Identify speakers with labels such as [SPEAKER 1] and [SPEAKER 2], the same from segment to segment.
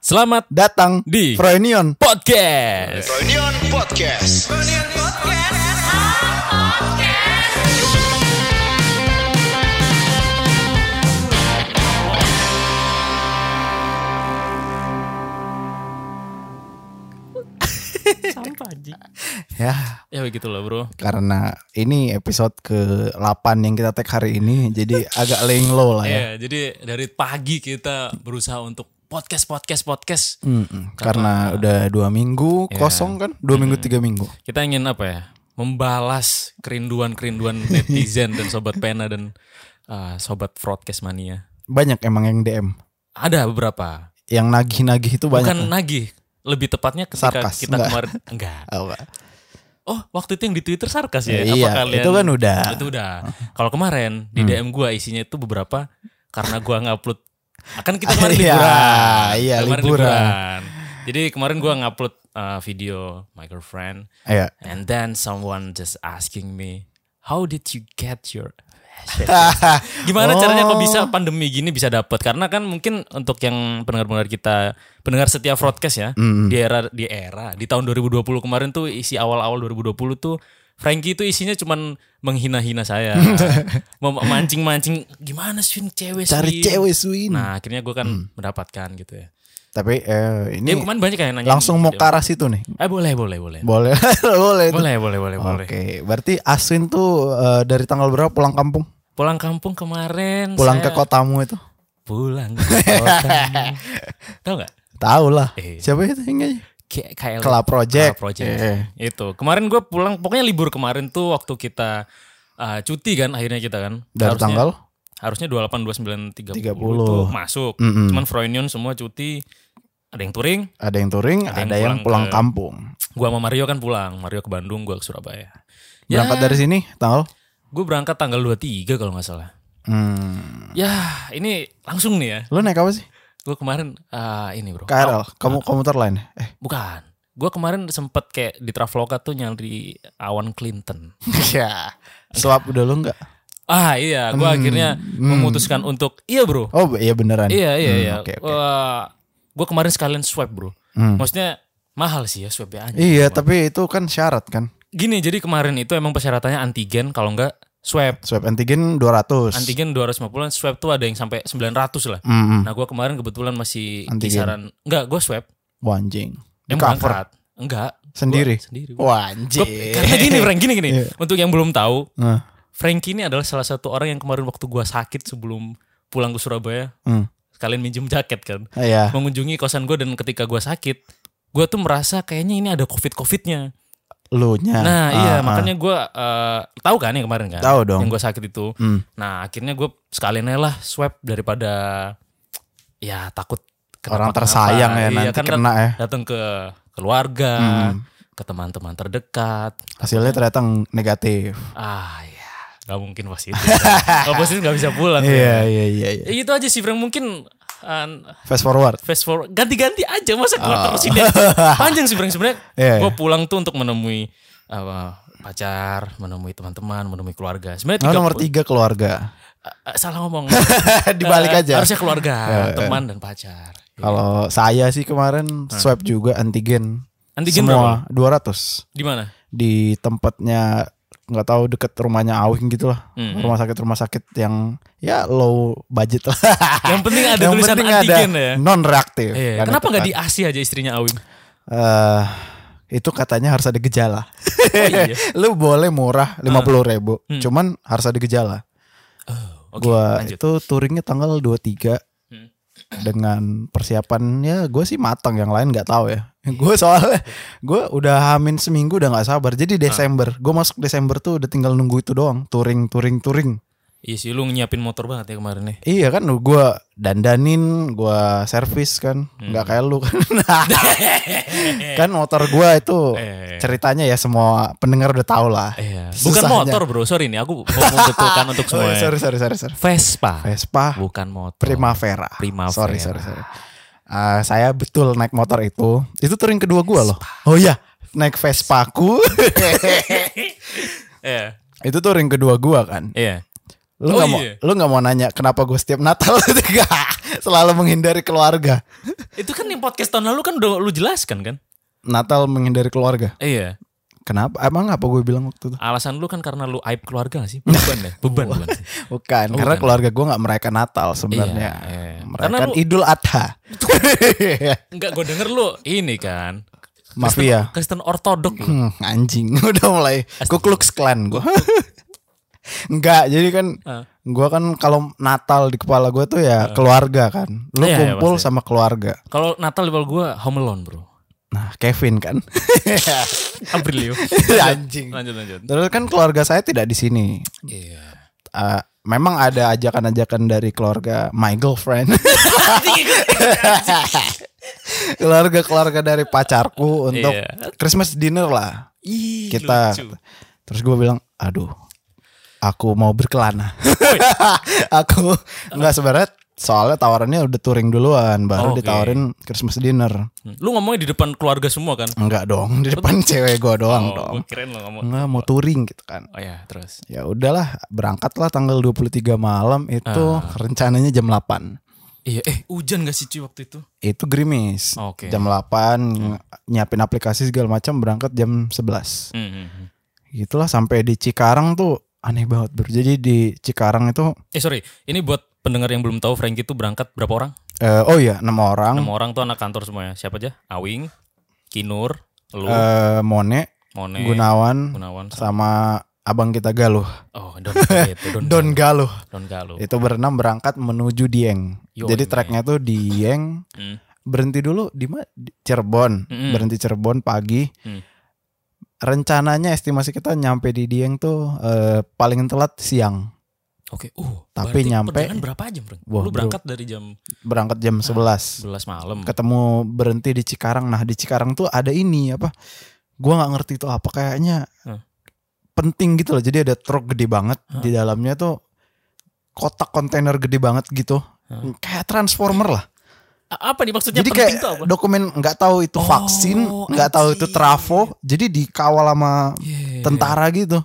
[SPEAKER 1] Selamat
[SPEAKER 2] Datang
[SPEAKER 1] Di-
[SPEAKER 2] Froenion.
[SPEAKER 1] podcast.
[SPEAKER 3] Reunion Podcast.
[SPEAKER 2] Ya,
[SPEAKER 1] Ya begitu loh bro.
[SPEAKER 2] karena ini episode ke-8 yang kita tag hari ini jadi agak lenglo lah ya.
[SPEAKER 1] Ya jadi dari pagi kita berusaha untuk podcast podcast podcast.
[SPEAKER 2] Mm-mm, Karena udah dua minggu
[SPEAKER 1] Iya.
[SPEAKER 2] kosong kan? Dua minggu tiga minggu.
[SPEAKER 1] Kita ingin apa ya? Membalas kerinduan kerinduan netizen dan sobat pena dan uh, sobat broadcast mania.
[SPEAKER 2] Banyak emang yang DM.
[SPEAKER 1] Ada beberapa.
[SPEAKER 2] Yang nagih-nagih itu banyak.
[SPEAKER 1] Bukan nagih. Lebih tepatnya ketika
[SPEAKER 2] Sarkas,
[SPEAKER 1] kita
[SPEAKER 2] enggak.
[SPEAKER 1] kemarin enggak.
[SPEAKER 2] Oh, Pak.
[SPEAKER 1] Oh, waktu itu yang di Twitter sarkas ya.
[SPEAKER 2] Ya, iya,
[SPEAKER 1] Apa kalian?
[SPEAKER 2] itu kan udah. Hmm.
[SPEAKER 1] Itu udah. Kalau kemarin di DM gua isinya itu beberapa karena gua ngupload akan kita kemarin
[SPEAKER 2] Iya,
[SPEAKER 1] liburan.
[SPEAKER 2] iya,
[SPEAKER 1] Kemarin
[SPEAKER 2] liburan.
[SPEAKER 1] Jadi kemarin gua ngupload uh, video my girlfriend
[SPEAKER 2] Iya.
[SPEAKER 1] and then someone just asking me how did you get your Gimana caranya kok bisa
[SPEAKER 2] Oh.
[SPEAKER 1] pandemi gini bisa dapat? Karena kan mungkin untuk yang pendengar-pendengar kita, pendengar setiap broadcast ya, di era di era di tahun 2020 kemarin tuh isi awal-awal 2020 tuh Frankie itu isinya cuman menghina-hina saya, Mem- mancing-mancing gimana sih ini cewek
[SPEAKER 2] Cari
[SPEAKER 1] sih?
[SPEAKER 2] cewek Mm. Swin.
[SPEAKER 1] Nah akhirnya gue kan mendapatkan gitu ya.
[SPEAKER 2] Tapi eh,
[SPEAKER 1] Ya
[SPEAKER 2] ini
[SPEAKER 1] kemarin banyak yang nanya.
[SPEAKER 2] langsung mau ke
[SPEAKER 1] karat
[SPEAKER 2] arah situ nih.
[SPEAKER 1] Eh boleh boleh boleh.
[SPEAKER 2] Boleh. boleh. Oh. itu.
[SPEAKER 1] Boleh boleh boleh boleh.
[SPEAKER 2] Oke, berarti Aswin tuh eh, dari tanggal berapa pulang kampung?
[SPEAKER 1] Pulang kampung kemarin.
[SPEAKER 2] Pulang
[SPEAKER 1] saya-
[SPEAKER 2] ke kotamu itu?
[SPEAKER 1] Pulang ke kota. Tahu nggak?
[SPEAKER 2] Tahu lah.
[SPEAKER 1] Eh.
[SPEAKER 2] Siapa itu yang nyanyi?
[SPEAKER 1] K- KL
[SPEAKER 2] Kela Project.
[SPEAKER 1] Kela Project.
[SPEAKER 2] Eh.
[SPEAKER 1] Itu. Kemarin gue pulang, pokoknya libur kemarin tuh waktu kita uh, cuti kan akhirnya kita kan.
[SPEAKER 2] Dari
[SPEAKER 1] harusnya,
[SPEAKER 2] tanggal?
[SPEAKER 1] Harusnya 28, 29, 30,
[SPEAKER 2] 30.
[SPEAKER 1] tuh masuk.
[SPEAKER 2] Mm-mm.
[SPEAKER 1] Cuman Froynion semua cuti. Ada yang touring,
[SPEAKER 2] Ada yang touring, ada,
[SPEAKER 1] yang
[SPEAKER 2] yang
[SPEAKER 1] pulang
[SPEAKER 2] pulang,
[SPEAKER 1] ke-
[SPEAKER 2] kampung.
[SPEAKER 1] gua sama Mario kan pulang. Mario ke Bandung, gua ke Surabaya.
[SPEAKER 2] Berangkat
[SPEAKER 1] Ya.
[SPEAKER 2] dari sini tanggal?
[SPEAKER 1] Gue berangkat tanggal 23 kalau nggak salah.
[SPEAKER 2] Hmm.
[SPEAKER 1] Ya, ini langsung nih ya.
[SPEAKER 2] Lu naik apa sih?
[SPEAKER 1] Gue kemarin uh, ini bro.
[SPEAKER 2] KRL, kamu komuter lain. Eh,
[SPEAKER 1] Bukan. Gue kemarin sempet kayak di Traveloka tuh nyari awan Clinton.
[SPEAKER 2] ya. Swap udah lu enggak?
[SPEAKER 1] Ah iya,
[SPEAKER 2] Hmm,
[SPEAKER 1] gue akhirnya memutuskan untuk iya bro,
[SPEAKER 2] Oh, b- iya beneran.
[SPEAKER 1] iya iya
[SPEAKER 2] Hmm,
[SPEAKER 1] iya.
[SPEAKER 2] Oke, oke.
[SPEAKER 1] gue kemarin sekalian swipe bro.
[SPEAKER 2] Hmm.
[SPEAKER 1] Maksudnya mahal sih ya swipe ya. anjing.
[SPEAKER 2] Iya, tapi itu kan syarat kan.
[SPEAKER 1] Gini jadi kemarin itu emang persyaratannya antigen kalau enggak swab.
[SPEAKER 2] Swab antigen 200.
[SPEAKER 1] Antigen 250 swab tuh ada yang sampai 900 lah.
[SPEAKER 2] Hmm, hmm.
[SPEAKER 1] Nah gue kemarin kebetulan masih
[SPEAKER 2] Antigen.
[SPEAKER 1] kisaran enggak gue swab.
[SPEAKER 2] Wah, anjing.
[SPEAKER 1] Yang
[SPEAKER 2] Di cover
[SPEAKER 1] berangkat. Enggak. gua
[SPEAKER 2] sendiri. Oh,
[SPEAKER 1] Sendiri. Gua-
[SPEAKER 2] Wah, anjing.
[SPEAKER 1] karena gini Frank gini gini.
[SPEAKER 2] Iya.
[SPEAKER 1] Untuk yang belum tahu,
[SPEAKER 2] Nah,
[SPEAKER 1] Frankie ini adalah salah satu orang yang kemarin waktu gua sakit sebelum pulang ke Surabaya
[SPEAKER 2] hmm.
[SPEAKER 1] kalian minjem jaket kan.
[SPEAKER 2] Iya.
[SPEAKER 1] mengunjungi kosan gue dan ketika gue sakit gue tuh merasa kayaknya ini ada covid covidnya
[SPEAKER 2] Lu nya.
[SPEAKER 1] nah iya
[SPEAKER 2] Ah,
[SPEAKER 1] makanya gue eh, tahu kan yang kemarin kan
[SPEAKER 2] Tahu dong.
[SPEAKER 1] yang gue sakit itu
[SPEAKER 2] ah. Hmm.
[SPEAKER 1] nah akhirnya gue sekalian aja lah swab daripada ya takut
[SPEAKER 2] Orang
[SPEAKER 1] kenapa-kenapa.
[SPEAKER 2] tersayang ya
[SPEAKER 1] Iya,
[SPEAKER 2] nanti
[SPEAKER 1] kan
[SPEAKER 2] kena ya.
[SPEAKER 1] datang ke keluarga
[SPEAKER 2] Hmm.
[SPEAKER 1] ke teman-teman terdekat
[SPEAKER 2] Hasilnya ternyata ng- negatif.
[SPEAKER 1] ah ya nggak mungkin positif kalau positif nggak bisa pulang
[SPEAKER 2] Iya,
[SPEAKER 1] ya.
[SPEAKER 2] iya, iya, iya.
[SPEAKER 1] Ya, itu aja sih Frank mungkin eh,
[SPEAKER 2] Fast forward.
[SPEAKER 1] fast forward ganti-ganti aja masa gue terus ini panjang sih sebenarnya sebenarnya
[SPEAKER 2] Oh. Iya,
[SPEAKER 1] gue pulang tuh untuk menemui uh, pacar menemui teman-teman menemui keluarga sebenarnya
[SPEAKER 2] Oh,
[SPEAKER 1] tiga
[SPEAKER 2] nomor tiga keluarga.
[SPEAKER 1] Uh, uh, salah ngomong
[SPEAKER 2] Dibalik
[SPEAKER 1] Uh,
[SPEAKER 2] aja. Iya, Oh,
[SPEAKER 1] harusnya keluarga teman dan pacar
[SPEAKER 2] Kalau saya sih kemarin swab juga antigen.
[SPEAKER 1] Hmm. Antigen
[SPEAKER 2] semua 200
[SPEAKER 1] di mana
[SPEAKER 2] di tempatnya nggak tahu deket rumahnya Awing gitu lah.
[SPEAKER 1] Mm-mm.
[SPEAKER 2] Rumah sakit rumah sakit yang ya low budget lah.
[SPEAKER 1] yang penting ada
[SPEAKER 2] Yang
[SPEAKER 1] tulisan
[SPEAKER 2] penting
[SPEAKER 1] antigen
[SPEAKER 2] ada
[SPEAKER 1] ya
[SPEAKER 2] Non reaktif.
[SPEAKER 1] Iya, kenapa nggak di AC aja istrinya Awim?
[SPEAKER 2] Eh, itu katanya harus ada gejala.
[SPEAKER 1] Oh iya.
[SPEAKER 2] Lu boleh murah 50.000 ribu,
[SPEAKER 1] Hmm.
[SPEAKER 2] cuman harus ada gejala.
[SPEAKER 1] Oh, Oke,
[SPEAKER 2] gua
[SPEAKER 1] lanjut.
[SPEAKER 2] itu touringnya tanggal 23
[SPEAKER 1] Hmm.
[SPEAKER 2] dengan persiapannya gue sih matang yang lain nggak tahu ya gue soalnya gue udah hamin seminggu udah nggak sabar jadi
[SPEAKER 1] Ah.
[SPEAKER 2] Desember gue masuk Desember tuh udah tinggal nunggu itu doang touring touring touring
[SPEAKER 1] Iya sih, lu nyiapin motor banget ya kemarin nih.
[SPEAKER 2] iya kan gue dandanin gue servis kan
[SPEAKER 1] Hmm.
[SPEAKER 2] nggak kayak lu kan kan motor gue itu
[SPEAKER 1] Eh.
[SPEAKER 2] ceritanya ya semua pendengar udah tahu lah
[SPEAKER 1] Iya. Bukan
[SPEAKER 2] Susahnya.
[SPEAKER 1] motor bro, sorry nih, aku mau membetulkan untuk
[SPEAKER 2] Oh,
[SPEAKER 1] semua. ya.
[SPEAKER 2] iya, sorry sorry sorry sorry
[SPEAKER 1] Vespa.
[SPEAKER 2] Vespa
[SPEAKER 1] bukan motor.
[SPEAKER 2] Primavera.
[SPEAKER 1] Primavera.
[SPEAKER 2] Sorry, sorry, sorry. Ah, saya betul naik motor itu. Itu touring kedua gua loh. Oh iya, naik Vespaku.
[SPEAKER 1] Iya,
[SPEAKER 2] itu touring kedua gua kan.
[SPEAKER 1] iya. Oh,
[SPEAKER 2] Lu nggak
[SPEAKER 1] iya.
[SPEAKER 2] mau lu nggak mau nanya kenapa gue setiap Natal juga selalu menghindari keluarga.
[SPEAKER 1] Itu kan yang podcast tahun lalu kan udah lu jelaskan kan?
[SPEAKER 2] Natal menghindari keluarga.
[SPEAKER 1] Iya.
[SPEAKER 2] Kenapa? Emang apa gue bilang waktu itu?
[SPEAKER 1] Alasan lu kan karena lu aib keluarga gak sih? Beban ya? Beban. bukan sih?
[SPEAKER 2] Bukan, karena keluarga gue nggak merayakan Natal sebenarnya.
[SPEAKER 1] Iya, iya. Karena
[SPEAKER 2] Merayakan
[SPEAKER 1] lu-
[SPEAKER 2] Idul Adha.
[SPEAKER 1] Enggak, gue denger lu ini kan.
[SPEAKER 2] Mafia.
[SPEAKER 1] Kristen ortodok lu.
[SPEAKER 2] Hmm, anjing udah mulai Ku Klux Klan gue Enggak jadi kan
[SPEAKER 1] Ah.
[SPEAKER 2] Gue kan kalau Natal di kepala gue tuh ya keluarga kan Lu
[SPEAKER 1] Iya, iya,
[SPEAKER 2] kumpul
[SPEAKER 1] pasti.
[SPEAKER 2] sama keluarga
[SPEAKER 1] Kalau Natal di gue home alone bro.
[SPEAKER 2] Nah Kevin kan
[SPEAKER 1] Aprilio.
[SPEAKER 2] Anjing
[SPEAKER 1] lanjut lanjut.
[SPEAKER 2] Terus kan keluarga saya tidak di sini
[SPEAKER 1] Iya.
[SPEAKER 2] Eh, Memang ada ajakan-ajakan dari keluarga my girlfriend Keluarga-keluarga dari pacarku untuk
[SPEAKER 1] Iya.
[SPEAKER 2] Christmas dinner lah
[SPEAKER 1] Ih,
[SPEAKER 2] Kita
[SPEAKER 1] lucu.
[SPEAKER 2] Terus gue bilang aduh Aku mau berkelana
[SPEAKER 1] Woi,
[SPEAKER 2] aku nggak sebenarnya soalnya tawarannya udah touring duluan baru
[SPEAKER 1] Oke.
[SPEAKER 2] ditawarin Christmas dinner
[SPEAKER 1] Hmm. lu ngomongnya di depan keluarga semua kan?
[SPEAKER 2] enggak dong di depan cewek gua doang
[SPEAKER 1] Oh,
[SPEAKER 2] dong
[SPEAKER 1] gua keren lo ngomong.
[SPEAKER 2] enggak mau touring gitu kan
[SPEAKER 1] Oh ya, terus.
[SPEAKER 2] ya udahlah berangkatlah tanggal 23 malam itu
[SPEAKER 1] Ah.
[SPEAKER 2] rencananya jam 8
[SPEAKER 1] Iya, eh hujan gak sih cuy waktu itu?
[SPEAKER 2] itu gerimis
[SPEAKER 1] Oke. Hmm.
[SPEAKER 2] jam 8 nyiapin aplikasi segala macam berangkat jam 11
[SPEAKER 1] Hmm,
[SPEAKER 2] gitulah sampai di Cikarang tuh aneh banget bro jadi di Cikarang itu
[SPEAKER 1] Eh sorry, ini buat pendengar yang belum tahu Frankie itu berangkat berapa orang?
[SPEAKER 2] eh, oh iya enam orang
[SPEAKER 1] Enam orang tuh anak kantor semuanya. Siapa aja? Awing, Kinur, lu,
[SPEAKER 2] eh, Mone
[SPEAKER 1] Mone,
[SPEAKER 2] Gunawan
[SPEAKER 1] Gunawan.
[SPEAKER 2] sama abang kita Galuh.
[SPEAKER 1] Oh, Don gitu, Don, Don,
[SPEAKER 2] Don Galuh.
[SPEAKER 1] Don Galuh.
[SPEAKER 2] Itu berenam berangkat menuju Dieng.
[SPEAKER 1] Yo, ini.
[SPEAKER 2] Jadi treknya tuh Dieng.
[SPEAKER 1] Hmm.
[SPEAKER 2] Berhenti dulu di ma- di Cirebon.
[SPEAKER 1] Mm-mm.
[SPEAKER 2] Berhenti Cirebon pagi.
[SPEAKER 1] Hmm.
[SPEAKER 2] Rencananya estimasi kita nyampe di Dieng tuh eh, paling telat siang.
[SPEAKER 1] Oke, uh.
[SPEAKER 2] Tapi
[SPEAKER 1] berarti
[SPEAKER 2] nyampe-
[SPEAKER 1] perjalanan berapa jam, Bro?
[SPEAKER 2] Wah,
[SPEAKER 1] lu
[SPEAKER 2] bro.
[SPEAKER 1] berangkat dari jam
[SPEAKER 2] Berangkat
[SPEAKER 1] Ah,
[SPEAKER 2] jam 11.
[SPEAKER 1] 11 malam.
[SPEAKER 2] Hmm. Ketemu berhenti di Cikarang. Nah, di Cikarang tuh ada ini apa? Gua nggak ngerti itu apa kayaknya.
[SPEAKER 1] Hah.
[SPEAKER 2] Penting gitu loh. Jadi ada truk gede banget
[SPEAKER 1] Hah.
[SPEAKER 2] di dalamnya tuh kotak kontainer gede banget gitu.
[SPEAKER 1] Hah.
[SPEAKER 2] Kayak transformer lah.
[SPEAKER 1] A- apa nih maksudnya
[SPEAKER 2] Jadi
[SPEAKER 1] Hmm. penting
[SPEAKER 2] kayak
[SPEAKER 1] tuh apa?
[SPEAKER 2] dokumen nggak tahu itu
[SPEAKER 1] Oh,
[SPEAKER 2] vaksin, nggak tahu
[SPEAKER 1] anjing. Iya.
[SPEAKER 2] itu trafo, jadi dikawal sama
[SPEAKER 1] Yeah.
[SPEAKER 2] tentara gitu.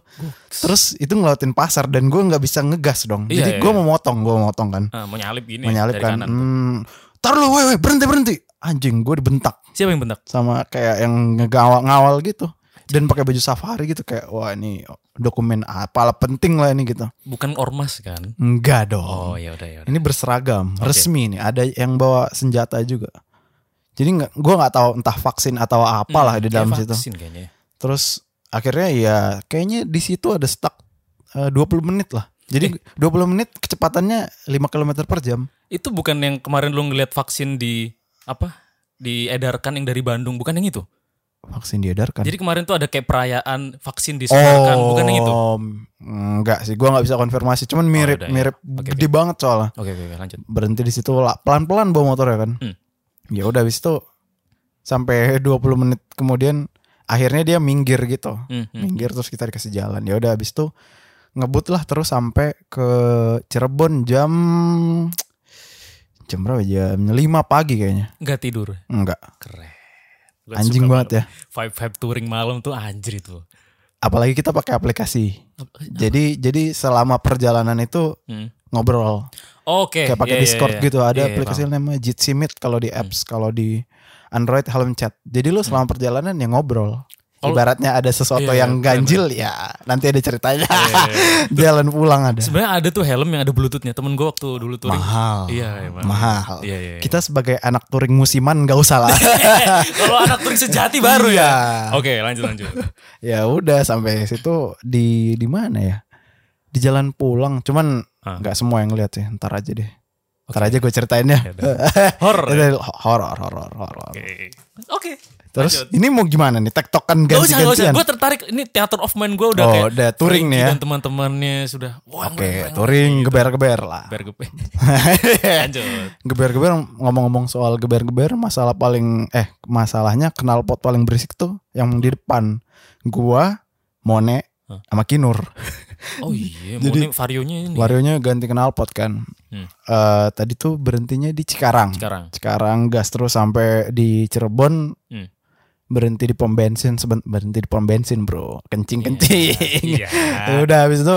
[SPEAKER 2] Terus itu ngelawatin pasar dan gue nggak bisa ngegas dong.
[SPEAKER 1] Iya,
[SPEAKER 2] jadi
[SPEAKER 1] iya,
[SPEAKER 2] gue
[SPEAKER 1] iya.
[SPEAKER 2] mau motong, gue mau motong kan,
[SPEAKER 1] Ah, mau nyalip gini
[SPEAKER 2] menyalip
[SPEAKER 1] dari kanan.
[SPEAKER 2] kan. Hmm, Tar lu, woi, woi, berhenti, berhenti. Anjing, gue dibentak
[SPEAKER 1] Siapa yang bentak?
[SPEAKER 2] sama kayak yang ngegawal ngawal gitu. Dan pakai baju safari gitu kayak wah ini dokumen apalah penting lah ini gitu.
[SPEAKER 1] Bukan ormas kan?
[SPEAKER 2] Enggak
[SPEAKER 1] Oh,
[SPEAKER 2] dong.
[SPEAKER 1] ya udah ya udah.
[SPEAKER 2] Ini berseragam, resmi nih. Ada yang bawa senjata juga. Jadi nggak, gue nggak tahu entah vaksin atau apalah di
[SPEAKER 1] Kayak
[SPEAKER 2] dalam situ.
[SPEAKER 1] Hmm, iya, vaksin kayaknya.
[SPEAKER 2] Terus akhirnya ya kayaknya di situ ada stuck eh, 20 menit lah.
[SPEAKER 1] Eh.
[SPEAKER 2] Jadi 20 menit kecepatannya 5 km per jam.
[SPEAKER 1] Itu bukan yang kemarin lu ngeliat vaksin di apa? Diedarkan yang dari Bandung, bukan yang itu.
[SPEAKER 2] Vaksin diedarkan.
[SPEAKER 1] Jadi kemarin tuh ada kayak perayaan vaksin disebarkan, bukan yang itu.
[SPEAKER 2] Oh, enggak sih. Gue nggak bisa konfirmasi. Cuman mirip,
[SPEAKER 1] udah, ya.
[SPEAKER 2] mirip
[SPEAKER 1] Oke,
[SPEAKER 2] gede banget soalnya.
[SPEAKER 1] Oke, oke, oke, lanjut.
[SPEAKER 2] Berhenti di situ lah. pelan-pelan bawa motor ya kan.
[SPEAKER 1] Hmm.
[SPEAKER 2] Ya udah habis itu sampai 20 menit kemudian akhirnya dia minggir gitu.
[SPEAKER 1] Hmm, hmm.
[SPEAKER 2] minggir terus kita dikasih jalan ya udah habis itu ngebut lah terus sampai ke Cirebon jam jam berapa ya? jam 5 pagi kayaknya
[SPEAKER 1] Nggak tidur.
[SPEAKER 2] enggak
[SPEAKER 1] Keren. Gua
[SPEAKER 2] anjing
[SPEAKER 1] suka
[SPEAKER 2] banget ya
[SPEAKER 1] Vibe vibe touring malam tuh anjir itu.
[SPEAKER 2] apalagi kita pakai aplikasi jadi jadi selama perjalanan itu
[SPEAKER 1] Hmm.
[SPEAKER 2] ngobrol
[SPEAKER 1] Oke.
[SPEAKER 2] kayak pakai
[SPEAKER 1] iya, iya,
[SPEAKER 2] Discord
[SPEAKER 1] iya.
[SPEAKER 2] gitu ada
[SPEAKER 1] Iya, Hmm. iya,
[SPEAKER 2] aplikasi yang namanya Jitsi Meet kalau di apps kalau di Android Helm Chat jadi lu selama perjalanan ya ngobrol
[SPEAKER 1] Kalau-
[SPEAKER 2] Ibaratnya ada
[SPEAKER 1] Hmm.
[SPEAKER 2] sesuatu
[SPEAKER 1] Oh, Iya,
[SPEAKER 2] yang
[SPEAKER 1] iya,
[SPEAKER 2] ganjil ya nanti ada ceritanya
[SPEAKER 1] paham. Iya, iya, iya.
[SPEAKER 2] jalan pulang ada
[SPEAKER 1] Sebenarnya ada tuh helm yang ada bluetoothnya. Temen gue waktu dulu touring.
[SPEAKER 2] mahal
[SPEAKER 1] Iya, iya, mahal.
[SPEAKER 2] mahal
[SPEAKER 1] Iya, iya, iya.
[SPEAKER 2] kita sebagai anak touring musiman nggak usah lah
[SPEAKER 1] Kalau anak touring sejati baru
[SPEAKER 2] Iya.
[SPEAKER 1] ya. Oke, lanjut lanjut.
[SPEAKER 2] ya udah sampai situ di di mana ya di jalan pulang cuman
[SPEAKER 1] Ah.
[SPEAKER 2] nggak semua yang lihat sih ntar aja deh ntar aja gue ceritain
[SPEAKER 1] Ya udah.
[SPEAKER 2] ya
[SPEAKER 1] Horor. ya?
[SPEAKER 2] horor horor horor horor
[SPEAKER 1] Oke. Oke.
[SPEAKER 2] terus
[SPEAKER 1] lanjut.
[SPEAKER 2] ini mau gimana nih tektokan
[SPEAKER 1] Gak usah, gak usah.
[SPEAKER 2] ganti-gantian
[SPEAKER 1] Gue tertarik. Ini teater of mind gue udah
[SPEAKER 2] Oh,
[SPEAKER 1] kayak. gitu.
[SPEAKER 2] udah touring nih ya.
[SPEAKER 1] Dan teman-temannya sudah. Wah,
[SPEAKER 2] oke
[SPEAKER 1] gitu.
[SPEAKER 2] touring geber-geber lah
[SPEAKER 1] Bergepe. Lanjut.
[SPEAKER 2] geber-geber ngomong-ngomong soal geber-geber masalah paling eh masalahnya knalpot paling berisik tuh yang di depan gua Mone
[SPEAKER 1] Hah?
[SPEAKER 2] sama Kinur
[SPEAKER 1] Oh iya.
[SPEAKER 2] Jadi-
[SPEAKER 1] Jadi varionya ini.
[SPEAKER 2] Warionya ganti knalpot kan
[SPEAKER 1] Hmm.
[SPEAKER 2] Eh, tadi tuh berhentinya di Cikarang
[SPEAKER 1] sekarang.
[SPEAKER 2] Cikarang gas terus sampai di Cirebon
[SPEAKER 1] Hmm.
[SPEAKER 2] berhenti di pom bensin seben- berhenti di pom bensin bro kencing kencing
[SPEAKER 1] Iya.
[SPEAKER 2] Ya udah habis itu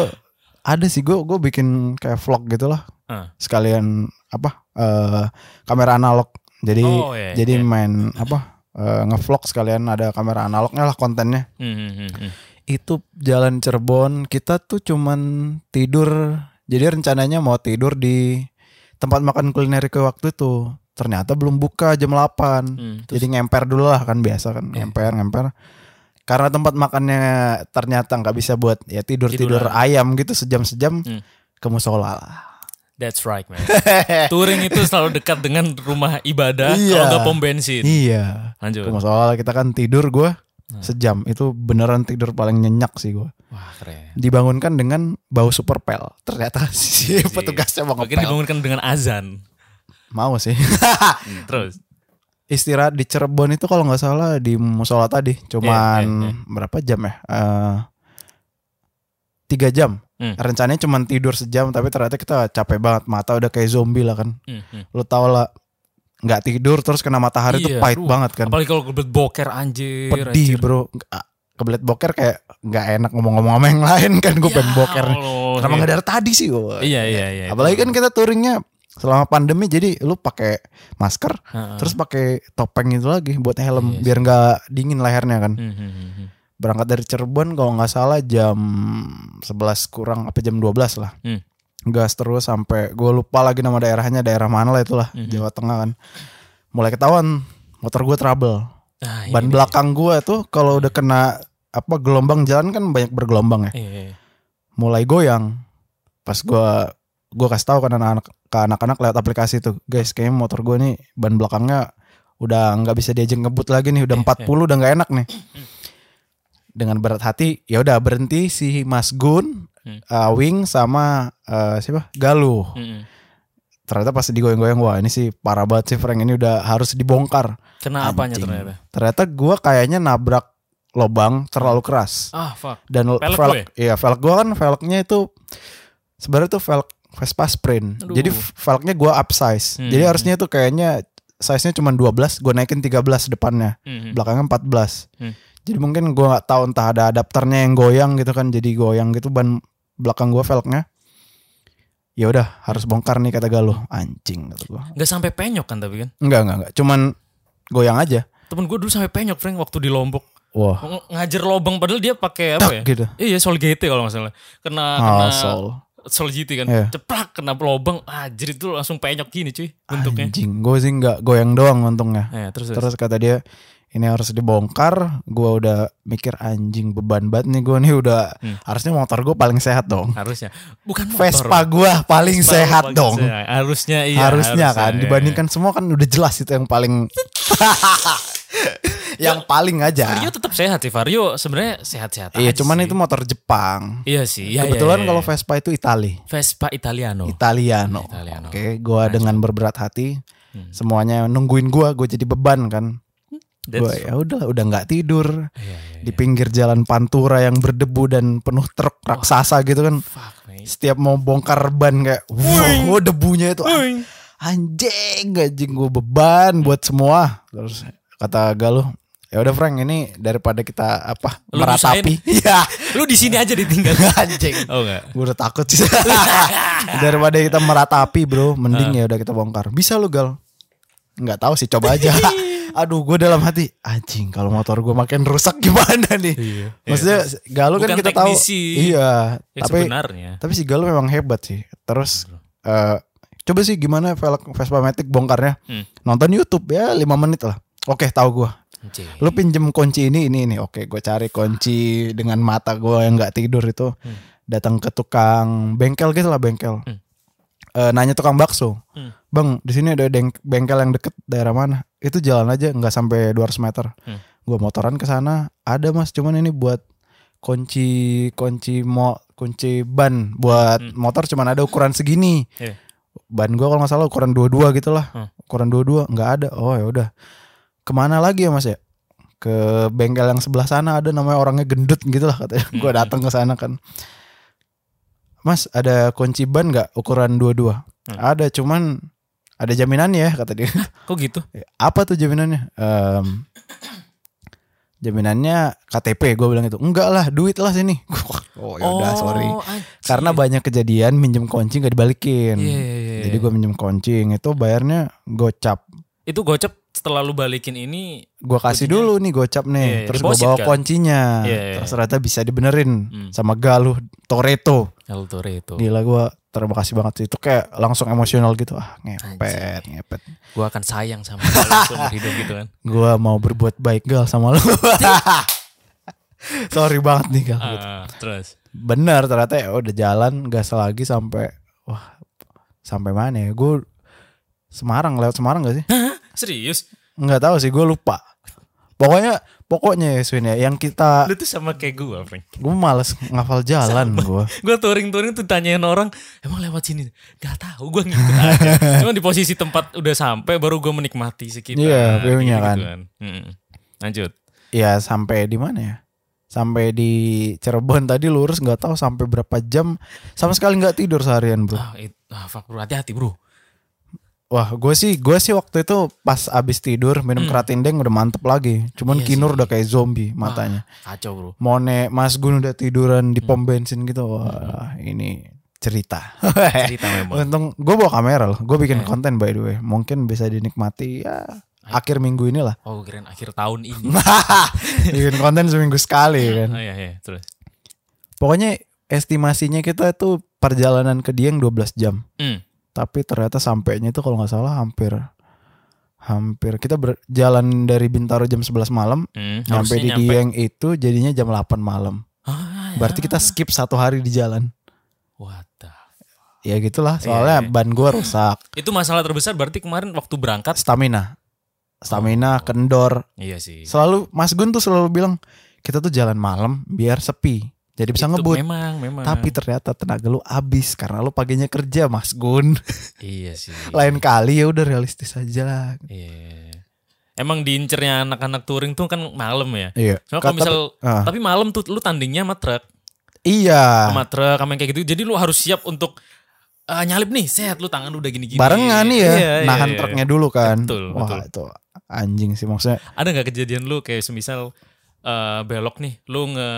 [SPEAKER 2] ada sih gue gue bikin kayak vlog gitu lah
[SPEAKER 1] Ah.
[SPEAKER 2] sekalian apa eh kamera analog jadi
[SPEAKER 1] Oh, iya,
[SPEAKER 2] jadi
[SPEAKER 1] iya.
[SPEAKER 2] main apa eh, ngevlog sekalian ada kamera analognya lah kontennya
[SPEAKER 1] Hmm, hmm, hmm, hmm.
[SPEAKER 2] itu jalan Cirebon kita tuh cuman tidur jadi rencananya mau tidur di tempat makan kuliner ke waktu itu ternyata belum buka jam 8
[SPEAKER 1] Hmm, terus- Iya.
[SPEAKER 2] jadi ngemper dulu lah kan biasa kan ngemper ngemper karena tempat makannya ternyata nggak bisa buat ya tidur tidur
[SPEAKER 1] Tiduran.
[SPEAKER 2] ayam gitu sejam sejam
[SPEAKER 1] Hmm.
[SPEAKER 2] ke musola lah
[SPEAKER 1] That's right, man. Touring itu selalu dekat dengan rumah ibadah kalau
[SPEAKER 2] Iya.
[SPEAKER 1] nggak pom bensin.
[SPEAKER 2] iya
[SPEAKER 1] Lanjut.
[SPEAKER 2] ke musola kita kan tidur gue
[SPEAKER 1] Nah.
[SPEAKER 2] sejam itu beneran tidur paling nyenyak sih gue
[SPEAKER 1] Wah, keren.
[SPEAKER 2] dibangunkan dengan bau super pel ternyata si petugasnya
[SPEAKER 1] Iya
[SPEAKER 2] mau
[SPEAKER 1] Mungkin
[SPEAKER 2] ngepel
[SPEAKER 1] dibangunkan dengan azan.
[SPEAKER 2] mau sih
[SPEAKER 1] Hmm, Terus.
[SPEAKER 2] istirahat di Cirebon itu kalau nggak salah di musola tadi cuman
[SPEAKER 1] Iya, iya,
[SPEAKER 2] berapa jam ya Eh, tiga jam
[SPEAKER 1] Hmm.
[SPEAKER 2] rencananya cuman tidur sejam tapi ternyata kita capek banget mata udah kayak zombie lah kan
[SPEAKER 1] Hmm, hmm.
[SPEAKER 2] lu tau lah nggak tidur terus kena matahari
[SPEAKER 1] Iya,
[SPEAKER 2] tuh pahit
[SPEAKER 1] aduh.
[SPEAKER 2] banget kan
[SPEAKER 1] Apalagi kalau kebelet boker anjir.
[SPEAKER 2] pedih bro Nggak- kebelet boker kayak nggak enak ngomong-ngomong sama yang lain kan gue pengen boker nih. kenapa nggak dari tadi sih
[SPEAKER 1] Ya
[SPEAKER 2] gue
[SPEAKER 1] Iya, iya, iya.
[SPEAKER 2] apalagi kan kita touringnya selama pandemi jadi lu pakai masker
[SPEAKER 1] Heeh.
[SPEAKER 2] terus pakai topeng itu lagi buat
[SPEAKER 1] Ah.
[SPEAKER 2] helm
[SPEAKER 1] Iya sih.
[SPEAKER 2] biar nggak dingin lehernya kan
[SPEAKER 1] Hmm, hmm, hmm, hmm.
[SPEAKER 2] berangkat dari Cirebon kalau nggak salah jam 11 kurang apa jam 12 lah
[SPEAKER 1] Hmm.
[SPEAKER 2] gas terus sampai gue lupa lagi nama daerahnya daerah mana lah itulah
[SPEAKER 1] Mhm.
[SPEAKER 2] Jawa Tengah kan mulai ketahuan motor gue trouble
[SPEAKER 1] Ah, ini
[SPEAKER 2] ban
[SPEAKER 1] dia.
[SPEAKER 2] belakang gue tuh kalau udah kena apa gelombang jalan kan banyak bergelombang ya
[SPEAKER 1] Iya, iya.
[SPEAKER 2] mulai goyang pas gua gua kasih tahu kan anak-anak ke anak-anak lewat aplikasi tuh guys kayaknya motor gua nih ban belakangnya udah nggak bisa diajeng ngebut lagi nih udah
[SPEAKER 1] Eh,
[SPEAKER 2] 40 udah nggak enak nih dengan berat hati ya udah berhenti si Mas Gun
[SPEAKER 1] Hmm.
[SPEAKER 2] eh, Wing sama eh, siapa Galuh
[SPEAKER 1] Hmm, hmm.
[SPEAKER 2] ternyata pas digoyang-goyang wah ini sih parah banget sih Frank ini udah harus dibongkar
[SPEAKER 1] Kena apanya
[SPEAKER 2] Anjing.
[SPEAKER 1] ternyata?
[SPEAKER 2] ternyata gua kayaknya nabrak lobang terlalu keras
[SPEAKER 1] Ah, fuck.
[SPEAKER 2] dan
[SPEAKER 1] Velg
[SPEAKER 2] velg,
[SPEAKER 1] lo ya?
[SPEAKER 2] iya velg gue kan velgnya itu sebenarnya tuh velg Vespa Sprint
[SPEAKER 1] Aduh.
[SPEAKER 2] jadi velgnya gue upsize
[SPEAKER 1] Hmm.
[SPEAKER 2] jadi harusnya tuh kayaknya size-nya cuma 12 gue naikin 13 depannya
[SPEAKER 1] Hmm, hmm.
[SPEAKER 2] belakangnya 14
[SPEAKER 1] Hmm.
[SPEAKER 2] jadi mungkin gue nggak tahu entah ada adapternya yang goyang gitu kan jadi goyang gitu ban belakang gue velgnya ya udah harus bongkar nih kata Galuh anjing kata gue
[SPEAKER 1] Nggak sampai penyok kan tapi kan?
[SPEAKER 2] enggak enggak enggak cuman goyang aja
[SPEAKER 1] Temen gue dulu sampai penyok, Frank, waktu di Lombok.
[SPEAKER 2] wah
[SPEAKER 1] Ng- ngajar lobang padahal dia pakai apa
[SPEAKER 2] tak
[SPEAKER 1] ya?
[SPEAKER 2] gitu
[SPEAKER 1] Iya, Solgate kalau nggak salah. Kena kena
[SPEAKER 2] Ah, soul.
[SPEAKER 1] Solgate kan.
[SPEAKER 2] Iya.
[SPEAKER 1] Ceplak kena lobang, anjir itu langsung penyok gini cuy bentuknya.
[SPEAKER 2] anjing gue sih nggak goyang doang untungnya
[SPEAKER 1] Eh, terus, terus.
[SPEAKER 2] Terus kata dia ini harus dibongkar. Gua udah mikir anjing beban banget nih gue nih udah harusnya motor gue paling sehat dong.
[SPEAKER 1] harusnya bukan Hmm. motor.
[SPEAKER 2] Vespa gua paling
[SPEAKER 1] Vespa
[SPEAKER 2] sehat
[SPEAKER 1] paling
[SPEAKER 2] dong.
[SPEAKER 1] sehat. Harusnya iya.
[SPEAKER 2] harusnya kan
[SPEAKER 1] iya.
[SPEAKER 2] dibandingkan semua kan udah jelas itu yang paling yang paling aja.
[SPEAKER 1] Vario tetap sehat sih. Vario sebenarnya sehat-sehat
[SPEAKER 2] Iya,
[SPEAKER 1] aja
[SPEAKER 2] cuman
[SPEAKER 1] sih.
[SPEAKER 2] itu motor Jepang.
[SPEAKER 1] Iya sih. iya, iya,
[SPEAKER 2] Kebetulan
[SPEAKER 1] iya.
[SPEAKER 2] kalau Vespa itu Itali.
[SPEAKER 1] Vespa Italiano.
[SPEAKER 2] Italiano.
[SPEAKER 1] Italiano.
[SPEAKER 2] Oke, gua dengan berberat hati
[SPEAKER 1] Hmm.
[SPEAKER 2] semuanya nungguin gua, gue jadi beban kan.
[SPEAKER 1] That's-
[SPEAKER 2] Gua ya udah udah nggak tidur.
[SPEAKER 1] Iya, iya,
[SPEAKER 2] di pinggir jalan Pantura yang berdebu dan penuh truk raksasa gitu kan.
[SPEAKER 1] Fuck, man.
[SPEAKER 2] Setiap mau bongkar ban kayak wow, debunya itu Ah,
[SPEAKER 1] Uy.
[SPEAKER 2] anjing anjing gue beban buat semua. Terus kata Galuh, ya udah Frank ini daripada kita apa
[SPEAKER 1] Lu
[SPEAKER 2] meratapi. Iya,
[SPEAKER 1] Lu di sini aja ditinggal.
[SPEAKER 2] anjing.
[SPEAKER 1] oh enggak.
[SPEAKER 2] Gue udah takut sih. daripada kita meratapi, Bro,
[SPEAKER 1] Ah.
[SPEAKER 2] mending ya udah kita bongkar. Bisa lu, Gal? nggak tahu sih, coba aja. Aduh, gue dalam hati anjing kalau motor gue makin rusak gimana nih?
[SPEAKER 1] Iya.
[SPEAKER 2] Maksudnya Galuh kan
[SPEAKER 1] Bukan
[SPEAKER 2] kita tahu
[SPEAKER 1] teknisi.
[SPEAKER 2] iya,
[SPEAKER 1] Ya,
[SPEAKER 2] tapi
[SPEAKER 1] sebenarnya. Iya,
[SPEAKER 2] tapi si Galuh memang hebat sih. Terus eh coba sih gimana velg Vespa Matic bongkarnya?
[SPEAKER 1] Hmm.
[SPEAKER 2] Nonton YouTube ya 5 menit lah. Oke, tahu gua.
[SPEAKER 1] Anjing.
[SPEAKER 2] Lu pinjem kunci ini ini ini. Oke, gue cari kunci dengan mata gua yang nggak tidur itu. Datang ke tukang bengkel gitu lah bengkel.
[SPEAKER 1] Hmm.
[SPEAKER 2] Eh, nanya tukang bakso.
[SPEAKER 1] Hmm.
[SPEAKER 2] Bang, di sini ada deng- bengkel yang deket daerah mana? Itu jalan aja nggak sampai 200 meter.
[SPEAKER 1] Hmm.
[SPEAKER 2] Gua motoran ke sana. Ada Mas, cuman ini buat kunci kunci mo kunci ban buat motor cuman ada ukuran segini.
[SPEAKER 1] Hmm. Iya.
[SPEAKER 2] Ban gua kalau nggak salah ukuran 22 gitu lah.
[SPEAKER 1] Hmm.
[SPEAKER 2] Ukuran 22 nggak ada. Oh ya udah. Kemana lagi ya Mas ya? Ke bengkel yang sebelah sana ada namanya orangnya gendut gitu lah katanya.
[SPEAKER 1] Hmm.
[SPEAKER 2] Gua datang ke sana kan. Mas ada kunci ban nggak ukuran 22?
[SPEAKER 1] Hmm.
[SPEAKER 2] Ada cuman ada jaminannya ya kata dia.
[SPEAKER 1] Kok gitu?
[SPEAKER 2] Apa tuh jaminannya? Em, Jaminannya KTP gue bilang itu. Enggak lah, duit lah sini. oh ya udah, sorry. Karena banyak kejadian minjem kunci gak dibalikin.
[SPEAKER 1] Iya, iya, iya,
[SPEAKER 2] Jadi
[SPEAKER 1] iya.
[SPEAKER 2] gue minjem kunci itu bayarnya gocap.
[SPEAKER 1] itu gocap setelah lu balikin ini
[SPEAKER 2] Gue kasih
[SPEAKER 1] Kuncinya.
[SPEAKER 2] dulu nih gocap nih,
[SPEAKER 1] Iya, iya,
[SPEAKER 2] terus gue
[SPEAKER 1] deposit
[SPEAKER 2] bawa
[SPEAKER 1] kan?
[SPEAKER 2] kuncinya.
[SPEAKER 1] Iya, iya,
[SPEAKER 2] Terus
[SPEAKER 1] iya.
[SPEAKER 2] ternyata bisa dibenerin
[SPEAKER 1] Hmm.
[SPEAKER 2] sama Galuh Toreto.
[SPEAKER 1] El Toretto.
[SPEAKER 2] Gila gue terima kasih banget sih. Itu kayak langsung emosional gitu. Ah, ngepet, ngepet.
[SPEAKER 1] Gua akan sayang sama lu seumur hidup gitu kan.
[SPEAKER 2] Gue mau berbuat baik gal sama lu. Sorry banget nih gal.
[SPEAKER 1] Ah, ah, terus
[SPEAKER 2] Bener ternyata ya udah jalan gas lagi sampai wah sampai mana ya? Gue Semarang lewat Semarang gak sih?
[SPEAKER 1] serius
[SPEAKER 2] Nggak tahu sih, gue lupa. Pokoknya pokoknya ya Swin ya, yang kita
[SPEAKER 1] lu tuh sama kayak gua Frank.
[SPEAKER 2] gue males ngafal jalan gue.
[SPEAKER 1] Gua touring-touring tuh tanyain orang emang lewat sini nggak tahu gua ngikut aja cuma di posisi tempat udah sampai baru gua menikmati sekitar Gitu
[SPEAKER 2] Iya, view-nya kan.
[SPEAKER 1] Mm-mm. lanjut
[SPEAKER 2] Ya sampai di mana ya? Sampai di Cirebon tadi lurus nggak tahu sampai berapa jam sama sekali nggak tidur seharian bro.
[SPEAKER 1] ah, it, ah, fuck bro hati-hati bro
[SPEAKER 2] Wah gue sih gue sih waktu itu pas abis tidur minum keratin deng udah mantep lagi.
[SPEAKER 1] Hmm.
[SPEAKER 2] Cuman
[SPEAKER 1] Iya Ah.
[SPEAKER 2] kinur udah kayak zombie matanya.
[SPEAKER 1] kacau bro
[SPEAKER 2] Mone Mas Gun udah tiduran
[SPEAKER 1] Hmm.
[SPEAKER 2] di pom bensin gitu. Wah ini cerita.
[SPEAKER 1] cerita memang
[SPEAKER 2] Untung gue bawa kamera loh. Gue bikin konten by the way. Mungkin bisa dinikmati ya akhir minggu inilah.
[SPEAKER 1] oh gua kirain akhir tahun ini
[SPEAKER 2] bikin konten seminggu sekali kan.
[SPEAKER 1] oh, iya, iya. terus
[SPEAKER 2] Pokoknya estimasinya kita itu perjalanan ke Dieng 12 jam.
[SPEAKER 1] Hmm.
[SPEAKER 2] Tapi ternyata sampainya itu kalau nggak salah hampir hampir kita berjalan dari Bintaro jam 11 malam
[SPEAKER 1] Hmm,
[SPEAKER 2] nyampe
[SPEAKER 1] harusnya
[SPEAKER 2] di Dieng itu jadinya jam 8 malam.
[SPEAKER 1] Ah, ya.
[SPEAKER 2] Berarti kita skip satu hari di jalan.
[SPEAKER 1] What the-
[SPEAKER 2] Ya gitulah, soalnya
[SPEAKER 1] Iya, iya.
[SPEAKER 2] ban gua rusak,
[SPEAKER 1] Itu masalah terbesar berarti kemarin waktu berangkat.
[SPEAKER 2] stamina. Stamina
[SPEAKER 1] Oh.
[SPEAKER 2] kendor.
[SPEAKER 1] Iya sih.
[SPEAKER 2] Selalu Mas Gun tuh selalu bilang, "Kita tuh jalan malam biar sepi." Jadi bisa
[SPEAKER 1] Itu
[SPEAKER 2] ngebut.
[SPEAKER 1] Memang, memang.
[SPEAKER 2] Tapi ternyata tenaga lu habis karena lu paginya kerja, Mas Gun.
[SPEAKER 1] iya sih.
[SPEAKER 2] Lain kali ya udah realistis aja lah.
[SPEAKER 1] Iya. Emang diincernya anak-anak touring tuh kan malam ya.
[SPEAKER 2] Iya.
[SPEAKER 1] Cuma kalau
[SPEAKER 2] Kata-
[SPEAKER 1] misal
[SPEAKER 2] Ah.
[SPEAKER 1] tapi malam tuh lu tandingnya sama truk,
[SPEAKER 2] Iya.
[SPEAKER 1] sama truk, sama yang kayak gitu. Jadi lu harus siap untuk eh, nyalip nih, set lu tangan udah gini-gini.
[SPEAKER 2] Barengan nih ya,
[SPEAKER 1] Iya, iya,
[SPEAKER 2] nahan
[SPEAKER 1] iya.
[SPEAKER 2] truknya dulu kan.
[SPEAKER 1] Betul,
[SPEAKER 2] Wah, itu anjing sih maksudnya
[SPEAKER 1] Ada nggak kejadian lu kayak semisal eh, belok nih, lu nge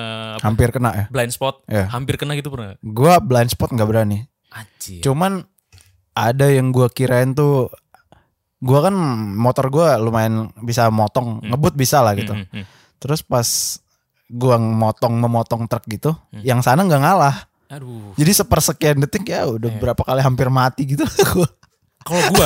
[SPEAKER 2] hampir kena ya.
[SPEAKER 1] blind spot,
[SPEAKER 2] Iya.
[SPEAKER 1] hampir kena gitu pernah? nggak?
[SPEAKER 2] Gua blind spot nggak berani.
[SPEAKER 1] Anjir.
[SPEAKER 2] Cuman ada yang gua kirain tuh gua kan motor gua lumayan bisa motong, ngebut bisa lah gitu.
[SPEAKER 1] Hmm, hmm, hmm.
[SPEAKER 2] Terus pas gua motong memotong truk gitu,
[SPEAKER 1] Hmm.
[SPEAKER 2] yang sana nggak ngalah.
[SPEAKER 1] Aduh.
[SPEAKER 2] Jadi sepersekian detik ya udah
[SPEAKER 1] Iya.
[SPEAKER 2] berapa kali hampir mati gitu. Gua-
[SPEAKER 1] Kalau gua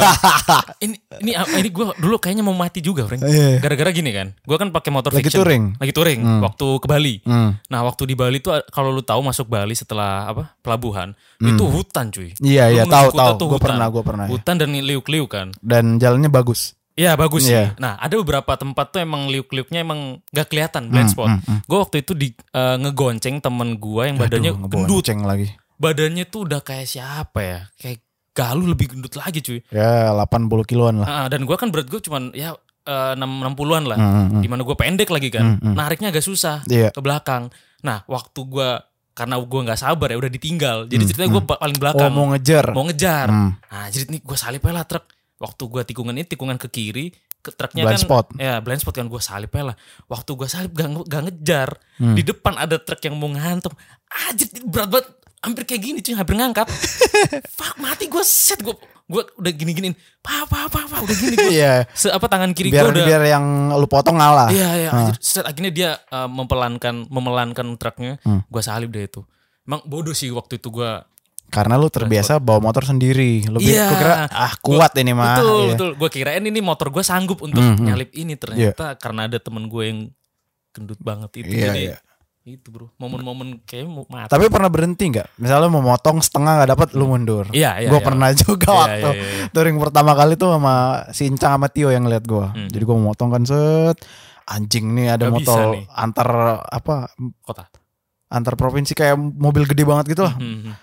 [SPEAKER 1] ini ini ini gua dulu kayaknya mau mati juga, Frank.
[SPEAKER 2] Iya.
[SPEAKER 1] Gara-gara gini kan. Gua kan pakai motor
[SPEAKER 2] Lagi
[SPEAKER 1] fiction.
[SPEAKER 2] touring.
[SPEAKER 1] Lagi touring waktu ke Bali.
[SPEAKER 2] Hmm.
[SPEAKER 1] Nah, waktu di Bali tuh kalau lu tahu masuk Bali setelah apa? pelabuhan, itu hutan cuy.
[SPEAKER 2] Hmm. Iya,
[SPEAKER 1] Lu
[SPEAKER 2] iya,
[SPEAKER 1] menuju
[SPEAKER 2] tahu,
[SPEAKER 1] Kuta
[SPEAKER 2] tahu.
[SPEAKER 1] tuh
[SPEAKER 2] Gua
[SPEAKER 1] hutan.
[SPEAKER 2] pernah, gua pernah, ya.
[SPEAKER 1] Hutan dan liuk-liuk kan.
[SPEAKER 2] Dan jalannya bagus.
[SPEAKER 1] Iya, bagus sih.
[SPEAKER 2] Iya.
[SPEAKER 1] Nah, ada beberapa tempat tuh emang liuk-liuknya emang gak
[SPEAKER 2] Hmm,
[SPEAKER 1] kelihatan blind spot. Gua waktu itu di eh, ngegonceng temen gua yang badannya
[SPEAKER 2] Aduh,
[SPEAKER 1] gendut.
[SPEAKER 2] ngebonceng lagi.
[SPEAKER 1] Badannya tuh udah kayak siapa ya? Kayak Galuh lebih gendut lagi cuy.
[SPEAKER 2] Ya 80 kiloan lah.
[SPEAKER 1] Ah, dan gue kan berat gue cuman ya enam 60-an lah.
[SPEAKER 2] Hmm, hmm, hmm.
[SPEAKER 1] Dimana gue pendek lagi Iya. kan. Nariknya agak susah
[SPEAKER 2] Iya.
[SPEAKER 1] ke belakang. Nah waktu gue karena gue nggak sabar ya udah ditinggal. Jadi ceritanya gue paling
[SPEAKER 2] Oh
[SPEAKER 1] belakang.
[SPEAKER 2] mau ngejar.
[SPEAKER 1] kan. mau ngejar.
[SPEAKER 2] Hmm.
[SPEAKER 1] Nah jadi nih gue salip aja lah truk. Waktu gue tikungan ini tikungan ke kiri. Ke truknya kan.
[SPEAKER 2] Blind spot.
[SPEAKER 1] Ya blind spot kan gue salip aja lah. Waktu gue salip gak, nge- gak ngejar.
[SPEAKER 2] Hmm.
[SPEAKER 1] Di depan ada truk yang mau ngantem. Ah jadi berat banget. Hampir kayak gini cuy hampir ngangkat. Fuck mati gue set gue. Gue udah gini-giniin. Pa pa pa pa udah gini gue.
[SPEAKER 2] Iya.
[SPEAKER 1] Se apa tangan kiri gue
[SPEAKER 2] biar
[SPEAKER 1] udah.
[SPEAKER 2] biar yang lu potong ngalah.
[SPEAKER 1] Iya iya. anjir. Set, akhirnya dia uh, mempelankan memelankan truknya.
[SPEAKER 2] Hmm.
[SPEAKER 1] Gue salip deh itu. Emang bodoh sih waktu itu gue
[SPEAKER 2] Karena lu terbiasa bawa motor sendiri. Lu
[SPEAKER 1] Iya.
[SPEAKER 2] bi- lu kira ah kuat ini mah.
[SPEAKER 1] Betul,
[SPEAKER 2] Iya. Hmm,
[SPEAKER 1] betul. Gue kirain ini motor gue sanggup untuk nyalip ini ternyata karena ada temen gue yang gendut banget itu.
[SPEAKER 2] Iya,
[SPEAKER 1] Jadi
[SPEAKER 2] iya.
[SPEAKER 1] itu bro, momen-momen kayak mau mati.
[SPEAKER 2] Tapi pernah berhenti nggak? Misalnya mau motong setengah nggak dapat lu mundur.
[SPEAKER 1] Iya, iya,
[SPEAKER 2] Gue
[SPEAKER 1] iya.
[SPEAKER 2] pernah juga
[SPEAKER 1] Iya,
[SPEAKER 2] waktu
[SPEAKER 1] iya, iya.
[SPEAKER 2] touring pertama kali tuh sama si Incang sama Tio yang lihat gue. Jadi gue mau motong kan set. Anjing nih ada
[SPEAKER 1] Hmm. Nggak bisa
[SPEAKER 2] motor
[SPEAKER 1] nih.
[SPEAKER 2] antar apa
[SPEAKER 1] Kota.
[SPEAKER 2] antar provinsi kayak mobil gede banget gitu lah.
[SPEAKER 1] Mhm.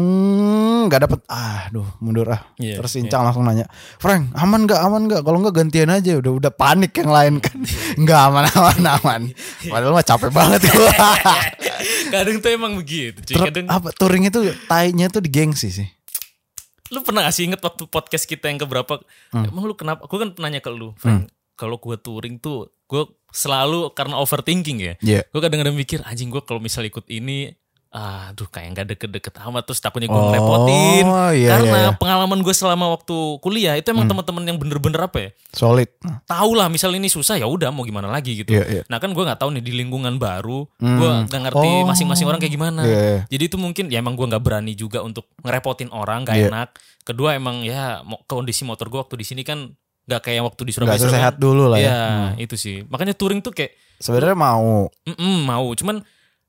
[SPEAKER 2] Hmm, nggak dapet. Ah, aduh, mundur ah.
[SPEAKER 1] Iya,
[SPEAKER 2] Terus Incang langsung nanya, Frank, aman nggak, aman nggak? Kalau nggak gantian aja. Udah, udah panik yang lain kan.
[SPEAKER 1] Iya,
[SPEAKER 2] Nggak aman, aman, aman. Padahal mah capek banget gua.
[SPEAKER 1] Iya, Kadang tuh emang begitu. Cuy.
[SPEAKER 2] Terus
[SPEAKER 1] Kadang,
[SPEAKER 2] apa touring itu tainya tuh di gengsi sih.
[SPEAKER 1] lu pernah gak sih inget waktu
[SPEAKER 2] Hmm.
[SPEAKER 1] podcast kita yang keberapa? Emang lu kenapa? Gue kan nanya ke lu, Frank. Kalau gue touring tuh, gue selalu karena overthinking ya.
[SPEAKER 2] Iya.
[SPEAKER 1] Gue kadang-kadang mikir anjing gue kalau misal ikut ini aduh kayak nggak deket-deket amat terus takutnya gue
[SPEAKER 2] Oh,
[SPEAKER 1] ngerepotin
[SPEAKER 2] iya,
[SPEAKER 1] karena
[SPEAKER 2] iya, Hmm. iya.
[SPEAKER 1] pengalaman gue selama waktu kuliah itu emang teman-teman yang bener-bener apa ya
[SPEAKER 2] Solid.
[SPEAKER 1] tahu lah misal ini susah ya udah mau gimana lagi gitu
[SPEAKER 2] Iya, iya.
[SPEAKER 1] nah kan gue nggak tahu nih di lingkungan baru gue nggak ngerti
[SPEAKER 2] Oh.
[SPEAKER 1] masing-masing orang kayak gimana
[SPEAKER 2] Hmm. Iya, iya.
[SPEAKER 1] jadi itu mungkin ya emang gue nggak berani juga untuk ngerepotin orang gak
[SPEAKER 2] Iya.
[SPEAKER 1] enak kedua emang ya mo- kondisi motor gue waktu di sini kan nggak kayak waktu di Surabaya
[SPEAKER 2] Enggak
[SPEAKER 1] Surabaya
[SPEAKER 2] sehat dulu lah ya.
[SPEAKER 1] Iya, itu sih. Makanya touring tuh kayak
[SPEAKER 2] Sebenarnya mau
[SPEAKER 1] mm mau, cuman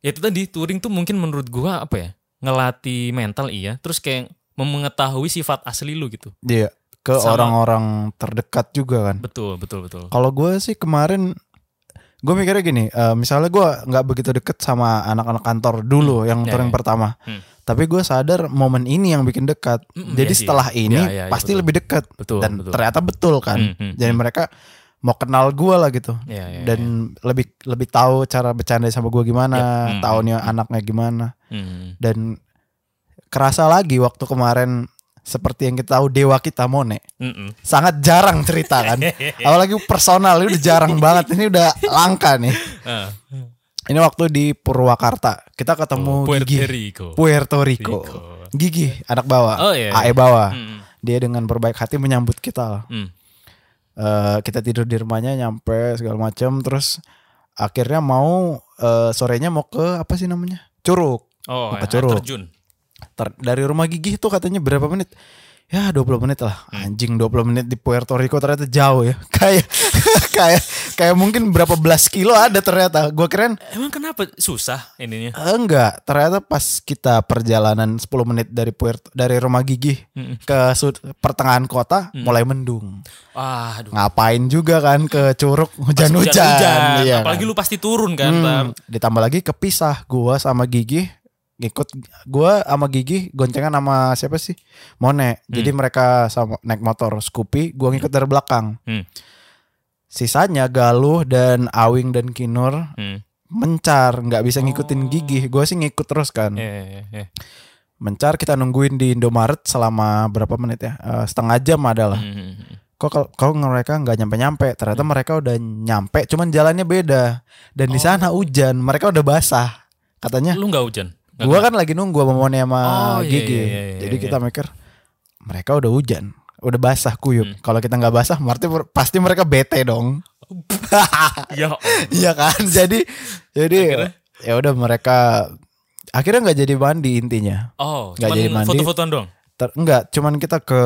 [SPEAKER 1] ya itu tadi touring tuh mungkin menurut gua apa ya? Ngelatih mental iya, terus kayak mem- mengetahui sifat asli lu gitu.
[SPEAKER 2] dia ke
[SPEAKER 1] Sama-
[SPEAKER 2] orang-orang terdekat juga kan.
[SPEAKER 1] Betul, betul, betul.
[SPEAKER 2] Kalau gue sih kemarin gue mikirnya gini, eh, misalnya gue nggak begitu deket sama anak-anak kantor dulu
[SPEAKER 1] iya,
[SPEAKER 2] yang
[SPEAKER 1] iya.
[SPEAKER 2] touring pertama,
[SPEAKER 1] Hmm.
[SPEAKER 2] tapi gue sadar momen ini yang bikin dekat.
[SPEAKER 1] Mm,
[SPEAKER 2] Jadi
[SPEAKER 1] iya sih.
[SPEAKER 2] setelah ini
[SPEAKER 1] Iya, iya, iya,
[SPEAKER 2] pasti
[SPEAKER 1] betul.
[SPEAKER 2] lebih dekat
[SPEAKER 1] Betul,
[SPEAKER 2] dan
[SPEAKER 1] betul.
[SPEAKER 2] ternyata betul kan.
[SPEAKER 1] Mm, mm,
[SPEAKER 2] Jadi mereka mau kenal gue lah gitu
[SPEAKER 1] Iya, iya,
[SPEAKER 2] dan lebih lebih tahu cara bercanda sama gue gimana,
[SPEAKER 1] Iya, mm,
[SPEAKER 2] taunya anaknya gimana
[SPEAKER 1] Mm.
[SPEAKER 2] dan kerasa lagi waktu kemarin seperti yang kita tahu dewa kita Mone
[SPEAKER 1] Mm-mm.
[SPEAKER 2] sangat jarang cerita kan apalagi personal ini udah jarang banget ini udah langka nih
[SPEAKER 1] Ah.
[SPEAKER 2] ini waktu di Purwakarta kita ketemu
[SPEAKER 1] Oh, Puerto
[SPEAKER 2] Gigi
[SPEAKER 1] Rico.
[SPEAKER 2] Puerto Rico
[SPEAKER 1] Rico.
[SPEAKER 2] Gigi anak bawah
[SPEAKER 1] Oh, iya.
[SPEAKER 2] AE bawah
[SPEAKER 1] Mm,
[SPEAKER 2] dia dengan berbaik hati menyambut kita
[SPEAKER 1] mm.
[SPEAKER 2] Eh, kita tidur di rumahnya nyampe segala macam terus akhirnya mau eh, sorenya mau ke apa sih namanya Curug
[SPEAKER 1] Oh,
[SPEAKER 2] Maka
[SPEAKER 1] air
[SPEAKER 2] curug.
[SPEAKER 1] terjun.
[SPEAKER 2] Ter- dari rumah gigi tuh katanya berapa menit? Ya 20 menit lah.
[SPEAKER 1] Hmm.
[SPEAKER 2] Anjing 20 menit di Puerto Rico ternyata jauh ya. Kayak kayak kayak mungkin berapa belas kilo ada ternyata. Gua keren
[SPEAKER 1] Emang kenapa susah ininya?
[SPEAKER 2] enggak. Ternyata pas kita perjalanan 10 menit dari Puerto dari rumah gigi
[SPEAKER 1] Hmm.
[SPEAKER 2] ke sud- pertengahan kota mulai mendung.
[SPEAKER 1] Ah, aduh.
[SPEAKER 2] Ngapain juga kan ke curug
[SPEAKER 1] Pas
[SPEAKER 2] hujan-hujan. Iya
[SPEAKER 1] Apalagi
[SPEAKER 2] kan?
[SPEAKER 1] lu pasti turun kan,
[SPEAKER 2] Hmm,
[SPEAKER 1] Tar.
[SPEAKER 2] ditambah lagi kepisah gua sama Gigi ngikut gua sama Gigi goncengan sama siapa sih? Mone.
[SPEAKER 1] Hmm.
[SPEAKER 2] Jadi mereka sama naik motor Scoopy, gua ngikut dari belakang.
[SPEAKER 1] Hmm.
[SPEAKER 2] Sisanya Galuh dan Awing dan Kinur
[SPEAKER 1] Hmm.
[SPEAKER 2] mencar, nggak bisa ngikutin Gigi. Gua sih ngikut terus
[SPEAKER 1] Oh.
[SPEAKER 2] kan.
[SPEAKER 1] Iya, iya, iya.
[SPEAKER 2] Mencar kita nungguin di Indomaret selama berapa menit ya? Eh, setengah jam adalah.
[SPEAKER 1] Mm.
[SPEAKER 2] Kok kalau- kalau mereka nggak nyampe-nyampe, ternyata
[SPEAKER 1] Hmm.
[SPEAKER 2] mereka udah nyampe, cuman jalannya beda. Dan di sana hujan, mereka udah basah. Katanya
[SPEAKER 1] Oh. Lu nggak hujan? Nggak
[SPEAKER 2] Gua kan lagi nunggu sama Mone sama
[SPEAKER 1] Oh, iya,
[SPEAKER 2] Gigi.
[SPEAKER 1] iya, iya, iya,
[SPEAKER 2] Jadi
[SPEAKER 1] iya.
[SPEAKER 2] kita mikir mereka udah hujan, udah basah kuyup.
[SPEAKER 1] Hmm.
[SPEAKER 2] Kalau kita nggak basah, berarti pasti mereka bete dong.
[SPEAKER 1] Ya Allah.
[SPEAKER 2] Iya kan? Jadi jadi ya udah mereka akhirnya nggak jadi mandi intinya.
[SPEAKER 1] Oh,
[SPEAKER 2] Nggak
[SPEAKER 1] cuman
[SPEAKER 2] jadi mandi.
[SPEAKER 1] foto-fotoan doang.
[SPEAKER 2] Ter- enggak, cuman kita ke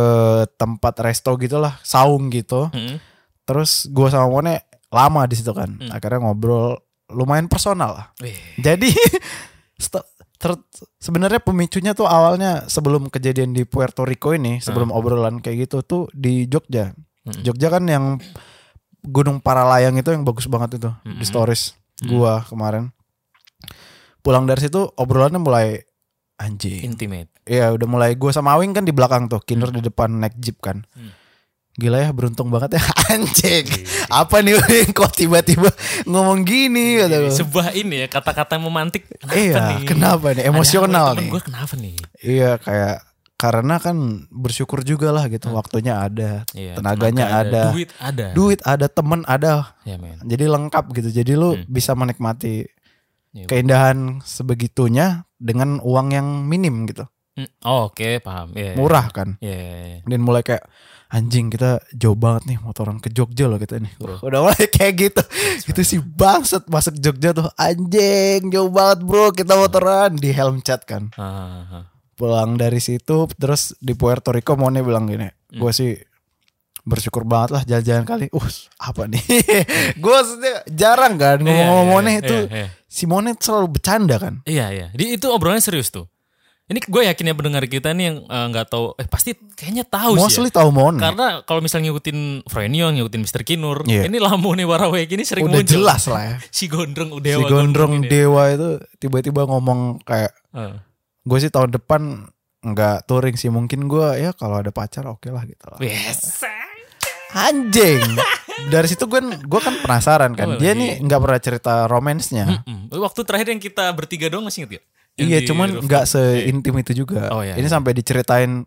[SPEAKER 2] tempat resto gitulah, saung gitu.
[SPEAKER 1] Mm-mm.
[SPEAKER 2] Terus gua sama Mone lama di situ kan. Akhirnya ngobrol lumayan personal lah.
[SPEAKER 1] Wih.
[SPEAKER 2] Jadi st- ter- sebenarnya pemicunya tuh awalnya sebelum kejadian di Puerto Rico ini, sebelum obrolan kayak gitu tuh di Jogja. Jogja kan yang Gunung Paralayang itu yang bagus banget itu di stories gua kemarin. Pulang dari situ obrolannya mulai anjing.
[SPEAKER 1] Intimate.
[SPEAKER 2] Iya, udah mulai gua sama Awing kan di belakang tuh, Kinder di depan naik jeep kan.
[SPEAKER 1] Hmm. Iya.
[SPEAKER 2] Gila ya beruntung banget ya anjing. Apa nih Wing? kok tiba-tiba ngomong gini kata gua.
[SPEAKER 1] Sebuah ini ya kata-kata yang memantik. Iya, Kenapa
[SPEAKER 2] Iya,
[SPEAKER 1] nih?
[SPEAKER 2] kenapa nih? Emosional nih.
[SPEAKER 1] Gue kenapa nih?
[SPEAKER 2] Iya, kayak karena kan bersyukur juga lah gitu.
[SPEAKER 1] Hmm.
[SPEAKER 2] Waktunya ada,
[SPEAKER 1] Iya,
[SPEAKER 2] tenaganya
[SPEAKER 1] tenaga
[SPEAKER 2] ada, duit.
[SPEAKER 1] duit ada.
[SPEAKER 2] ada, temen ada.
[SPEAKER 1] Ya men.
[SPEAKER 2] Jadi lengkap gitu. Jadi lu bisa menikmati
[SPEAKER 1] Hmm. Iya.
[SPEAKER 2] keindahan sebegitunya dengan uang yang minim gitu.
[SPEAKER 1] Mm, oh, Oke, paham. Iya. iya.
[SPEAKER 2] Murah kan.
[SPEAKER 1] Iya, iya, iya.
[SPEAKER 2] Dan mulai kayak anjing kita jauh banget nih motoran ke Jogja loh kita nih. Wah, Udah mulai kayak gitu. Itu sih bangset masuk Jogja tuh anjing jauh banget bro kita motoran di helm chat kan.
[SPEAKER 1] Ah, ah, ah.
[SPEAKER 2] pulang dari situ terus di Puerto Rico Mone bilang gini
[SPEAKER 1] Hmm.
[SPEAKER 2] gue sih bersyukur banget lah jalan-jalan kali uh apa nih gue jarang kan ngomong sama
[SPEAKER 1] iya,
[SPEAKER 2] Mone
[SPEAKER 1] iya,
[SPEAKER 2] itu
[SPEAKER 1] iya.
[SPEAKER 2] si Mone selalu bercanda kan
[SPEAKER 1] Iya iya. Di itu obrolannya serius tuh. Ini gue yakin ya pendengar kita nih yang eh, nggak tahu. Eh pasti kayaknya tahu sih. ya.
[SPEAKER 2] mostly tahu Mone
[SPEAKER 1] Karena kalau misalnya ngikutin Frenion, ngikutin Mr. Kinur,
[SPEAKER 2] Iya.
[SPEAKER 1] ini Lamu nih Warawe ini sering
[SPEAKER 2] udah
[SPEAKER 1] muncul.
[SPEAKER 2] jelas lah ya
[SPEAKER 1] Si Gondrong
[SPEAKER 2] si
[SPEAKER 1] Udewa.
[SPEAKER 2] Gondrong
[SPEAKER 1] ini.
[SPEAKER 2] Dewa itu tiba-tiba ngomong kayak
[SPEAKER 1] Ah.
[SPEAKER 2] gue sih tahun depan nggak touring sih mungkin gue ya kalau ada pacar oke lah gitu lah
[SPEAKER 1] Biasa.
[SPEAKER 2] anjing dari situ gue gue kan penasaran kan
[SPEAKER 1] Oh,
[SPEAKER 2] dia
[SPEAKER 1] iya.
[SPEAKER 2] nih nggak pernah cerita romansnya
[SPEAKER 1] Mm. Waktu terakhir yang kita bertiga doang masih inget gak? Yang
[SPEAKER 2] Iya,
[SPEAKER 1] di
[SPEAKER 2] cuman
[SPEAKER 1] rooftop.
[SPEAKER 2] nggak seintim itu juga.
[SPEAKER 1] Oh, iya,
[SPEAKER 2] ini
[SPEAKER 1] iya.
[SPEAKER 2] sampai diceritain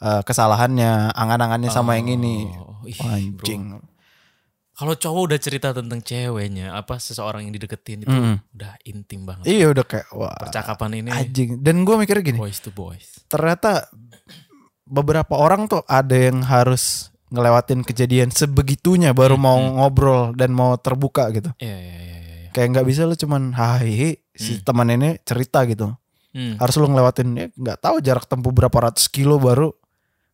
[SPEAKER 2] eh, kesalahannya, angan-angannya sama yang ini.
[SPEAKER 1] Oh, ih,
[SPEAKER 2] Wah, Anjing.
[SPEAKER 1] Kalau cowok udah cerita tentang ceweknya, apa seseorang yang dideketin itu
[SPEAKER 2] Mm.
[SPEAKER 1] udah intim banget.
[SPEAKER 2] Iya udah kayak wah
[SPEAKER 1] Percakapan ini
[SPEAKER 2] anjing. Dan gue mikirnya gini,
[SPEAKER 1] boys to boys.
[SPEAKER 2] ternyata beberapa orang tuh ada yang harus ngelewatin kejadian sebegitunya baru
[SPEAKER 1] Hmm,
[SPEAKER 2] mau ngobrol dan mau terbuka gitu.
[SPEAKER 1] Iya iya iya iya. iya.
[SPEAKER 2] Kayak nggak bisa lu cuman hai si teman ini cerita gitu.
[SPEAKER 1] Hmm.
[SPEAKER 2] Harus lu ngelewatin ya nggak tahu jarak tempuh berapa ratus kilo baru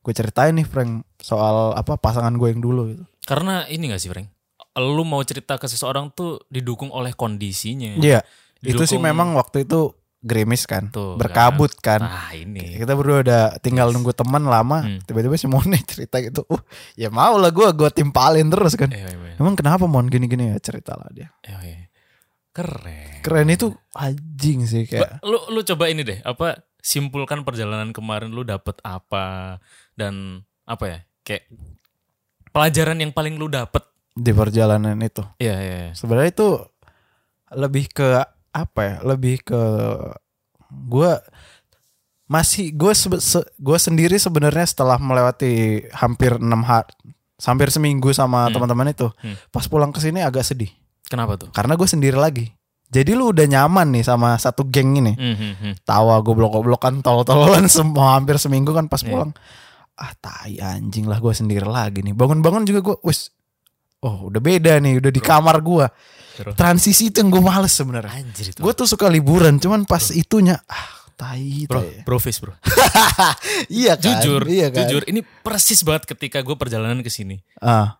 [SPEAKER 2] gue ceritain nih Frank soal apa pasangan gue yang dulu gitu.
[SPEAKER 1] Karena ini gak sih, Frank? Lu mau cerita ke seseorang tuh didukung oleh kondisinya.
[SPEAKER 2] Iya, itu sih
[SPEAKER 1] Didukung-
[SPEAKER 2] memang waktu itu gerimis kan,
[SPEAKER 1] Tuh,
[SPEAKER 2] berkabut kan.
[SPEAKER 1] Nah, ini.
[SPEAKER 2] Kita berdua udah tinggal nunggu teman lama,
[SPEAKER 1] Hmm.
[SPEAKER 2] tiba-tiba si Mone cerita gitu. Uh, ya mau lah gue, gue timpalin terus kan.
[SPEAKER 1] Iya, iya,
[SPEAKER 2] Emang kenapa Mon gini-gini ya cerita lah dia.
[SPEAKER 1] iya, iya. Keren.
[SPEAKER 2] Keren itu anjing sih
[SPEAKER 1] Ba-
[SPEAKER 2] kayak.
[SPEAKER 1] Lu lu coba ini deh, apa simpulkan perjalanan kemarin lu dapet apa dan apa ya? Kayak pelajaran yang paling lu dapet.
[SPEAKER 2] di perjalanan itu.
[SPEAKER 1] Iya, iya. iya.
[SPEAKER 2] Sebenarnya itu lebih ke apa ya? Lebih ke gue masih gue gue sendiri sebenarnya setelah melewati hampir enam hari hampir seminggu
[SPEAKER 1] Hmm.
[SPEAKER 2] sama teman-teman itu
[SPEAKER 1] Hmm.
[SPEAKER 2] pas pulang ke sini agak sedih
[SPEAKER 1] Kenapa tuh?
[SPEAKER 2] karena gue sendiri lagi jadi lu udah nyaman nih sama satu geng ini
[SPEAKER 1] Hmm, hmm, hmm.
[SPEAKER 2] tawa goblok-goblokan tolol-tololan semua hampir seminggu kan pas
[SPEAKER 1] Iya.
[SPEAKER 2] pulang ah tai anjing lah gue sendiri lagi nih bangun-bangun juga gue wis oh udah beda nih udah di kamar gue
[SPEAKER 1] Terus.
[SPEAKER 2] transisi itu yang gue males sebenarnya
[SPEAKER 1] Anjir itu.
[SPEAKER 2] gue tuh suka liburan cuman pas itunya ah tai
[SPEAKER 1] bro,
[SPEAKER 2] tai.
[SPEAKER 1] bro face, bro.
[SPEAKER 2] iya kan
[SPEAKER 1] Jujur,
[SPEAKER 2] iya kan?
[SPEAKER 1] jujur. Ini persis banget ketika gue perjalanan ke sini.
[SPEAKER 2] ah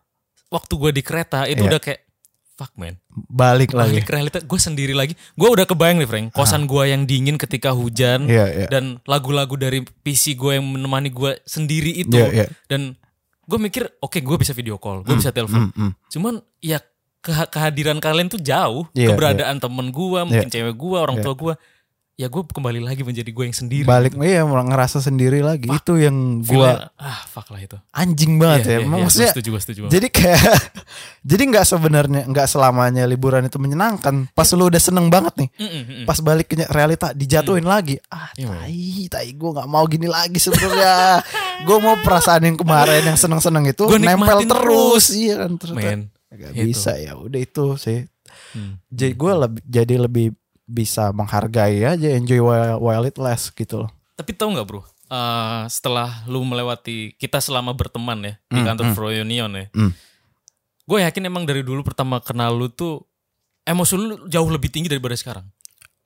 [SPEAKER 1] Waktu gue di kereta itu
[SPEAKER 2] Iya.
[SPEAKER 1] udah kayak fuck man.
[SPEAKER 2] balik lagi
[SPEAKER 1] Balik ke realita, gue sendiri lagi. Gue udah kebayang nih, Frank. Kosan gue yang dingin ketika hujan
[SPEAKER 2] iya iya
[SPEAKER 1] dan lagu-lagu dari PC gue yang menemani gue sendiri itu.
[SPEAKER 2] iya iya
[SPEAKER 1] Dan gue mikir, oke, gue bisa video call, gue bisa telepon.
[SPEAKER 2] Mm, mm.
[SPEAKER 1] Cuman ya keha- kehadiran kalian tuh jauh,
[SPEAKER 2] Iya,
[SPEAKER 1] keberadaan temen gue, mungkin cewek gue, orang
[SPEAKER 2] Iya.
[SPEAKER 1] tua gue. Ya gue kembali lagi menjadi gue yang sendiri.
[SPEAKER 2] balik iya ngerasa sendiri lagi itu yang gue
[SPEAKER 1] Feelnya, ah fuck lah itu.
[SPEAKER 2] anjing
[SPEAKER 1] Iya,
[SPEAKER 2] banget ya
[SPEAKER 1] iya, iya.
[SPEAKER 2] maksudnya
[SPEAKER 1] Gua setuju, gua setuju.
[SPEAKER 2] Jadi kayak jadi nggak sebenarnya nggak selamanya liburan itu menyenangkan. Pas
[SPEAKER 1] Iya.
[SPEAKER 2] lu udah seneng banget nih,
[SPEAKER 1] Mm, mm, mm.
[SPEAKER 2] pas balik ke realita dijatuhin lagi. Ah,
[SPEAKER 1] Iya, Bang.
[SPEAKER 2] tai, tai gue nggak mau gini lagi sebenarnya. gue mau perasaan yang kemarin yang seneng-seneng itu
[SPEAKER 1] Gua nikmatin
[SPEAKER 2] nempel terus. iya
[SPEAKER 1] Men,
[SPEAKER 2] kan ternyata. Nggak
[SPEAKER 1] gitu.
[SPEAKER 2] bisa ya, udah itu sih.
[SPEAKER 1] Hmm.
[SPEAKER 2] Jadi gue lebih jadi lebih bisa menghargai aja enjoy while, while it lasts gitu loh.
[SPEAKER 1] Tapi tahu nggak bro? Eh, setelah lu melewati kita selama berteman ya di
[SPEAKER 2] Hmm,
[SPEAKER 1] kantor
[SPEAKER 2] hmm.
[SPEAKER 1] Froyonion ya,
[SPEAKER 2] Hmm.
[SPEAKER 1] gue yakin emang dari dulu pertama kenal lu tuh emosi lu jauh lebih tinggi daripada sekarang.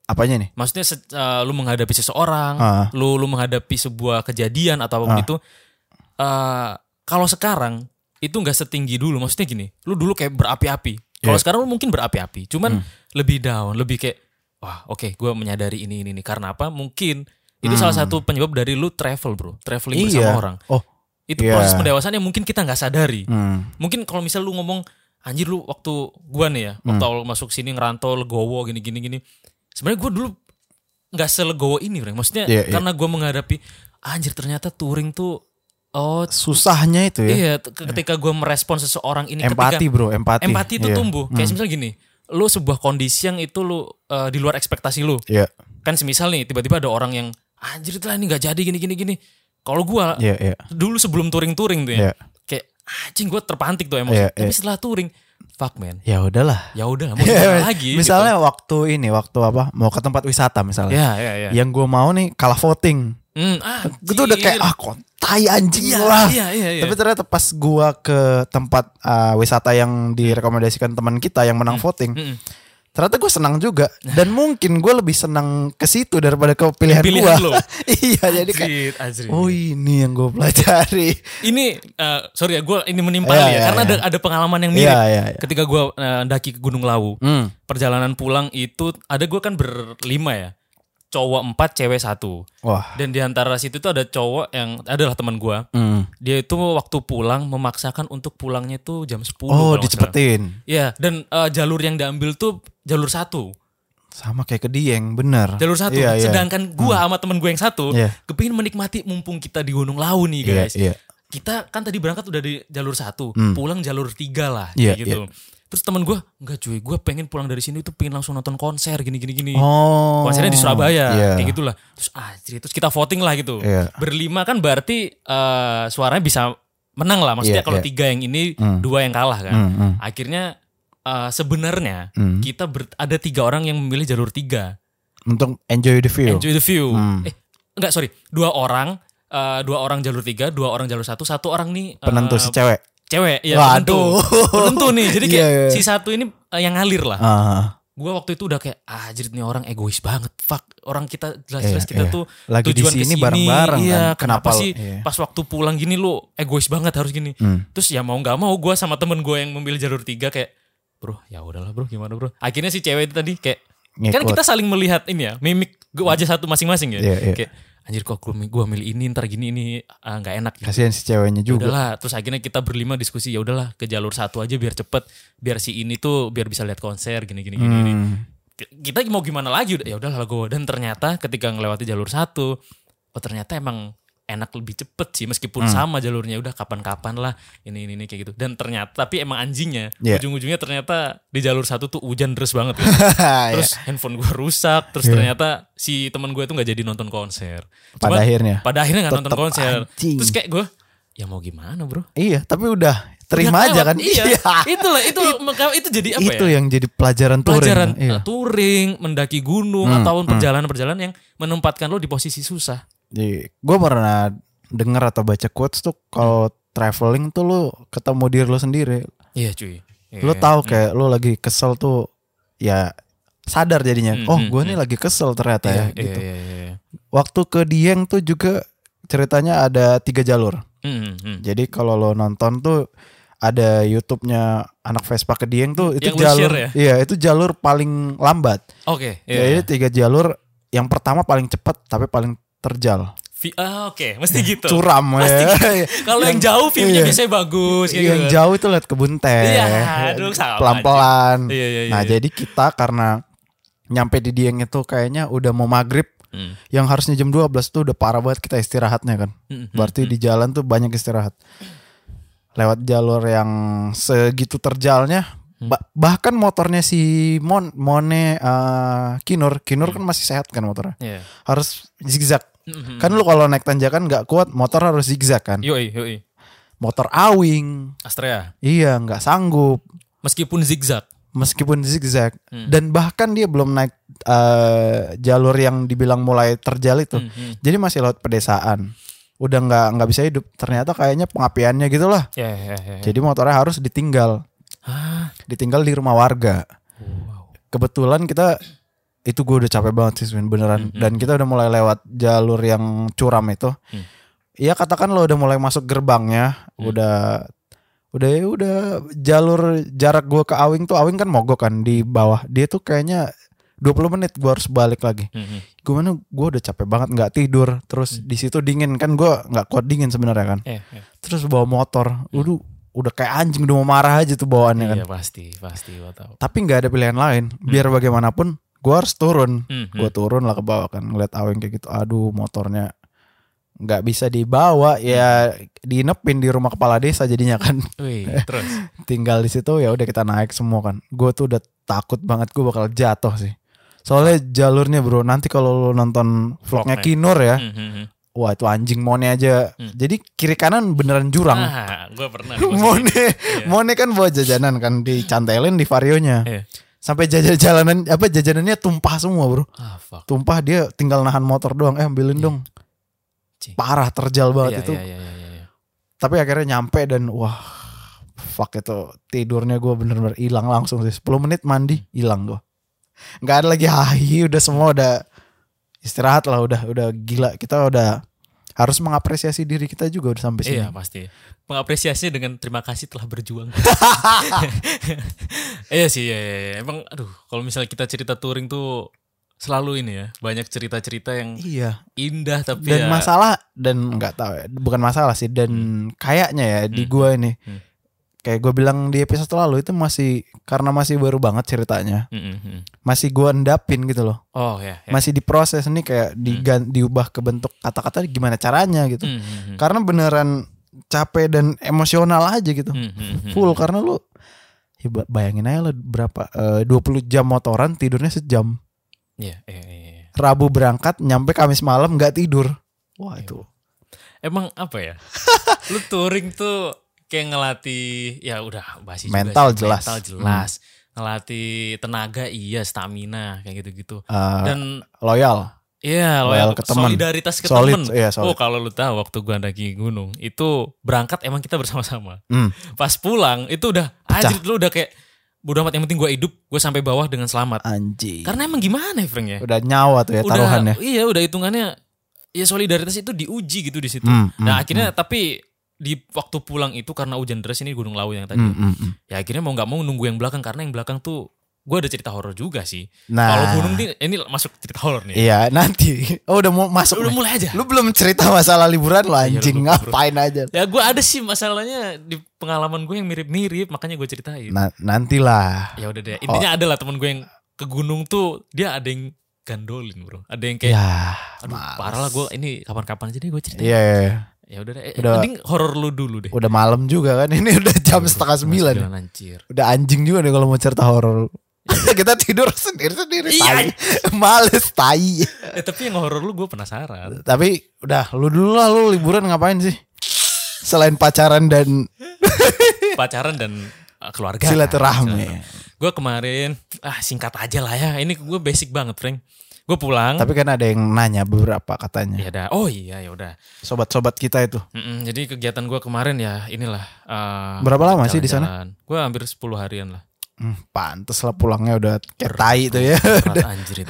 [SPEAKER 2] Apanya nih?
[SPEAKER 1] Maksudnya se- eh, lu menghadapi seseorang,
[SPEAKER 2] Ah,
[SPEAKER 1] lu lu menghadapi sebuah kejadian atau apapun
[SPEAKER 2] Ah.
[SPEAKER 1] itu, eh, kalau sekarang itu nggak setinggi dulu. Maksudnya gini, lu dulu kayak berapi-api. Kalau
[SPEAKER 2] Iya. Hmm.
[SPEAKER 1] sekarang lu mungkin berapi-api, cuman lebih down, lebih kayak wah oke, gue menyadari ini ini ini karena apa? Mungkin itu salah satu penyebab dari lu travel bro, traveling bersama
[SPEAKER 2] Hmm. iya.
[SPEAKER 1] orang.
[SPEAKER 2] Oh,
[SPEAKER 1] Itu
[SPEAKER 2] Iya.
[SPEAKER 1] proses pendewasaan yang mungkin kita nggak sadari.
[SPEAKER 2] hmm.
[SPEAKER 1] Mungkin kalau misal lu ngomong anjir lu waktu gua nih ya,
[SPEAKER 2] Hmm.
[SPEAKER 1] waktu awal masuk sini ngerantau legowo gini gini gini. Sebenarnya gua dulu nggak selegowo ini, Frank. Maksudnya
[SPEAKER 2] Iya, iya.
[SPEAKER 1] karena gua menghadapi anjir ternyata touring tuh oh
[SPEAKER 2] susahnya itu ya.
[SPEAKER 1] iya t- ketika gua merespon seseorang ini
[SPEAKER 2] empati
[SPEAKER 1] ketika
[SPEAKER 2] bro, empati.
[SPEAKER 1] empati itu
[SPEAKER 2] Iya.
[SPEAKER 1] tumbuh. Kayak misalnya gini, lu sebuah kondisi yang itu lu eh, di luar ekspektasi lu.
[SPEAKER 2] Iya.
[SPEAKER 1] Kan semisal nih tiba-tiba ada orang yang anjir itu lah ini nggak jadi gini gini gini. Kalau gua
[SPEAKER 2] Iya, iya.
[SPEAKER 1] dulu sebelum touring-touring tuh ya.
[SPEAKER 2] Iya.
[SPEAKER 1] Kayak anjing gue terpantik tuh emosi.
[SPEAKER 2] Iya,
[SPEAKER 1] Tapi
[SPEAKER 2] iya.
[SPEAKER 1] setelah touring, fuck man.
[SPEAKER 2] Ya udahlah.
[SPEAKER 1] Ya
[SPEAKER 2] Iya.
[SPEAKER 1] udah mau gimana lagi.
[SPEAKER 2] misalnya waktu ini, waktu apa? Mau ke tempat wisata
[SPEAKER 1] gitu.
[SPEAKER 2] misalnya.
[SPEAKER 1] ya ya ya.
[SPEAKER 2] Yang gue mau nih kalah voting.
[SPEAKER 1] Hmm, ah,
[SPEAKER 2] Gue Iya. tuh udah kayak
[SPEAKER 1] anjir.
[SPEAKER 2] ah kontai anjing
[SPEAKER 1] iya,
[SPEAKER 2] lah.
[SPEAKER 1] iya iya iya.
[SPEAKER 2] Tapi ternyata pas gua ke tempat eh, wisata yang direkomendasikan teman kita yang
[SPEAKER 1] Hmm,
[SPEAKER 2] menang voting,
[SPEAKER 1] Mm-mm.
[SPEAKER 2] ternyata gue senang juga dan mungkin gue lebih senang ke situ daripada ke pilihan,
[SPEAKER 1] Pilihan
[SPEAKER 2] gua.
[SPEAKER 1] lo.
[SPEAKER 2] iya, jadi kayak
[SPEAKER 1] Anjir, anjir.
[SPEAKER 2] oh ini yang gue pelajari.
[SPEAKER 1] Ini eh, sorry ya gue ini menimpali
[SPEAKER 2] Iya,
[SPEAKER 1] ya
[SPEAKER 2] iya,
[SPEAKER 1] karena
[SPEAKER 2] iya.
[SPEAKER 1] ada ada pengalaman yang mirip.
[SPEAKER 2] Iya, iya, iya.
[SPEAKER 1] Ketika gue daki ke Gunung Lawu,
[SPEAKER 2] Hmm.
[SPEAKER 1] perjalanan pulang itu ada gue kan berlima ya. Cowok empat, cewek satu.
[SPEAKER 2] Wah.
[SPEAKER 1] Dan di antara situ tuh ada cowok yang adalah teman gue.
[SPEAKER 2] Hmm.
[SPEAKER 1] dia itu waktu pulang memaksakan untuk pulangnya itu jam 10 kalau
[SPEAKER 2] Oh,
[SPEAKER 1] nggak salah.
[SPEAKER 2] dicepetin.
[SPEAKER 1] Iya, dan eh, jalur yang diambil tuh jalur satu.
[SPEAKER 2] Sama kayak ke Dieng, bener.
[SPEAKER 1] Jalur satu.
[SPEAKER 2] Iya, iya.
[SPEAKER 1] Sedangkan gua sama temen gue yang satu
[SPEAKER 2] Iya.
[SPEAKER 1] kepingin menikmati mumpung kita di Gunung Lawu nih,
[SPEAKER 2] Iya,
[SPEAKER 1] guys.
[SPEAKER 2] iya.
[SPEAKER 1] Kita kan tadi berangkat udah di jalur satu,
[SPEAKER 2] Hmm.
[SPEAKER 1] pulang jalur tiga lah
[SPEAKER 2] Iya,
[SPEAKER 1] kayak gitu. Terus temen gue, enggak cuy, gue pengen pulang dari sini tuh pengen langsung nonton konser gini gini gini.
[SPEAKER 2] Oh.
[SPEAKER 1] Konsernya di Surabaya,
[SPEAKER 2] Iya.
[SPEAKER 1] kayak gitulah. Terus ah, jadi- terus kita voting lah gitu.
[SPEAKER 2] Iya.
[SPEAKER 1] Berlima kan berarti eh, suaranya bisa menang lah maksudnya
[SPEAKER 2] Iya,
[SPEAKER 1] kalau
[SPEAKER 2] iya.
[SPEAKER 1] tiga yang ini
[SPEAKER 2] Hmm.
[SPEAKER 1] dua yang kalah kan Gitu.
[SPEAKER 2] Hmm, hmm,
[SPEAKER 1] akhirnya eh, sebenarnya
[SPEAKER 2] hmm.
[SPEAKER 1] kita ber- ada tiga orang yang memilih jalur tiga
[SPEAKER 2] Untung enjoy the view.
[SPEAKER 1] enjoy the view
[SPEAKER 2] Hmm.
[SPEAKER 1] eh enggak sorry dua orang eh, dua orang jalur tiga dua orang jalur satu satu orang nih eh,
[SPEAKER 2] Penentu si cewek.
[SPEAKER 1] cewek ya
[SPEAKER 2] Waduh.
[SPEAKER 1] penentu penentu nih jadi kayak
[SPEAKER 2] Iya, iya.
[SPEAKER 1] si satu ini eh, yang ngalir lah
[SPEAKER 2] Ah,
[SPEAKER 1] gue waktu itu udah kayak ah jerit nih orang egois banget fuck orang kita jelas-jelas
[SPEAKER 2] Iya,
[SPEAKER 1] kita
[SPEAKER 2] iya.
[SPEAKER 1] tuh
[SPEAKER 2] lagi di
[SPEAKER 1] tujuan
[SPEAKER 2] sini
[SPEAKER 1] kesini,
[SPEAKER 2] bareng-bareng
[SPEAKER 1] iya,
[SPEAKER 2] kan.
[SPEAKER 1] kenapa
[SPEAKER 2] Kenapa, lo-
[SPEAKER 1] sih
[SPEAKER 2] iya.
[SPEAKER 1] pas waktu pulang gini lu egois banget harus gini
[SPEAKER 2] Hmm.
[SPEAKER 1] terus ya mau nggak mau gue sama temen gue yang memilih jalur tiga kayak bro ya udahlah bro gimana bro akhirnya si cewek itu tadi kayak kan
[SPEAKER 2] Ngikut.
[SPEAKER 1] kita saling melihat ini ya mimik wajah satu masing-masing ya
[SPEAKER 2] Iya, iya.
[SPEAKER 1] kayak anjir kok gue milih ini ntar gini ini ah, nggak enak gitu
[SPEAKER 2] Kasihan si ceweknya Iya, juga.
[SPEAKER 1] udahlah terus akhirnya kita berlima diskusi ya udahlah ke jalur satu aja biar cepet biar si ini tuh biar bisa lihat konser gini gini gini, gini.
[SPEAKER 2] Hmm.
[SPEAKER 1] kita mau gimana lagi Udah- ya udahlah gue dan ternyata ketika ngelewati jalur satu oh ternyata emang enak lebih cepet sih meskipun
[SPEAKER 2] Hmm.
[SPEAKER 1] sama jalurnya udah kapan-kapan lah ini ini ini kayak gitu dan ternyata tapi emang anjingnya
[SPEAKER 2] Iya.
[SPEAKER 1] ujung-ujungnya ternyata di jalur satu tuh hujan deras banget ya. terus handphone gue rusak terus
[SPEAKER 2] Iya.
[SPEAKER 1] ternyata si teman gue tuh nggak jadi nonton konser
[SPEAKER 2] Pada
[SPEAKER 1] Cuman,
[SPEAKER 2] akhirnya.
[SPEAKER 1] pada akhirnya nggak nonton
[SPEAKER 2] Tetep
[SPEAKER 1] konser
[SPEAKER 2] anjing.
[SPEAKER 1] terus kayak gue ya mau gimana bro
[SPEAKER 2] Iya, tapi udah terima
[SPEAKER 1] Udah
[SPEAKER 2] aja
[SPEAKER 1] kelewat,
[SPEAKER 2] kan.
[SPEAKER 1] iya itulah itu maka itu jadi apa
[SPEAKER 2] itu
[SPEAKER 1] ya
[SPEAKER 2] yang jadi pelajaran touring.
[SPEAKER 1] pelajaran
[SPEAKER 2] Iya.
[SPEAKER 1] uh, touring mendaki gunung
[SPEAKER 2] Hmm,
[SPEAKER 1] ataupun perjalanan-perjalanan yang menempatkan lo di posisi susah
[SPEAKER 2] Gue pernah denger atau baca quotes tuh kalau traveling tuh lu ketemu diri lu sendiri.
[SPEAKER 1] iya cuy Iya.
[SPEAKER 2] Lu tahu kayak lu lagi kesel tuh ya sadar jadinya.
[SPEAKER 1] Hmm,
[SPEAKER 2] oh,
[SPEAKER 1] hmm,
[SPEAKER 2] gue nih lagi kesel ternyata
[SPEAKER 1] Iya,
[SPEAKER 2] ya
[SPEAKER 1] iya,
[SPEAKER 2] gitu.
[SPEAKER 1] iya, iya, iya.
[SPEAKER 2] Waktu ke Dieng tuh juga ceritanya ada tiga jalur.
[SPEAKER 1] Hmm, hmm.
[SPEAKER 2] Jadi kalau lo nonton tuh ada YouTube-nya anak Vespa ke Dieng tuh itu
[SPEAKER 1] Yang lu
[SPEAKER 2] jalur
[SPEAKER 1] share ya?
[SPEAKER 2] iya itu jalur paling lambat.
[SPEAKER 1] oke iya.
[SPEAKER 2] Jadi tiga jalur yang pertama paling cepat tapi paling terjal.
[SPEAKER 1] Vi- ah, oke mesti gitu
[SPEAKER 2] Curam ya.
[SPEAKER 1] kalau yang, jauh filmnya
[SPEAKER 2] iya.
[SPEAKER 1] biasanya bagus kayak
[SPEAKER 2] yang
[SPEAKER 1] gitu.
[SPEAKER 2] jauh itu lihat kebun teh.
[SPEAKER 1] Iya, aduh, sama
[SPEAKER 2] Pelan-pelan.
[SPEAKER 1] aja. Iya, iya, iya,
[SPEAKER 2] Nah,
[SPEAKER 1] iya.
[SPEAKER 2] jadi kita karena nyampe di Dieng itu kayaknya udah mau maghrib
[SPEAKER 1] Hmm.
[SPEAKER 2] yang harusnya jam 12 tuh udah parah banget kita istirahatnya kan.
[SPEAKER 1] Hmm, hmm.
[SPEAKER 2] Berarti di jalan tuh banyak istirahat. Lewat jalur yang segitu terjalnya
[SPEAKER 1] Mm.
[SPEAKER 2] ba- bahkan motornya si Mon Mone eh, Kinur, Kinur
[SPEAKER 1] Mm.
[SPEAKER 2] kan masih sehat kan motornya.
[SPEAKER 1] Iya.
[SPEAKER 2] Harus zigzag.
[SPEAKER 1] Hmm, hmm.
[SPEAKER 2] Kan lu kalau naik tanjakan nggak kuat, motor harus zigzag kan.
[SPEAKER 1] yoi yoi
[SPEAKER 2] Motor awing.
[SPEAKER 1] Astrea
[SPEAKER 2] Iya, nggak sanggup
[SPEAKER 1] meskipun zigzag
[SPEAKER 2] meskipun zigzag
[SPEAKER 1] Hmm.
[SPEAKER 2] dan bahkan dia belum naik eh, jalur yang dibilang mulai terjal itu.
[SPEAKER 1] Hmm, hmm.
[SPEAKER 2] Jadi masih lewat pedesaan. Udah nggak nggak bisa hidup. Ternyata kayaknya pengapiannya gitu lah.
[SPEAKER 1] Iya, iya, iya, iya.
[SPEAKER 2] Jadi motornya harus ditinggal,
[SPEAKER 1] Ah,
[SPEAKER 2] ditinggal di rumah warga.
[SPEAKER 1] wow.
[SPEAKER 2] Kebetulan kita itu gue udah capek banget sih Swin, beneran. Dan kita udah mulai lewat jalur yang curam itu.
[SPEAKER 1] Hmm.
[SPEAKER 2] Iya katakan lo udah mulai masuk gerbangnya, udah udah ya udah jalur jarak gue ke Awing tuh Awing kan mogok kan di bawah. Dia tuh kayaknya 20 menit gue harus balik lagi.
[SPEAKER 1] Hmm, hmm.
[SPEAKER 2] Gue mana gue udah capek banget nggak tidur. Terus di situ dingin kan gue nggak kuat dingin sebenarnya kan.
[SPEAKER 1] Eh, eh.
[SPEAKER 2] Terus bawa motor, udah udah kayak anjing udah mau marah aja tuh bawaannya kan
[SPEAKER 1] Iya pasti pasti gua tahu.
[SPEAKER 2] tapi nggak ada pilihan lain biar bagaimanapun gue harus turun
[SPEAKER 1] Hmm, hmm.
[SPEAKER 2] gue turun lah ke bawah kan ngeliat aweng kayak gitu aduh motornya nggak bisa dibawa ya diinepin di rumah kepala desa jadinya kan
[SPEAKER 1] Wih, terus.
[SPEAKER 2] tinggal di situ ya udah kita naik semua kan gue tuh udah takut banget gue bakal jatuh sih soalnya jalurnya bro nanti kalau lo nonton
[SPEAKER 1] Vlognya.
[SPEAKER 2] vlognya Kinur ya
[SPEAKER 1] Hmm, hmm, hmm.
[SPEAKER 2] wah itu anjing mone aja
[SPEAKER 1] Hmm.
[SPEAKER 2] jadi kiri kanan beneran jurang
[SPEAKER 1] Ah, gue pernah. di posisi
[SPEAKER 2] mone
[SPEAKER 1] itu.
[SPEAKER 2] mone kan bawa jajanan kan dicantelin di varionya
[SPEAKER 1] Iya.
[SPEAKER 2] sampai jajan jalanan apa jajanannya tumpah semua bro
[SPEAKER 1] Ah, fuck.
[SPEAKER 2] tumpah dia tinggal nahan motor doang eh ambilin dong
[SPEAKER 1] Iya. Cing.
[SPEAKER 2] parah
[SPEAKER 1] Iya,
[SPEAKER 2] terjal banget itu
[SPEAKER 1] Iya, iya, iya, iya, iya.
[SPEAKER 2] tapi akhirnya nyampe dan wah fuck itu tidurnya gue bener-bener hilang langsung sih 10 menit mandi hilang gue nggak ada lagi hahi udah semua udah istirahat lah udah udah gila kita udah harus mengapresiasi diri kita juga udah sampai sini
[SPEAKER 1] Iya, pasti. Mengapresiasinya dengan terima kasih telah berjuang. iya sih, iya, iya, iya. Emang, aduh, kalau misalnya kita cerita touring tuh selalu ini ya, banyak cerita-cerita yang
[SPEAKER 2] iya
[SPEAKER 1] indah tapi ya,
[SPEAKER 2] dan masalah dan nggak tahu ya bukan masalah sih dan kayaknya ya di
[SPEAKER 1] Hmm.
[SPEAKER 2] gua ini
[SPEAKER 1] Hmm.
[SPEAKER 2] kayak gue bilang di episode lalu itu masih karena masih baru banget ceritanya
[SPEAKER 1] Mm, mm, mm.
[SPEAKER 2] masih gua endapin gitu loh
[SPEAKER 1] Oh ya. ya.
[SPEAKER 2] masih diproses nih kayak
[SPEAKER 1] Hmm.
[SPEAKER 2] digan diubah ke bentuk kata-kata gimana caranya gitu
[SPEAKER 1] Mm, mm, mm.
[SPEAKER 2] karena beneran capek dan emosional aja gitu
[SPEAKER 1] Mm, mm, mm.
[SPEAKER 2] full karena lu ya ba- bayangin aja lu berapa eh, 20 jam motoran tidurnya sejam
[SPEAKER 1] Iya, iya, iya, iya.
[SPEAKER 2] Rabu berangkat nyampe Kamis malam nggak tidur wah
[SPEAKER 1] Iya.
[SPEAKER 2] itu
[SPEAKER 1] emang apa ya? lu touring tuh kayak ngelatih ya udah basi juga
[SPEAKER 2] Mental
[SPEAKER 1] sih,
[SPEAKER 2] jelas. Hmm.
[SPEAKER 1] Mental jelas. Ngelatih tenaga iya, stamina kayak gitu-gitu.
[SPEAKER 2] Eh,
[SPEAKER 1] Dan
[SPEAKER 2] loyal.
[SPEAKER 1] Iya,
[SPEAKER 2] Loyal
[SPEAKER 1] loyal,
[SPEAKER 2] ke temen.
[SPEAKER 1] solidaritas ke
[SPEAKER 2] Solid,
[SPEAKER 1] temen.
[SPEAKER 2] iya,
[SPEAKER 1] Oh,
[SPEAKER 2] solid.
[SPEAKER 1] kalau lu tahu waktu gua daki gunung, itu berangkat emang kita bersama-sama.
[SPEAKER 2] Hmm.
[SPEAKER 1] Pas pulang itu udah
[SPEAKER 2] Pecah.
[SPEAKER 1] anjir lu udah kayak bodo amat yang penting gua hidup, gua sampai bawah dengan
[SPEAKER 2] Ah,
[SPEAKER 1] selamat.
[SPEAKER 2] Anjing.
[SPEAKER 1] Karena emang gimana ya, Frank ya?
[SPEAKER 2] Udah nyawa tuh ya taruhan ya.
[SPEAKER 1] Iya, udah hitungannya ya solidaritas itu diuji gitu di situ.
[SPEAKER 2] Hmm, hmm,
[SPEAKER 1] nah, akhirnya tapi di waktu pulang itu karena hujan deras ini Gunung Lawu yang tadi.
[SPEAKER 2] Hmm, hmm, hmm.
[SPEAKER 1] Ya akhirnya mau nggak mau nunggu yang belakang karena yang belakang tuh gua ada cerita horor juga sih.
[SPEAKER 2] Nah.
[SPEAKER 1] Kalau gunung ini, ini masuk cerita horor nih.
[SPEAKER 2] Iya nanti. Oh udah mau masuk.
[SPEAKER 1] Udah
[SPEAKER 2] nih.
[SPEAKER 1] mulai aja.
[SPEAKER 2] Lu belum cerita masalah liburan lo anjing
[SPEAKER 1] lupa, bro.
[SPEAKER 2] ngapain aja.
[SPEAKER 1] Ya gue ada sih masalahnya di pengalaman gue yang mirip-mirip makanya gue ceritain.
[SPEAKER 2] Na Nah, nantilah.
[SPEAKER 1] Ya udah deh.
[SPEAKER 2] Oh.
[SPEAKER 1] Intinya ada lah teman gue yang ke gunung tuh dia ada yang gandolin bro. Ada yang kayak
[SPEAKER 2] Ya.
[SPEAKER 1] aduh
[SPEAKER 2] males.
[SPEAKER 1] parah lah gue ini kapan-kapan aja deh gue ceritain.
[SPEAKER 2] Iya, iya, iya.
[SPEAKER 1] Ya udah deh. Eh,
[SPEAKER 2] Udah.
[SPEAKER 1] Mending horor lu dulu deh.
[SPEAKER 2] udah malam juga kan ini udah jam setengah sembilan.
[SPEAKER 1] Sembilan, anjir.
[SPEAKER 2] Udah anjing juga nih kalau mau cerita horor. Kita tidur sendiri sendiri.
[SPEAKER 1] Iya,
[SPEAKER 2] tai. Males tai.
[SPEAKER 1] Eh, tapi yang horor lu gue penasaran.
[SPEAKER 2] Tapi udah lu dulu lah lu liburan ngapain sih? Selain pacaran dan
[SPEAKER 1] Pacaran dan eh, keluarga.
[SPEAKER 2] silaturahmi.
[SPEAKER 1] Gue kemarin ah singkat aja lah ya. Ini gue basic banget, Frank. Gue pulang.
[SPEAKER 2] Tapi kan ada yang nanya beberapa katanya.
[SPEAKER 1] Ya udah. Oh Hmm. iya ya udah.
[SPEAKER 2] Sobat-sobat kita itu.
[SPEAKER 1] Mm-mm, jadi kegiatan gue kemarin ya inilah. eh,
[SPEAKER 2] Berapa lama sih di
[SPEAKER 1] jalan-jalan. Gue hampir 10 harian lah.
[SPEAKER 2] Hmm, pantes lah pulangnya udah kayak tai itu ya.
[SPEAKER 1] Berat anjir itu.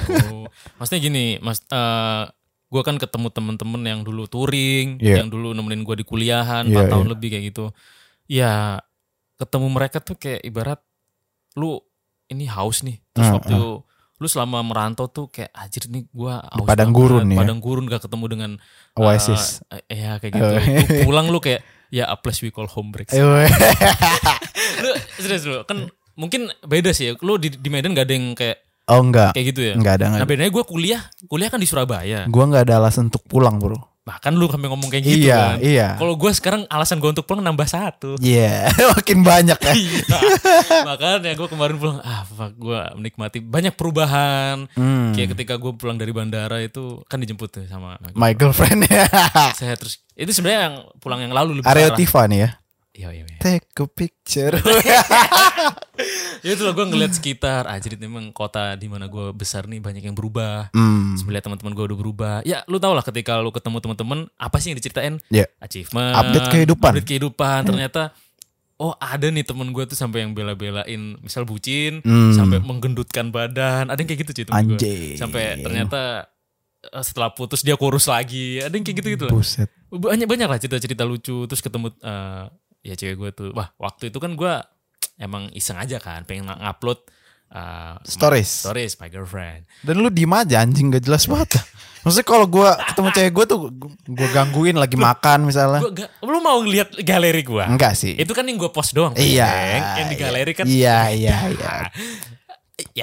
[SPEAKER 1] Maksudnya gini, mas, eh, gue kan ketemu temen-temen yang dulu touring,
[SPEAKER 2] Iya.
[SPEAKER 1] yang dulu nemenin gue di kuliahan,
[SPEAKER 2] Iya,
[SPEAKER 1] 4 tahun lebih kayak gitu. Ya ketemu mereka tuh kayak ibarat lu ini haus nih. Terus
[SPEAKER 2] Ah,
[SPEAKER 1] waktu lu selama merantau tuh kayak anjir nih gue haus. banget,
[SPEAKER 2] padang gurun ya.
[SPEAKER 1] Padang gurun gak ketemu dengan
[SPEAKER 2] Oasis.
[SPEAKER 1] Eh, eh, ya kayak gitu.
[SPEAKER 2] Oh.
[SPEAKER 1] Lu pulang lu kayak ya a place we call home breaks.
[SPEAKER 2] Ayo. eh.
[SPEAKER 1] lu serius lu kan mungkin beda sih ya. Lu di, di Medan gak ada yang kayak
[SPEAKER 2] oh enggak.
[SPEAKER 1] kayak gitu ya.
[SPEAKER 2] Enggak ada enggak.
[SPEAKER 1] Nah
[SPEAKER 2] ada.
[SPEAKER 1] bedanya gue kuliah, kuliah kan di Surabaya.
[SPEAKER 2] Gua enggak ada alasan untuk pulang, Bro.
[SPEAKER 1] Bahkan lu sampai ngomong kayak gitu
[SPEAKER 2] iya,
[SPEAKER 1] kan.
[SPEAKER 2] iya.
[SPEAKER 1] Kalau gue sekarang alasan gue untuk pulang nambah satu.
[SPEAKER 2] Iya, makin banyak ya.
[SPEAKER 1] Iya. Makanya gue kemarin pulang, ah fuck gue menikmati banyak perubahan.
[SPEAKER 2] Hmm.
[SPEAKER 1] Kayak ketika gue pulang dari bandara itu kan dijemput tuh sama my
[SPEAKER 2] My girlfriend ya.
[SPEAKER 1] saya terus itu sebenarnya yang pulang yang lalu lebih
[SPEAKER 2] Aryo
[SPEAKER 1] parah.
[SPEAKER 2] Tiva nih ya.
[SPEAKER 1] Iya iya. iya.
[SPEAKER 2] Take a picture.
[SPEAKER 1] Ya itu gue ngeliat sekitar, ah jadi memang kota di mana gue besar nih banyak yang berubah.
[SPEAKER 2] hmm.
[SPEAKER 1] Terus melihat teman-teman gue udah berubah. Ya lu tau lah ketika lu ketemu teman-teman apa sih yang diceritain?
[SPEAKER 2] Ya.
[SPEAKER 1] Achievement.
[SPEAKER 2] Update kehidupan. Hmm.
[SPEAKER 1] Update kehidupan. Ternyata oh ada nih temen gue tuh sampai yang bela-belain misal bucin
[SPEAKER 2] Hmm.
[SPEAKER 1] sampai menggendutkan badan. Ada yang kayak gitu cuy temen gue.
[SPEAKER 2] Anjing.
[SPEAKER 1] Sampai ternyata eh, setelah putus dia kurus lagi. Ada yang kayak gitu-gitu lah.
[SPEAKER 2] Buset.
[SPEAKER 1] Banyak banyak lah cerita-cerita lucu terus ketemu eh, ya cewek gue tuh. Wah, waktu itu kan gue emang iseng aja kan pengen ngupload eh,
[SPEAKER 2] Stories.
[SPEAKER 1] stories my girlfriend.
[SPEAKER 2] Dan lu diem aja anjing gak jelas banget. Maksudnya kalau gua ketemu cewek gua tuh gua gangguin lagi makan misalnya.
[SPEAKER 1] Gua ga- lu mau ngeliat galeri gue?
[SPEAKER 2] Enggak sih.
[SPEAKER 1] Itu kan yang gue post doang.
[SPEAKER 2] Iya.
[SPEAKER 1] Peng. Yang di galeri kan.
[SPEAKER 2] Iya, iya, iya.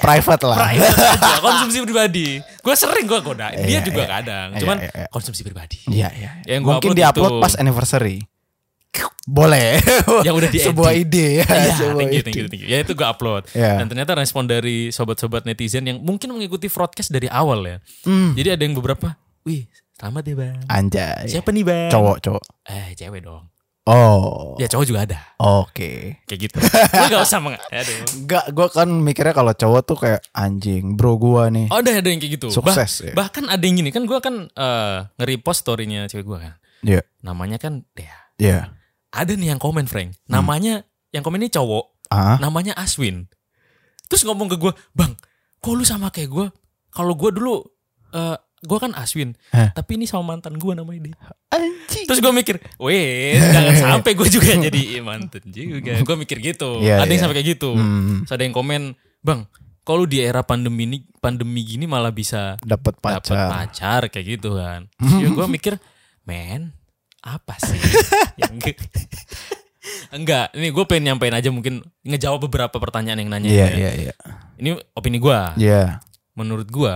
[SPEAKER 1] Ya,
[SPEAKER 2] Private lah.
[SPEAKER 1] private aja, konsumsi pribadi. Gue sering gue godain. Dia
[SPEAKER 2] Iya,
[SPEAKER 1] juga
[SPEAKER 2] iya.
[SPEAKER 1] kadang.
[SPEAKER 2] Iya,
[SPEAKER 1] Cuman
[SPEAKER 2] iya, iya.
[SPEAKER 1] konsumsi pribadi.
[SPEAKER 2] Iya, iya.
[SPEAKER 1] Yang gua
[SPEAKER 2] Mungkin
[SPEAKER 1] upload
[SPEAKER 2] diupload
[SPEAKER 1] itu.
[SPEAKER 2] pas anniversary. Boleh.
[SPEAKER 1] Yang udah di-edit.
[SPEAKER 2] Sebuah ide ya.
[SPEAKER 1] Ya,
[SPEAKER 2] sebuah
[SPEAKER 1] thank you,
[SPEAKER 2] ide.
[SPEAKER 1] thank you, thank you. Ya itu gue upload.
[SPEAKER 2] Iya.
[SPEAKER 1] Dan ternyata respon dari sobat-sobat netizen yang mungkin mengikuti broadcast dari awal ya.
[SPEAKER 2] Hmm.
[SPEAKER 1] Jadi ada yang beberapa, wih selamat ya bang.
[SPEAKER 2] Anjay.
[SPEAKER 1] Siapa nih bang?
[SPEAKER 2] Ah, iya. Cowok, cowok.
[SPEAKER 1] Eh cewek dong.
[SPEAKER 2] Oh.
[SPEAKER 1] Ya cowok juga ada.
[SPEAKER 2] Oke.
[SPEAKER 1] Kayak gitu. Lu gak usah meng... Aduh.
[SPEAKER 2] Enggak, gua kan mikirnya kalau cowok tuh kayak anjing, bro gua nih.
[SPEAKER 1] Oh, ada ada yang kayak gitu. Bah-
[SPEAKER 2] Sukses ya.
[SPEAKER 1] bahkan ada yang gini kan gue kan eh, nge-repost story-nya cewek gue kan.
[SPEAKER 2] Iya,
[SPEAKER 1] Namanya kan Dea.
[SPEAKER 2] iya.
[SPEAKER 1] ada nih yang komen Frank namanya yang komen ini cowok
[SPEAKER 2] Ah,
[SPEAKER 1] namanya Aswin terus ngomong ke gue bang kok lu sama kayak gue kalau gue dulu eh gue kan Aswin
[SPEAKER 2] Hah?
[SPEAKER 1] tapi ini sama mantan gue namanya dia
[SPEAKER 2] anjing.
[SPEAKER 1] terus gue mikir weh jangan sampai gue juga jadi mantan juga gue mikir gitu
[SPEAKER 2] Iya,
[SPEAKER 1] ada yang
[SPEAKER 2] iya.
[SPEAKER 1] sampai kayak gitu
[SPEAKER 2] Hmm,
[SPEAKER 1] Terus ada yang komen bang kalau di era pandemi ini pandemi gini malah bisa
[SPEAKER 2] dapat
[SPEAKER 1] dapat
[SPEAKER 2] pacar.
[SPEAKER 1] pacar kayak gitu kan. Ya gue mikir, men apa sih? Yang ge- Enggak, ini gue pengen nyampein aja mungkin ngejawab beberapa pertanyaan yang nanya.
[SPEAKER 2] Iya,
[SPEAKER 1] ya.
[SPEAKER 2] iya, iya.
[SPEAKER 1] Ini opini gue.
[SPEAKER 2] Iya.
[SPEAKER 1] Menurut gue,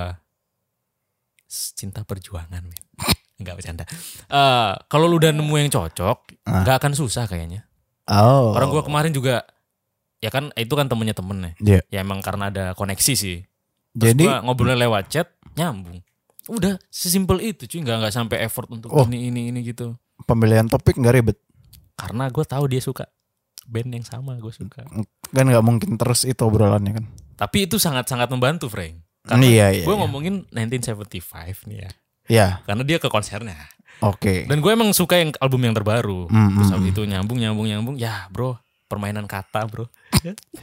[SPEAKER 1] cinta perjuangan, men. Enggak bercanda. Eh, kalau lu udah nemu yang cocok,
[SPEAKER 2] Ah.
[SPEAKER 1] nggak akan susah kayaknya.
[SPEAKER 2] Oh.
[SPEAKER 1] Orang gue kemarin juga, ya kan itu kan temennya temennya.
[SPEAKER 2] Iya.
[SPEAKER 1] Ya emang karena ada koneksi sih. Terus
[SPEAKER 2] Jadi
[SPEAKER 1] gua ngobrolnya lewat chat nyambung. Udah sesimpel itu cuy nggak nggak sampai effort untuk
[SPEAKER 2] Oh.
[SPEAKER 1] ini ini ini gitu.
[SPEAKER 2] pemilihan topik nggak ribet
[SPEAKER 1] Karena gue tahu dia suka band yang sama gue suka.
[SPEAKER 2] kan nggak mungkin terus itu obrolannya kan
[SPEAKER 1] Tapi itu sangat-sangat membantu, Frank. Karena
[SPEAKER 2] iya iya
[SPEAKER 1] gue
[SPEAKER 2] iya.
[SPEAKER 1] ngomongin 1975 nih ya.
[SPEAKER 2] Iya,
[SPEAKER 1] Karena dia ke konsernya.
[SPEAKER 2] oke
[SPEAKER 1] Dan gue emang suka yang album yang terbaru.
[SPEAKER 2] Mm,
[SPEAKER 1] Terus
[SPEAKER 2] mm,
[SPEAKER 1] habis itu nyambung nyambung nyambung. Ya bro, permainan kata bro.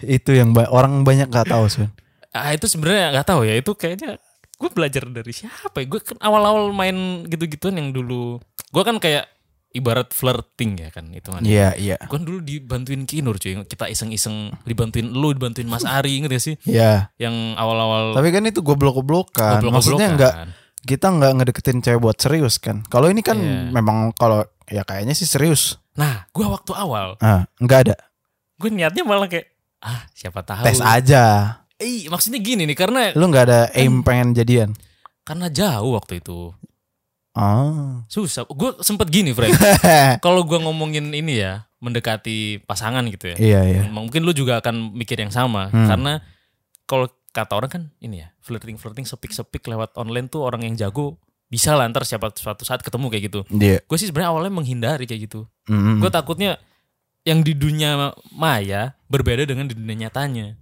[SPEAKER 2] itu yang ba- orang banyak nggak tahu sih
[SPEAKER 1] Ah itu sebenarnya nggak tahu ya. Itu kayaknya gue belajar dari siapa? ya? Gue kan awal-awal main gitu-gituan yang dulu. Gue kan kayak ibarat flirting ya kan itu
[SPEAKER 2] iya iya
[SPEAKER 1] Gue kan dulu dibantuin Kinur cuy. Kita iseng-iseng dibantuin lu, dibantuin Mas Ari inget gak sih?
[SPEAKER 2] iya
[SPEAKER 1] Yang awal-awal kan.
[SPEAKER 2] tapi kan itu goblok-goblokan maksudnya nggak
[SPEAKER 1] goblok-goblokan.
[SPEAKER 2] kita nggak ngedeketin cewek buat serius kan kalau ini kan
[SPEAKER 1] Iya.
[SPEAKER 2] memang kalau ya kayaknya sih serius
[SPEAKER 1] Nah, gue waktu awal
[SPEAKER 2] ah nggak ada
[SPEAKER 1] gue niatnya malah kayak ah siapa tahu.
[SPEAKER 2] tes aja
[SPEAKER 1] Eh, maksudnya gini nih karena
[SPEAKER 2] lu nggak
[SPEAKER 1] Kan-
[SPEAKER 2] ada aim pengen jadian
[SPEAKER 1] karena jauh waktu itu.
[SPEAKER 2] ah
[SPEAKER 1] Susah. Gue sempet gini, Frank. Kalau gue ngomongin ini ya, mendekati pasangan gitu ya.
[SPEAKER 2] iya iya
[SPEAKER 1] Mungkin lu juga akan mikir yang sama
[SPEAKER 2] Hmm.
[SPEAKER 1] karena kalau kata orang kan ini ya, flirting flirting sepik-sepik lewat online tuh orang yang jago bisa lah ntar siapa suatu saat ketemu kayak gitu.
[SPEAKER 2] dia
[SPEAKER 1] Gue sih sebenarnya awalnya menghindari kayak gitu.
[SPEAKER 2] mm,
[SPEAKER 1] Gue takutnya yang di dunia maya berbeda dengan di dunia nyatanya.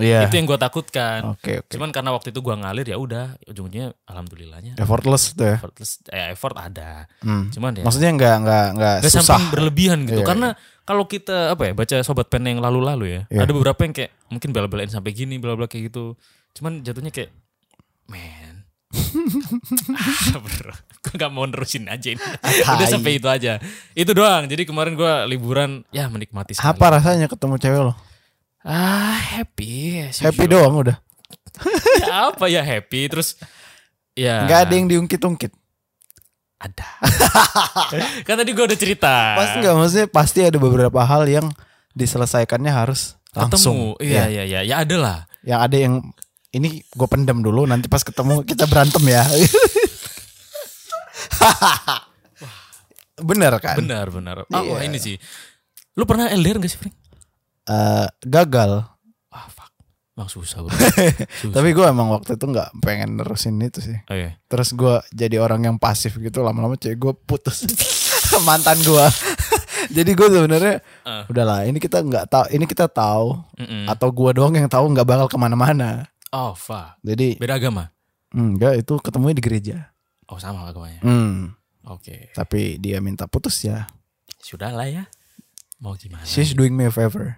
[SPEAKER 2] iya
[SPEAKER 1] Itu yang gue takutkan.
[SPEAKER 2] oke oke
[SPEAKER 1] Cuman karena waktu itu gua ngalir ya udah ujungnya alhamdulillahnya
[SPEAKER 2] effortless tuh ya
[SPEAKER 1] effortless eh, effort ada.
[SPEAKER 2] Hmm.
[SPEAKER 1] Cuman ya
[SPEAKER 2] maksudnya nggak nggak nggak
[SPEAKER 1] Gak
[SPEAKER 2] Eh, susah
[SPEAKER 1] sampai berlebihan gitu.
[SPEAKER 2] Iya,
[SPEAKER 1] Karena kalau kita apa ya baca sobat pen yang lalu-lalu ya,
[SPEAKER 2] Iya.
[SPEAKER 1] ada beberapa yang kayak mungkin bela-belain sampai gini, bela-bela kayak gitu. Cuman jatuhnya kayak man. ah, bro, gue gak mau nerusin aja ini. Udah
[SPEAKER 2] Tai.
[SPEAKER 1] sampai itu aja. Itu doang. Jadi kemarin gua liburan ya menikmati sekali.
[SPEAKER 2] apa rasanya ketemu cewek lo
[SPEAKER 1] Ah, happy. as
[SPEAKER 2] happy
[SPEAKER 1] usual.
[SPEAKER 2] doang udah
[SPEAKER 1] Ya, apa ya happy terus ya
[SPEAKER 2] nggak ada yang diungkit-ungkit
[SPEAKER 1] ada. kan tadi gua udah cerita.
[SPEAKER 2] pas nggak maksudnya pasti ada beberapa hal yang diselesaikannya harus langsung
[SPEAKER 1] Ketemu. Iya, iya, iya. Ya ada lah.
[SPEAKER 2] yang ada yang ini gue pendem dulu nanti pas ketemu kita berantem ya bener kan
[SPEAKER 1] Benar, benar. Ah, wah,
[SPEAKER 2] Iya.
[SPEAKER 1] ini sih. Lu pernah LDR gak sih, Frank?
[SPEAKER 2] Eh, gagal Ah,
[SPEAKER 1] Wah, fuck. Emang susah, bro. susah.
[SPEAKER 2] tapi gue emang waktu itu nggak pengen nerusin itu sih
[SPEAKER 1] Oh, iya.
[SPEAKER 2] terus gue jadi orang yang pasif gitu lama-lama cewek gue putus mantan gue jadi gue sebenarnya
[SPEAKER 1] Ah.
[SPEAKER 2] udahlah ini kita nggak tahu ini kita tahu
[SPEAKER 1] Mm-mm.
[SPEAKER 2] atau gue doang yang tahu nggak bakal kemana-mana
[SPEAKER 1] Oh, fuck.
[SPEAKER 2] jadi
[SPEAKER 1] Beda agama?
[SPEAKER 2] enggak itu ketemunya di gereja
[SPEAKER 1] Oh, sama agamanya.
[SPEAKER 2] Hmm,
[SPEAKER 1] Oke.
[SPEAKER 2] tapi dia minta putus ya
[SPEAKER 1] Sudah lah ya. Mau gimana?
[SPEAKER 2] she's doing me a favor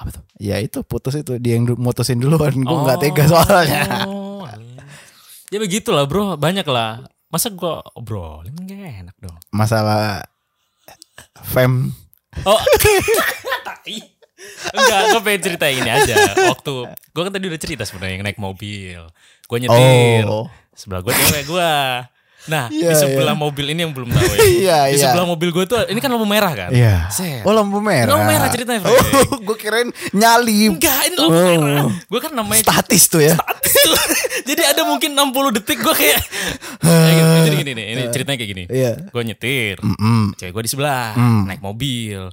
[SPEAKER 1] Apa tuh?
[SPEAKER 2] ya itu putus itu dia yang du- mutusin duluan gue nggak tega soalnya
[SPEAKER 1] Oh, alah. ya begitulah, bro. Banyak lah. Masa gua obrolin gak enak dong.
[SPEAKER 2] masalah fam
[SPEAKER 1] Oh. Tai. Enggak, gue pengen cerita ini aja. Waktu gue kan tadi udah cerita sebenarnya yang naik mobil. Gue nyetir.
[SPEAKER 2] Oh.
[SPEAKER 1] Sebelah gue cewek gue. Nah, di
[SPEAKER 2] Iya,
[SPEAKER 1] sebelah mobil ini yang belum tahu ya.
[SPEAKER 2] Iya,
[SPEAKER 1] di
[SPEAKER 2] iya.
[SPEAKER 1] sebelah mobil gue tuh ini kan lampu merah kan?
[SPEAKER 2] Iya.
[SPEAKER 1] Set.
[SPEAKER 2] Oh lampu merah.
[SPEAKER 1] Lampu merah ceritanya, Frank.
[SPEAKER 2] Oh, gue kirain nyalip.
[SPEAKER 1] Enggak, ini lampu
[SPEAKER 2] Oh.
[SPEAKER 1] merah. Gue kan namanya
[SPEAKER 2] Statis tuh ya.
[SPEAKER 1] Itu. Jadi ada mungkin 60 detik gue kayak Ya, gitu. Jadi gini nih, ini ceritanya kayak gini.
[SPEAKER 2] Iya.
[SPEAKER 1] Gue nyetir,
[SPEAKER 2] Mm-mm.
[SPEAKER 1] cewek gue di sebelah,
[SPEAKER 2] Hmm.
[SPEAKER 1] naik mobil.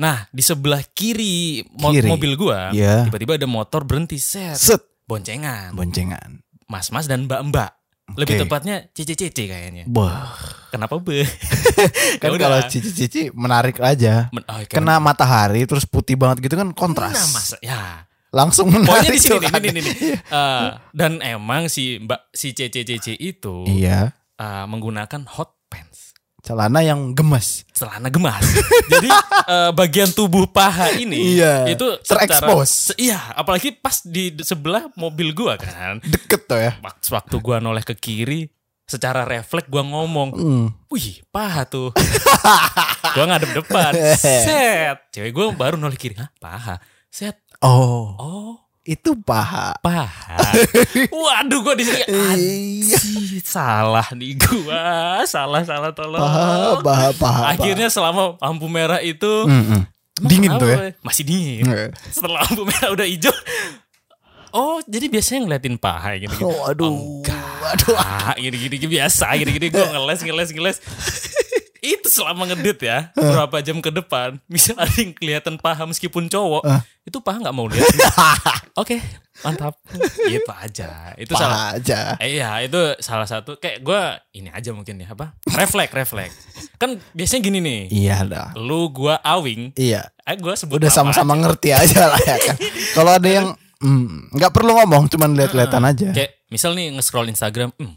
[SPEAKER 1] Nah, di sebelah kiri, mo-
[SPEAKER 2] Kiri.
[SPEAKER 1] mobil gua
[SPEAKER 2] Iya.
[SPEAKER 1] tiba-tiba ada motor berhenti Eh, set,
[SPEAKER 2] Set.
[SPEAKER 1] boncengan.
[SPEAKER 2] Boncengan.
[SPEAKER 1] Mas-mas dan mbak-mbak. Lebih
[SPEAKER 2] Oke.
[SPEAKER 1] tepatnya cece-cece kayaknya.
[SPEAKER 2] Wah.
[SPEAKER 1] Kenapa be? Ya
[SPEAKER 2] Kan
[SPEAKER 1] udah.
[SPEAKER 2] kalau cici-cici menarik aja.
[SPEAKER 1] Men- oh, kayak
[SPEAKER 2] Kena matahari terus putih banget gitu kan kontras.
[SPEAKER 1] Nah, mas, ya.
[SPEAKER 2] Langsung
[SPEAKER 1] Pokoknya
[SPEAKER 2] menarik.
[SPEAKER 1] di sini nih,
[SPEAKER 2] tuh
[SPEAKER 1] ini,
[SPEAKER 2] kan.
[SPEAKER 1] ini, ini. Eh, dan emang si mbak si cece-cece itu
[SPEAKER 2] Iya.
[SPEAKER 1] eh, menggunakan hot pants.
[SPEAKER 2] Celana yang gemes.
[SPEAKER 1] celana gemas. Jadi eh, bagian tubuh paha ini
[SPEAKER 2] Iya,
[SPEAKER 1] itu secara-
[SPEAKER 2] terekspos.
[SPEAKER 1] se- Iya, apalagi pas di de- sebelah mobil gua kan.
[SPEAKER 2] Deket tuh ya.
[SPEAKER 1] Waktu waktu gua noleh ke kiri, secara refleks gua ngomong,
[SPEAKER 2] Hmm.
[SPEAKER 1] "Wih, paha tuh." gua ngadep depan. Set. Cewek gua baru noleh kiri, "Hah, paha." Set.
[SPEAKER 2] Oh,
[SPEAKER 1] Oh,
[SPEAKER 2] itu paha.
[SPEAKER 1] paha. Waduh, gua di sini
[SPEAKER 2] Iya.
[SPEAKER 1] anjir, salah nih gua. Salah, salah tolong.
[SPEAKER 2] Paha, paha, paha.
[SPEAKER 1] Akhirnya selama lampu merah itu
[SPEAKER 2] paha. Mm-mm.
[SPEAKER 1] Emang
[SPEAKER 2] Dingin
[SPEAKER 1] kenapa,
[SPEAKER 2] tuh ya.
[SPEAKER 1] Boy? Masih dingin.
[SPEAKER 2] Iya.
[SPEAKER 1] Setelah lampu merah udah hijau. Oh, jadi biasanya ngeliatin paha gitu. -gitu.
[SPEAKER 2] Oh, aduh. Aduh.
[SPEAKER 1] Ah, gini-gini gini, biasa, gini-gini gue ngeles, ngeles, ngeles. itu selama ngedit ya, berapa jam ke depan, misal ada yang kelihatan paha meskipun cowok, itu paha nggak mau lihat. Oke, mantap gitu aja itu salah
[SPEAKER 2] Paha aja.
[SPEAKER 1] Eh, Iya itu salah satu kayak gue ini aja mungkin ya apa refleks refleks kan biasanya gini nih
[SPEAKER 2] Iya dah.
[SPEAKER 1] lu gue awing
[SPEAKER 2] Iya.
[SPEAKER 1] eh gue sebut
[SPEAKER 2] Udah
[SPEAKER 1] nama
[SPEAKER 2] sama-sama ngerti aja lah ya kan. Kalau ada yang mm, nggak perlu ngomong, cuman lihat-lihatan aja.
[SPEAKER 1] aja. kayak misal nih nge-scroll Instagram hmm,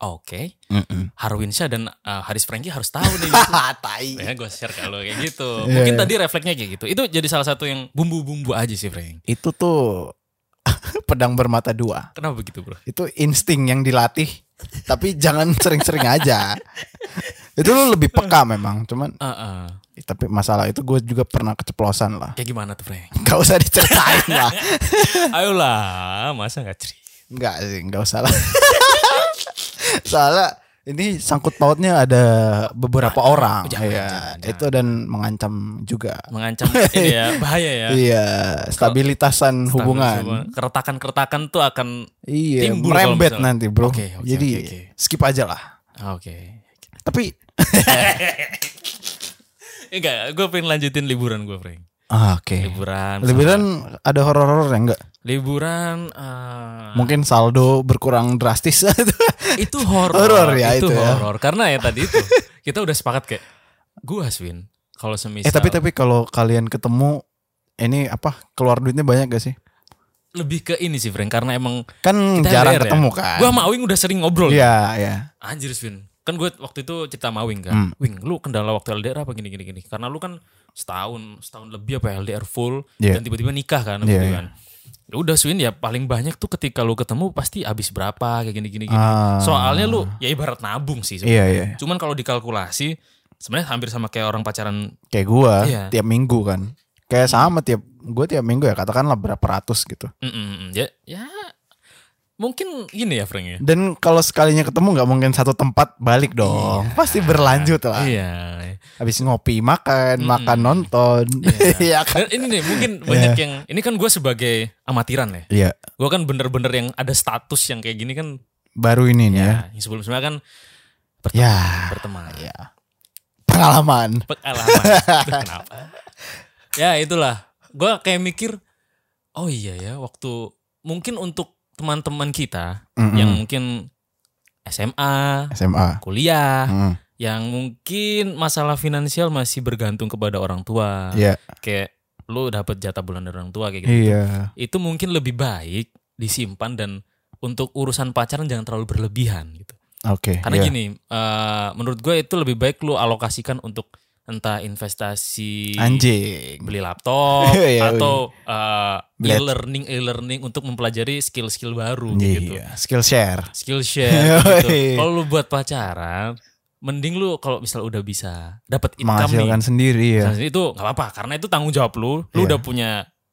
[SPEAKER 1] oke
[SPEAKER 2] Mm-mm.
[SPEAKER 1] Harwinsyah dan eh, Haris Franky harus tahu nih gitu.
[SPEAKER 2] tai.
[SPEAKER 1] Kayaknya gue share ke lu kayak gitu
[SPEAKER 2] Iya,
[SPEAKER 1] mungkin
[SPEAKER 2] iya.
[SPEAKER 1] tadi refleksnya kayak gitu itu jadi salah satu yang bumbu-bumbu aja sih Frank
[SPEAKER 2] Itu tuh pedang bermata dua.
[SPEAKER 1] kenapa begitu bro
[SPEAKER 2] Itu insting yang dilatih. Tapi jangan sering-sering aja. itu lu lebih peka memang, cuman
[SPEAKER 1] Ah, ah.
[SPEAKER 2] tapi masalah itu gue juga pernah keceplosan lah.
[SPEAKER 1] kayak gimana tuh Frank
[SPEAKER 2] Gak usah diceritain lah.
[SPEAKER 1] ayolah masa nggak cerita
[SPEAKER 2] Enggak sih, enggak usah lah. Soalnya ini sangkut pautnya ada beberapa orang.
[SPEAKER 1] jangan,
[SPEAKER 2] Iya,
[SPEAKER 1] jangan,
[SPEAKER 2] itu dan mengancam juga.
[SPEAKER 1] mengancam ini ya bahaya ya
[SPEAKER 2] Iya, stabilitasan hubungan.
[SPEAKER 1] keretakan-keretakan tuh akan
[SPEAKER 2] Iya,
[SPEAKER 1] Timbul
[SPEAKER 2] merembet
[SPEAKER 1] kalau misalnya.
[SPEAKER 2] nanti, Bro.
[SPEAKER 1] Oke, oke,
[SPEAKER 2] Jadi
[SPEAKER 1] oke, oke.
[SPEAKER 2] skip aja lah.
[SPEAKER 1] Ah, oke
[SPEAKER 2] Tapi
[SPEAKER 1] enggak gue pengen lanjutin liburan gue Frank
[SPEAKER 2] ah, oke.
[SPEAKER 1] liburan
[SPEAKER 2] Liburan ada horor-horor ya, enggak?
[SPEAKER 1] liburan eh,
[SPEAKER 2] Mungkin saldo berkurang drastis. Eh,
[SPEAKER 1] itu horor
[SPEAKER 2] Horor ya,
[SPEAKER 1] itu,
[SPEAKER 2] itu ya.
[SPEAKER 1] horor karena ya tadi itu kita udah sepakat kayak gue Aswin kalau semisal
[SPEAKER 2] eh, tapi tapi kalau kalian ketemu ini apa? Keluar duitnya banyak gak sih?
[SPEAKER 1] lebih ke ini sih Frank karena emang
[SPEAKER 2] Kan
[SPEAKER 1] Kita
[SPEAKER 2] jarang
[SPEAKER 1] LDR ya?
[SPEAKER 2] ketemu kan.
[SPEAKER 1] gue sama Awing udah sering ngobrol
[SPEAKER 2] Iya, iya.
[SPEAKER 1] anjir Swin kan gue waktu itu cerita sama Awing kan
[SPEAKER 2] Hmm.
[SPEAKER 1] Wing lu kendala waktu LDR apa gini gini gini karena lu kan setahun setahun lebih apa ya, LDR full dan
[SPEAKER 2] Iya.
[SPEAKER 1] tiba-tiba nikah kan
[SPEAKER 2] Iya,
[SPEAKER 1] gitu
[SPEAKER 2] iya.
[SPEAKER 1] kan Ya udah Swin ya paling banyak tuh ketika lu ketemu pasti habis berapa kayak gini gini gini
[SPEAKER 2] Ah.
[SPEAKER 1] soalnya lu ya ibarat nabung sih
[SPEAKER 2] Iya,
[SPEAKER 1] sebenarnya.
[SPEAKER 2] iya.
[SPEAKER 1] cuman kalau dikalkulasi sebenarnya hampir sama kayak orang pacaran
[SPEAKER 2] Kayak gua
[SPEAKER 1] Iya.
[SPEAKER 2] tiap minggu kan. Kayak sama tiap gua tiap minggu ya katakanlah berapa ratus gitu.
[SPEAKER 1] Mm, mm, mm. ya ya mungkin gini ya Frank ya
[SPEAKER 2] Dan kalau sekalinya ketemu nggak mungkin satu tempat balik dong. Pasti berlanjut lah.
[SPEAKER 1] iya Hmm.
[SPEAKER 2] Habis ngopi, makan, makan, nonton. Iya.
[SPEAKER 1] Ah.
[SPEAKER 2] kan?
[SPEAKER 1] dan ini nih mungkin banyak yang ini kan gue sebagai amatiran ya
[SPEAKER 2] Iya.
[SPEAKER 1] gue kan bener-bener yang ada status yang kayak gini kan
[SPEAKER 2] Baru ini nih ya.
[SPEAKER 1] ya sebelum sebelumnya kan
[SPEAKER 2] Ya.
[SPEAKER 1] berteman
[SPEAKER 2] Ya. Pengalaman.
[SPEAKER 1] pengalaman Itu kenapa ya itulah gue kayak mikir oh iya ya waktu mungkin untuk teman-teman kita
[SPEAKER 2] Mm-mm.
[SPEAKER 1] yang mungkin SMA
[SPEAKER 2] SMA.
[SPEAKER 1] kuliah
[SPEAKER 2] Mm.
[SPEAKER 1] yang mungkin masalah finansial masih bergantung kepada orang tua
[SPEAKER 2] Iya.
[SPEAKER 1] kayak lu dapat jatah bulan dari orang tua Ah, kayak gitu
[SPEAKER 2] Iya.
[SPEAKER 1] itu mungkin lebih baik disimpan dan untuk urusan pacaran jangan terlalu berlebihan gitu
[SPEAKER 2] Oke.
[SPEAKER 1] karena
[SPEAKER 2] iya.
[SPEAKER 1] gini eh, menurut gue itu lebih baik lu alokasikan untuk entah investasi
[SPEAKER 2] Anjing.
[SPEAKER 1] beli laptop
[SPEAKER 2] Iya,
[SPEAKER 1] atau eh,
[SPEAKER 2] Beli-
[SPEAKER 1] e-learning e-learning untuk mempelajari skill-skill baru gitu
[SPEAKER 2] Iya. Skill share.
[SPEAKER 1] Skillshare gitu.
[SPEAKER 2] Yoi.
[SPEAKER 1] Kalau lu buat pacaran, mending lu kalau misal udah bisa dapat income nih.
[SPEAKER 2] Menghasilkan sendiri ya.
[SPEAKER 1] Misalnya itu nggak apa-apa karena itu tanggung jawab lu. Lu
[SPEAKER 2] Iya.
[SPEAKER 1] udah punya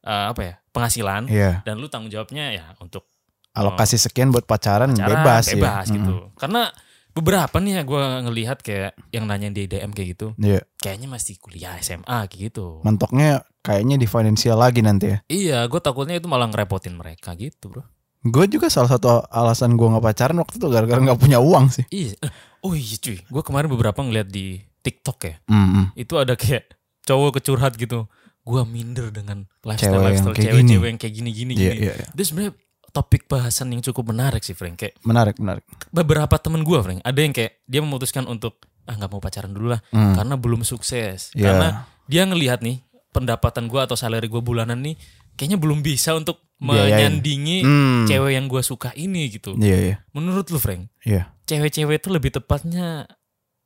[SPEAKER 1] eh, apa ya? penghasilan
[SPEAKER 2] Iya.
[SPEAKER 1] dan lu tanggung jawabnya ya untuk
[SPEAKER 2] Alokasi sekian buat pacaran,
[SPEAKER 1] cara
[SPEAKER 2] bebas, ya.
[SPEAKER 1] Oh. gitu. Karena beberapa nih ya gue ngelihat kayak yang nanya di DM kayak gitu,
[SPEAKER 2] Mm. Iya.
[SPEAKER 1] kayaknya masih kuliah SMA kayak gitu.
[SPEAKER 2] mentoknya kayaknya di finansial lagi nanti ya.
[SPEAKER 1] iya, gue takutnya itu malah ngerepotin mereka gitu, Bro.
[SPEAKER 2] Gue juga salah satu alasan gue nggak pacaran waktu itu gara-gara nggak punya uang sih.
[SPEAKER 1] Iya. eh, Oh iya cuy, gue kemarin beberapa ngeliat di TikTok ya.
[SPEAKER 2] Mm-mm.
[SPEAKER 1] itu ada kayak cowok kecurhat gitu gua minder dengan lifestyle
[SPEAKER 2] Cewek yang
[SPEAKER 1] lifestyle
[SPEAKER 2] kayak
[SPEAKER 1] cewek-cewek
[SPEAKER 2] gini.
[SPEAKER 1] yang kayak gini-gini
[SPEAKER 2] Iya,
[SPEAKER 1] gini.
[SPEAKER 2] iya, iya.
[SPEAKER 1] itu sebenarnya topik bahasan yang cukup menarik sih Frank kayak
[SPEAKER 2] Menarik, menarik.
[SPEAKER 1] beberapa temen gua Frank ada yang kayak dia memutuskan untuk ah nggak mau pacaran dulu lah
[SPEAKER 2] Hmm.
[SPEAKER 1] karena belum sukses
[SPEAKER 2] Iya.
[SPEAKER 1] karena dia ngelihat nih pendapatan gua atau salary gua bulanan nih kayaknya belum bisa untuk
[SPEAKER 2] Biayain.
[SPEAKER 1] menyandingi
[SPEAKER 2] Hmm.
[SPEAKER 1] cewek yang gua suka ini gitu
[SPEAKER 2] Iya, iya,
[SPEAKER 1] menurut lu Frank
[SPEAKER 2] iya.
[SPEAKER 1] cewek-cewek itu lebih tepatnya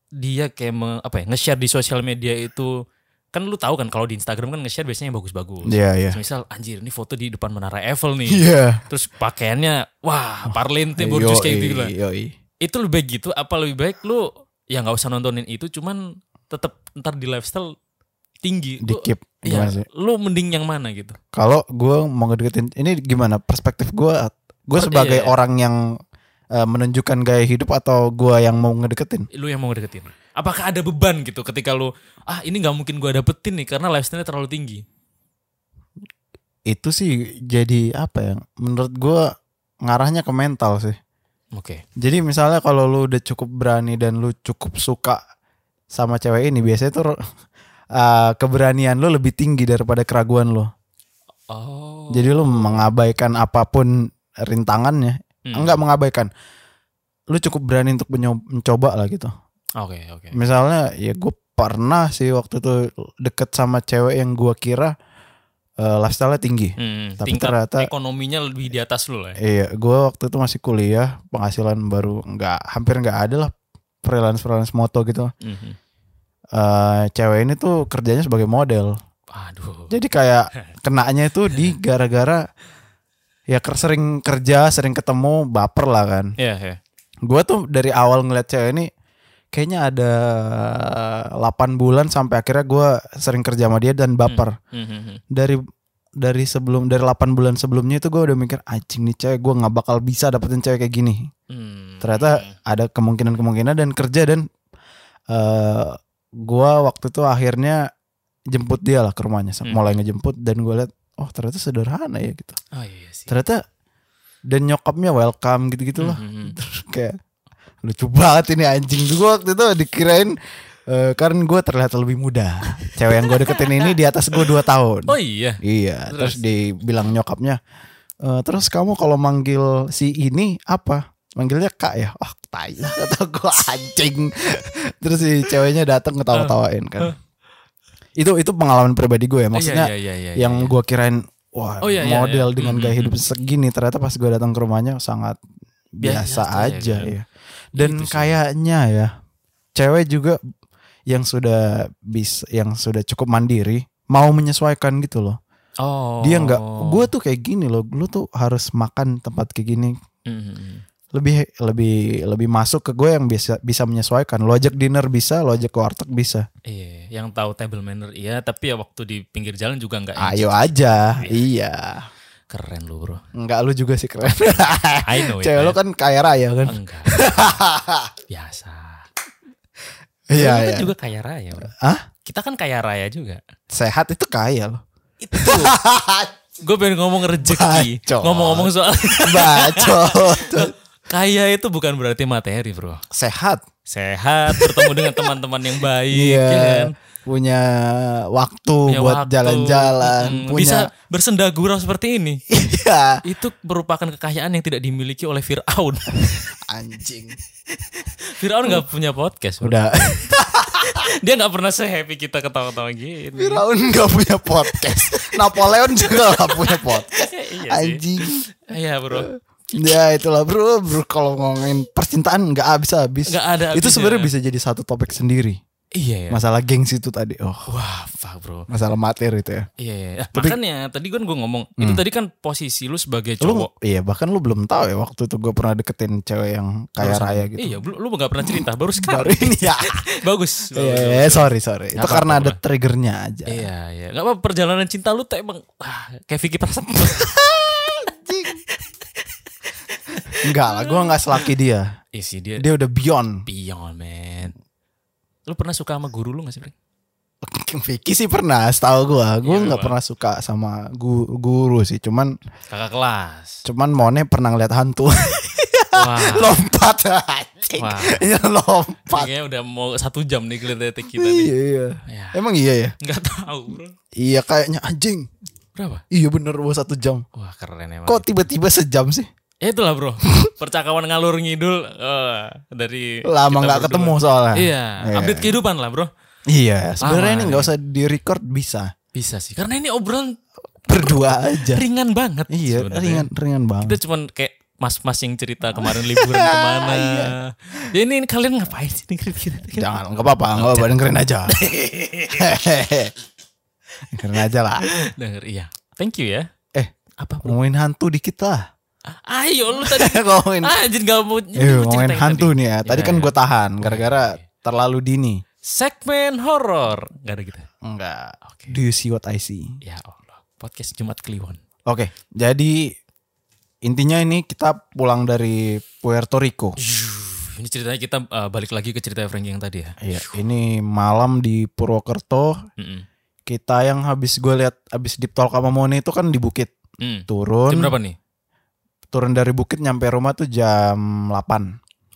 [SPEAKER 1] dia kayak me- apa ya nge-share di sosial media itu kan lu tahu kan kalau di Instagram kan nge-share biasanya yang bagus-bagus.
[SPEAKER 2] Iya, iya.
[SPEAKER 1] Misal anjir ini foto di depan Menara Eiffel nih.
[SPEAKER 2] Iya.
[SPEAKER 1] Terus pakaiannya wah parlente borjus kayak gitu lah.
[SPEAKER 2] Yoi.
[SPEAKER 1] Itu lebih baik gitu apa lebih baik lu ya nggak usah nontonin itu cuman tetap ntar di lifestyle tinggi.
[SPEAKER 2] Di
[SPEAKER 1] Lu-
[SPEAKER 2] keep. Gimana
[SPEAKER 1] Iya,
[SPEAKER 2] sih?
[SPEAKER 1] lu mending yang mana gitu?
[SPEAKER 2] Kalau gue mau ngedeketin, ini gimana perspektif gue? Gue
[SPEAKER 1] Oh,
[SPEAKER 2] sebagai
[SPEAKER 1] iya, iya.
[SPEAKER 2] orang yang eh, menunjukkan gaya hidup atau gue yang mau ngedeketin?
[SPEAKER 1] Lu yang mau deketin. Apakah ada beban gitu ketika lu ah ini nggak mungkin gua dapetin nih karena lifestyle-nya terlalu tinggi.
[SPEAKER 2] Itu sih jadi apa ya? Menurut gue ngarahnya ke mental sih.
[SPEAKER 1] Oke.
[SPEAKER 2] Jadi misalnya kalau lu udah cukup berani dan lu cukup suka sama cewek ini, biasanya tuh eh, keberanian lu lebih tinggi daripada keraguan lu.
[SPEAKER 1] Oh.
[SPEAKER 2] Jadi lu mengabaikan apapun rintangannya.
[SPEAKER 1] Hmm.
[SPEAKER 2] Enggak mengabaikan. Lu cukup berani untuk menyo- mencoba lah gitu.
[SPEAKER 1] Oke, oke.
[SPEAKER 2] Misalnya ya gue pernah sih waktu itu deket sama cewek yang gua kira eh, lifestyle-nya tinggi.
[SPEAKER 1] Hmm,
[SPEAKER 2] Tapi
[SPEAKER 1] tingkat
[SPEAKER 2] ternyata-
[SPEAKER 1] ekonominya lebih di atas lu lah. Ya.
[SPEAKER 2] Iya, gua waktu itu masih kuliah, penghasilan baru nggak hampir nggak ada lah freelance freelance moto gitu.
[SPEAKER 1] Mhm.
[SPEAKER 2] Eh cewek ini tuh kerjanya sebagai model,
[SPEAKER 1] Aduh.
[SPEAKER 2] jadi kayak kenanya itu di gara-gara ya ker- sering kerja, sering ketemu, baper lah kan.
[SPEAKER 1] Iya, iya.
[SPEAKER 2] Gua tuh dari awal ngeliat cewek ini kayaknya ada 8 bulan sampai akhirnya gua sering kerja sama dia dan baper.
[SPEAKER 1] Mhm.
[SPEAKER 2] dari dari sebelum dari 8 bulan sebelumnya itu gue udah mikir anjing nih cewek gue nggak bakal bisa dapetin cewek kayak gini
[SPEAKER 1] Hmm.
[SPEAKER 2] ternyata ada kemungkinan kemungkinan dan kerja dan eh gue waktu itu akhirnya jemput dia lah ke rumahnya
[SPEAKER 1] Hmm.
[SPEAKER 2] mulai ngejemput dan gue liat oh ternyata sederhana ya gitu
[SPEAKER 1] Oh iya sih.
[SPEAKER 2] ternyata dan nyokapnya welcome gitu gitu loh
[SPEAKER 1] Mhm.
[SPEAKER 2] kayak lucu banget ini anjing juga waktu itu dikirain eh kan gue terlihat lebih muda cewek yang gue deketin ini di atas gue 2 tahun
[SPEAKER 1] Oh iya.
[SPEAKER 2] Iya, terus,
[SPEAKER 1] Terus?
[SPEAKER 2] dibilang nyokapnya, "E, terus kamu kalau manggil si ini apa? Manggilnya kak ya? Oh, tai lah kata gue anjing. terus si ceweknya datang ketawa-tawain kan. itu itu pengalaman pribadi gue ya, maksudnya
[SPEAKER 1] iya, iya, iya, iya,
[SPEAKER 2] yang
[SPEAKER 1] iya.
[SPEAKER 2] gue kirain wah
[SPEAKER 1] Oh, iya, iya, iya.
[SPEAKER 2] model dengan
[SPEAKER 1] Mm,
[SPEAKER 2] gaya
[SPEAKER 1] mm,
[SPEAKER 2] hidup segini ternyata pas gue datang ke rumahnya sangat biasa,
[SPEAKER 1] Biasa aja,
[SPEAKER 2] aja
[SPEAKER 1] gitu.
[SPEAKER 2] ya. Dan
[SPEAKER 1] Itu sih.
[SPEAKER 2] kayaknya ya cewek juga yang sudah bis yang sudah cukup mandiri mau menyesuaikan gitu loh
[SPEAKER 1] Oh.
[SPEAKER 2] dia nggak gue tuh kayak gini loh lu tuh harus makan tempat kayak gini
[SPEAKER 1] Mhm.
[SPEAKER 2] lebih lebih lebih masuk ke gue yang bisa bisa menyesuaikan lo ajak dinner bisa lo ajak ke warteg bisa
[SPEAKER 1] Iya, yang tahu table manner iya, tapi ya waktu di pinggir jalan juga nggak ya?
[SPEAKER 2] ayo aja iya
[SPEAKER 1] keren lu, Bro.
[SPEAKER 2] nggak lu juga sih keren
[SPEAKER 1] I know it. ya.
[SPEAKER 2] cewek lo kan kaya raya kan
[SPEAKER 1] enggak. Biasa.
[SPEAKER 2] iya
[SPEAKER 1] Kita
[SPEAKER 2] iya
[SPEAKER 1] kan juga kaya raya, Bro.
[SPEAKER 2] Hah?
[SPEAKER 1] Kita kan kaya raya juga.
[SPEAKER 2] sehat itu kaya loh
[SPEAKER 1] Itu. gue pengen ngomong rezeki.
[SPEAKER 2] Bacot.
[SPEAKER 1] Ngomong-ngomong soal
[SPEAKER 2] bacot
[SPEAKER 1] kaya itu bukan berarti materi, Bro.
[SPEAKER 2] sehat
[SPEAKER 1] Sehat, bertemu dengan teman-teman yang baik,
[SPEAKER 2] iya
[SPEAKER 1] ya kan?
[SPEAKER 2] punya waktu
[SPEAKER 1] Punya
[SPEAKER 2] buat
[SPEAKER 1] waktu.
[SPEAKER 2] jalan-jalan
[SPEAKER 1] Mm, Bisa
[SPEAKER 2] punya
[SPEAKER 1] bersendagurau seperti ini.
[SPEAKER 2] iya
[SPEAKER 1] Itu merupakan kekayaan yang tidak dimiliki oleh Fir'aun.
[SPEAKER 2] anjing
[SPEAKER 1] Fir'aun nggak punya podcast. Bro.
[SPEAKER 2] udah
[SPEAKER 1] Dia nggak pernah sehappy kita ketawa-ketawa gini.
[SPEAKER 2] Firaun gak punya podcast. Napoleon juga gak punya podcast.
[SPEAKER 1] iya sih.
[SPEAKER 2] Anjing.
[SPEAKER 1] Iya bro.
[SPEAKER 2] Ya itulah bro, bro kalau ngomongin percintaan nggak habis-habis.
[SPEAKER 1] Nggak ada
[SPEAKER 2] Itu
[SPEAKER 1] habisnya.
[SPEAKER 2] sebenarnya bisa jadi satu topik sendiri.
[SPEAKER 1] Iya ya.
[SPEAKER 2] Masalah gengs itu tadi. Oh,
[SPEAKER 1] Wah, fuck bro.
[SPEAKER 2] masalah materi itu ya.
[SPEAKER 1] Iya. iya. Ah, Makanya tadi kan gue ngomong itu tadi kan posisi lu sebagai
[SPEAKER 2] Hmm. Lu
[SPEAKER 1] cowok.
[SPEAKER 2] iya bahkan lu belum tahu ya waktu itu gue pernah deketin cewek yang kaya raya gitu.
[SPEAKER 1] Iya, lu, lu gak pernah cerita baru
[SPEAKER 2] Baru
[SPEAKER 1] sekarang.
[SPEAKER 2] ini ya.
[SPEAKER 1] bagus. bagus,
[SPEAKER 2] Iya, iya,
[SPEAKER 1] bagus.
[SPEAKER 2] sorry sorry. Itu
[SPEAKER 1] Nggak
[SPEAKER 2] karena
[SPEAKER 1] apa-apa,
[SPEAKER 2] ada triggernya aja.
[SPEAKER 1] Iya, iya. Gak apa perjalanan cinta lu tuh emang ah, kayak Vicky Prasetyo.
[SPEAKER 2] Enggak lah, gue nggak selaki dia.
[SPEAKER 1] Ih, si Iya dia
[SPEAKER 2] Dia udah beyond.
[SPEAKER 1] beyond, man. Lu pernah suka sama guru lu gak sih, Bro?
[SPEAKER 2] Vicky sih pernah, setahu gue. Gue
[SPEAKER 1] Iya,
[SPEAKER 2] nggak
[SPEAKER 1] Pak.
[SPEAKER 2] pernah suka sama gu- guru sih. Cuman,
[SPEAKER 1] Kakak kelas.
[SPEAKER 2] cuman Mone pernah ngeliat hantu
[SPEAKER 1] Wah.
[SPEAKER 2] lompat anjing.
[SPEAKER 1] Ah. Wah.
[SPEAKER 2] Iya, lompat.
[SPEAKER 1] Kayaknya udah mau satu jam nih kelihatan kita nih.
[SPEAKER 2] Iya, iya.
[SPEAKER 1] Ya,
[SPEAKER 2] Emang iya ya?
[SPEAKER 1] nggak tahu, Bro.
[SPEAKER 2] Iya kayaknya anjing.
[SPEAKER 1] Berapa?
[SPEAKER 2] Iya bener gua satu jam.
[SPEAKER 1] Wah, keren emang.
[SPEAKER 2] Kok tiba-tiba sejam sih?
[SPEAKER 1] Ya itulah, Bro. Percakapan ngalur ngidul eh, dari
[SPEAKER 2] Lama
[SPEAKER 1] kita
[SPEAKER 2] nggak
[SPEAKER 1] berdua.
[SPEAKER 2] ketemu soalnya.
[SPEAKER 1] Iya, update kehidupan lah, Bro.
[SPEAKER 2] Iya,
[SPEAKER 1] Lama, ya.
[SPEAKER 2] sebenarnya ini nggak usah direcord bisa.
[SPEAKER 1] Bisa sih. Karena ini obrolan
[SPEAKER 2] Berdua aja.
[SPEAKER 1] ringan banget.
[SPEAKER 2] Iya,
[SPEAKER 1] sebenarnya.
[SPEAKER 2] ringan ringan
[SPEAKER 1] Kita
[SPEAKER 2] banget.
[SPEAKER 1] cuman kayak mas-mas yang cerita kemarin liburan kemana. Ya ini, ini kalian ngapain sih dengerin kita?
[SPEAKER 2] Jangan, nggak apa-apa, nggak apa-apa dengerin aja. dengerin aja lah.
[SPEAKER 1] Denger, iya. Thank you ya.
[SPEAKER 2] Eh,
[SPEAKER 1] Apa? Bro?
[SPEAKER 2] ngomongin hantu dikit lah.
[SPEAKER 1] Ayo lu tadi.
[SPEAKER 2] ngomongin
[SPEAKER 1] Anjir gak mau.
[SPEAKER 2] Iya,
[SPEAKER 1] Ah, lu
[SPEAKER 2] ngomongin
[SPEAKER 1] ceritain
[SPEAKER 2] hantu
[SPEAKER 1] tadi.
[SPEAKER 2] nih ya. Tadi
[SPEAKER 1] Iya,
[SPEAKER 2] kan
[SPEAKER 1] iya.
[SPEAKER 2] gue tahan gara-gara terlalu dini.
[SPEAKER 1] Segmen horor. Gak ada gitu.
[SPEAKER 2] Enggak.
[SPEAKER 1] Oke.
[SPEAKER 2] Do you see what I see?
[SPEAKER 1] Ya Allah. Podcast Jumat Kliwon.
[SPEAKER 2] Oke, jadi intinya ini kita pulang dari Puerto Rico.
[SPEAKER 1] Ini ceritanya kita eh, balik lagi ke cerita Frankie yang tadi ya.
[SPEAKER 2] Iya, ini malam di Purwokerto.
[SPEAKER 1] Mm-mm.
[SPEAKER 2] Kita yang habis gue lihat habis deep talk sama Mone itu kan di bukit.
[SPEAKER 1] Mm.
[SPEAKER 2] Turun,
[SPEAKER 1] Jam berapa nih?
[SPEAKER 2] turun dari bukit nyampe rumah tuh jam 8.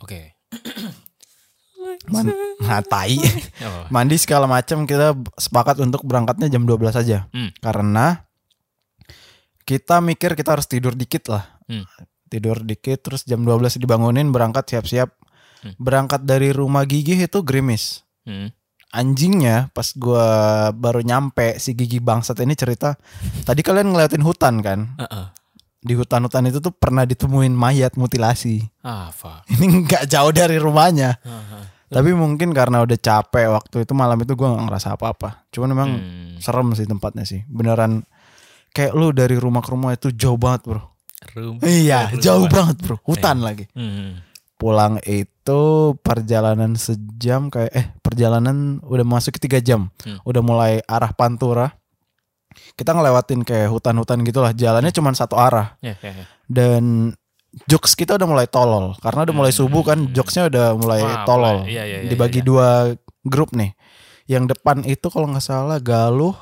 [SPEAKER 1] Oke.
[SPEAKER 2] Man- nah, tai.
[SPEAKER 1] Oh.
[SPEAKER 2] Mandi segala macam kita sepakat untuk berangkatnya jam 12 aja.
[SPEAKER 1] Hmm.
[SPEAKER 2] Karena kita mikir kita harus tidur dikit lah.
[SPEAKER 1] Hmm.
[SPEAKER 2] Tidur dikit terus jam 12 dibangunin berangkat siap-siap.
[SPEAKER 1] Hmm.
[SPEAKER 2] Berangkat dari rumah gigi itu gerimis.
[SPEAKER 1] Hmm.
[SPEAKER 2] Anjingnya pas gua baru nyampe si gigi bangsat ini cerita, tadi kalian ngeliatin hutan kan?
[SPEAKER 1] Heeh.
[SPEAKER 2] Di hutan-hutan itu tuh pernah ditemuin mayat mutilasi.
[SPEAKER 1] Ah, fuck.
[SPEAKER 2] Ini nggak jauh dari rumahnya.
[SPEAKER 1] Heeh.
[SPEAKER 2] Tapi mungkin karena udah capek waktu itu malam itu gua nggak ngerasa apa-apa. Cuman emang
[SPEAKER 1] Hmm.
[SPEAKER 2] serem sih tempatnya sih. Beneran kayak lu dari rumah ke rumah itu jauh banget, Bro.
[SPEAKER 1] Room.
[SPEAKER 2] Iya,
[SPEAKER 1] Rumah.
[SPEAKER 2] jauh banget bro. Hutan lagi.
[SPEAKER 1] Hmm.
[SPEAKER 2] Pulang itu perjalanan sejam kayak eh perjalanan udah masuk ke tiga jam.
[SPEAKER 1] Hmm.
[SPEAKER 2] Udah mulai arah Pantura. Kita ngelewatin kayak hutan-hutan gitulah. Jalannya cuma satu arah
[SPEAKER 1] Ya, ya, ya.
[SPEAKER 2] dan jokes kita udah mulai tolol karena udah mulai subuh kan jokesnya udah mulai
[SPEAKER 1] Hmm. Wah,
[SPEAKER 2] tolol.
[SPEAKER 1] mulai. Iya, iya, iya,
[SPEAKER 2] Dibagi
[SPEAKER 1] iya.
[SPEAKER 2] dua grup nih. Yang depan itu kalau nggak salah Galuh,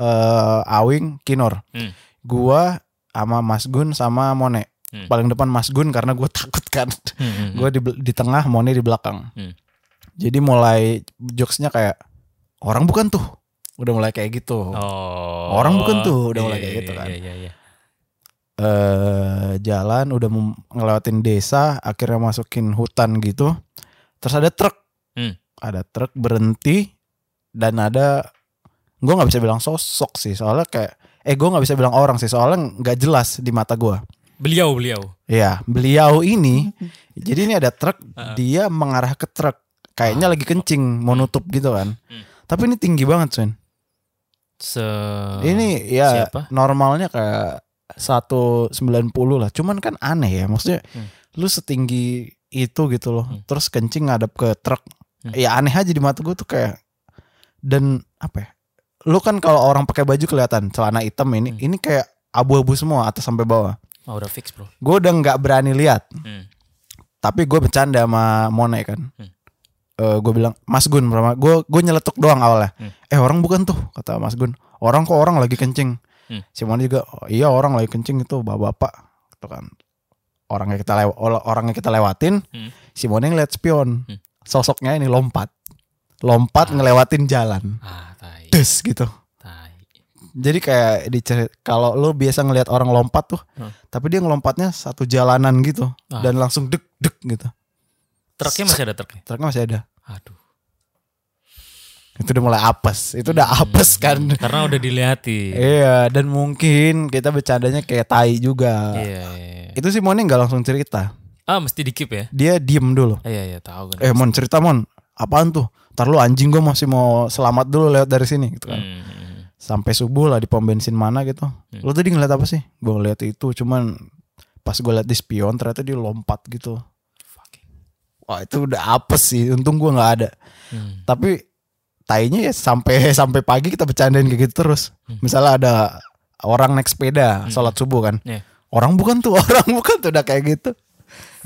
[SPEAKER 2] eh, Awing, Kinor.
[SPEAKER 1] Hmm.
[SPEAKER 2] Gua sama Mas Gun sama Mone.
[SPEAKER 1] Hmm.
[SPEAKER 2] Paling depan Mas Gun karena gue takut kan.
[SPEAKER 1] Hmm, hmm, hmm.
[SPEAKER 2] gue di, bel- di tengah, Mone di belakang.
[SPEAKER 1] Hmm.
[SPEAKER 2] Jadi mulai jokesnya kayak orang bukan tuh. Udah mulai kayak gitu.
[SPEAKER 1] Oh.
[SPEAKER 2] Orang bukan tuh, udah mulai
[SPEAKER 1] Iya,
[SPEAKER 2] kayak gitu
[SPEAKER 1] iya,
[SPEAKER 2] kan.
[SPEAKER 1] Iya, iya, iya.
[SPEAKER 2] eh jalan udah mem- ngelewatin desa akhirnya masukin hutan gitu terus ada truk
[SPEAKER 1] Hmm.
[SPEAKER 2] ada truk berhenti dan ada gue nggak bisa bilang sosok sih soalnya kayak eh gue nggak bisa bilang orang sih soalnya nggak jelas di mata gue
[SPEAKER 1] Beliau, beliau.
[SPEAKER 2] ya beliau ini jadi ini ada truk
[SPEAKER 1] Ah.
[SPEAKER 2] dia mengarah ke truk kayaknya lagi kencing mau nutup gitu kan
[SPEAKER 1] Hmm.
[SPEAKER 2] tapi ini tinggi banget Swin
[SPEAKER 1] Se
[SPEAKER 2] ini ya
[SPEAKER 1] Siapa?
[SPEAKER 2] normalnya kayak 190 lah. Cuman kan aneh ya. Maksudnya
[SPEAKER 1] Hmm.
[SPEAKER 2] lu setinggi itu gitu loh.
[SPEAKER 1] Hmm.
[SPEAKER 2] Terus kencing ngadep ke truk.
[SPEAKER 1] Hmm.
[SPEAKER 2] Ya aneh aja di mata gue tuh kayak dan apa ya? Lu kan kalau orang pakai baju kelihatan celana hitam ini
[SPEAKER 1] Hmm.
[SPEAKER 2] ini kayak abu-abu semua atas sampai bawah.
[SPEAKER 1] Oh, udah fix, Bro.
[SPEAKER 2] Gue udah nggak berani lihat,
[SPEAKER 1] Hmm.
[SPEAKER 2] tapi gue bercanda sama Mone kan.
[SPEAKER 1] Hmm.
[SPEAKER 2] gue bilang Mas Gun pertama gue gue nyeletuk doang awalnya
[SPEAKER 1] Hmm.
[SPEAKER 2] eh orang bukan tuh kata Mas Gun orang kok orang lagi kencing
[SPEAKER 1] Hmm.
[SPEAKER 2] si Moni juga "Oh, iya orang lagi kencing itu bapak-bapak gitu kan orangnya kita lew ol- orangnya kita lewatin
[SPEAKER 1] Hmm.
[SPEAKER 2] si Moni ngeliat spion
[SPEAKER 1] Hmm.
[SPEAKER 2] sosoknya ini lompat lompat ngelewatin jalan
[SPEAKER 1] Ah, tai.
[SPEAKER 2] des gitu
[SPEAKER 1] Tai.
[SPEAKER 2] jadi kayak dicerit kalau lu biasa ngelihat orang lompat tuh
[SPEAKER 1] Hmm.
[SPEAKER 2] tapi dia ngelompatnya satu jalanan gitu
[SPEAKER 1] Ah.
[SPEAKER 2] dan langsung dek dek gitu
[SPEAKER 1] Truknya masih ada truknya.
[SPEAKER 2] truknya masih ada
[SPEAKER 1] Aduh.
[SPEAKER 2] itu udah mulai apes itu udah apes kan
[SPEAKER 1] Karena udah dilihatin.
[SPEAKER 2] iya dan mungkin kita bercandanya kayak tai juga
[SPEAKER 1] Iya. iya.
[SPEAKER 2] itu si Moni nggak langsung cerita
[SPEAKER 1] Ah, mesti dikip ya.
[SPEAKER 2] dia diem dulu.
[SPEAKER 1] Ah, Iya, iya, tahu kan.
[SPEAKER 2] Eh mon cerita mon, apaan tuh? Ntar lu anjing gue masih mau selamat dulu lewat dari sini gitu kan.
[SPEAKER 1] Hmm, hmm.
[SPEAKER 2] Sampai subuh lah di pom bensin mana gitu. Lu tadi ngeliat apa sih? Gue ngeliat itu cuman pas gue liat di spion ternyata dia lompat gitu.
[SPEAKER 1] Fucking.
[SPEAKER 2] Wah itu udah apes sih. Untung gue nggak ada.
[SPEAKER 1] Hmm.
[SPEAKER 2] Tapi tainya ya sampai sampai pagi kita bercandain kayak gitu terus.
[SPEAKER 1] Hmm.
[SPEAKER 2] Misalnya ada orang naik sepeda sholat subuh kan.
[SPEAKER 1] Iya.
[SPEAKER 2] Orang bukan tuh, orang bukan tuh udah kayak gitu.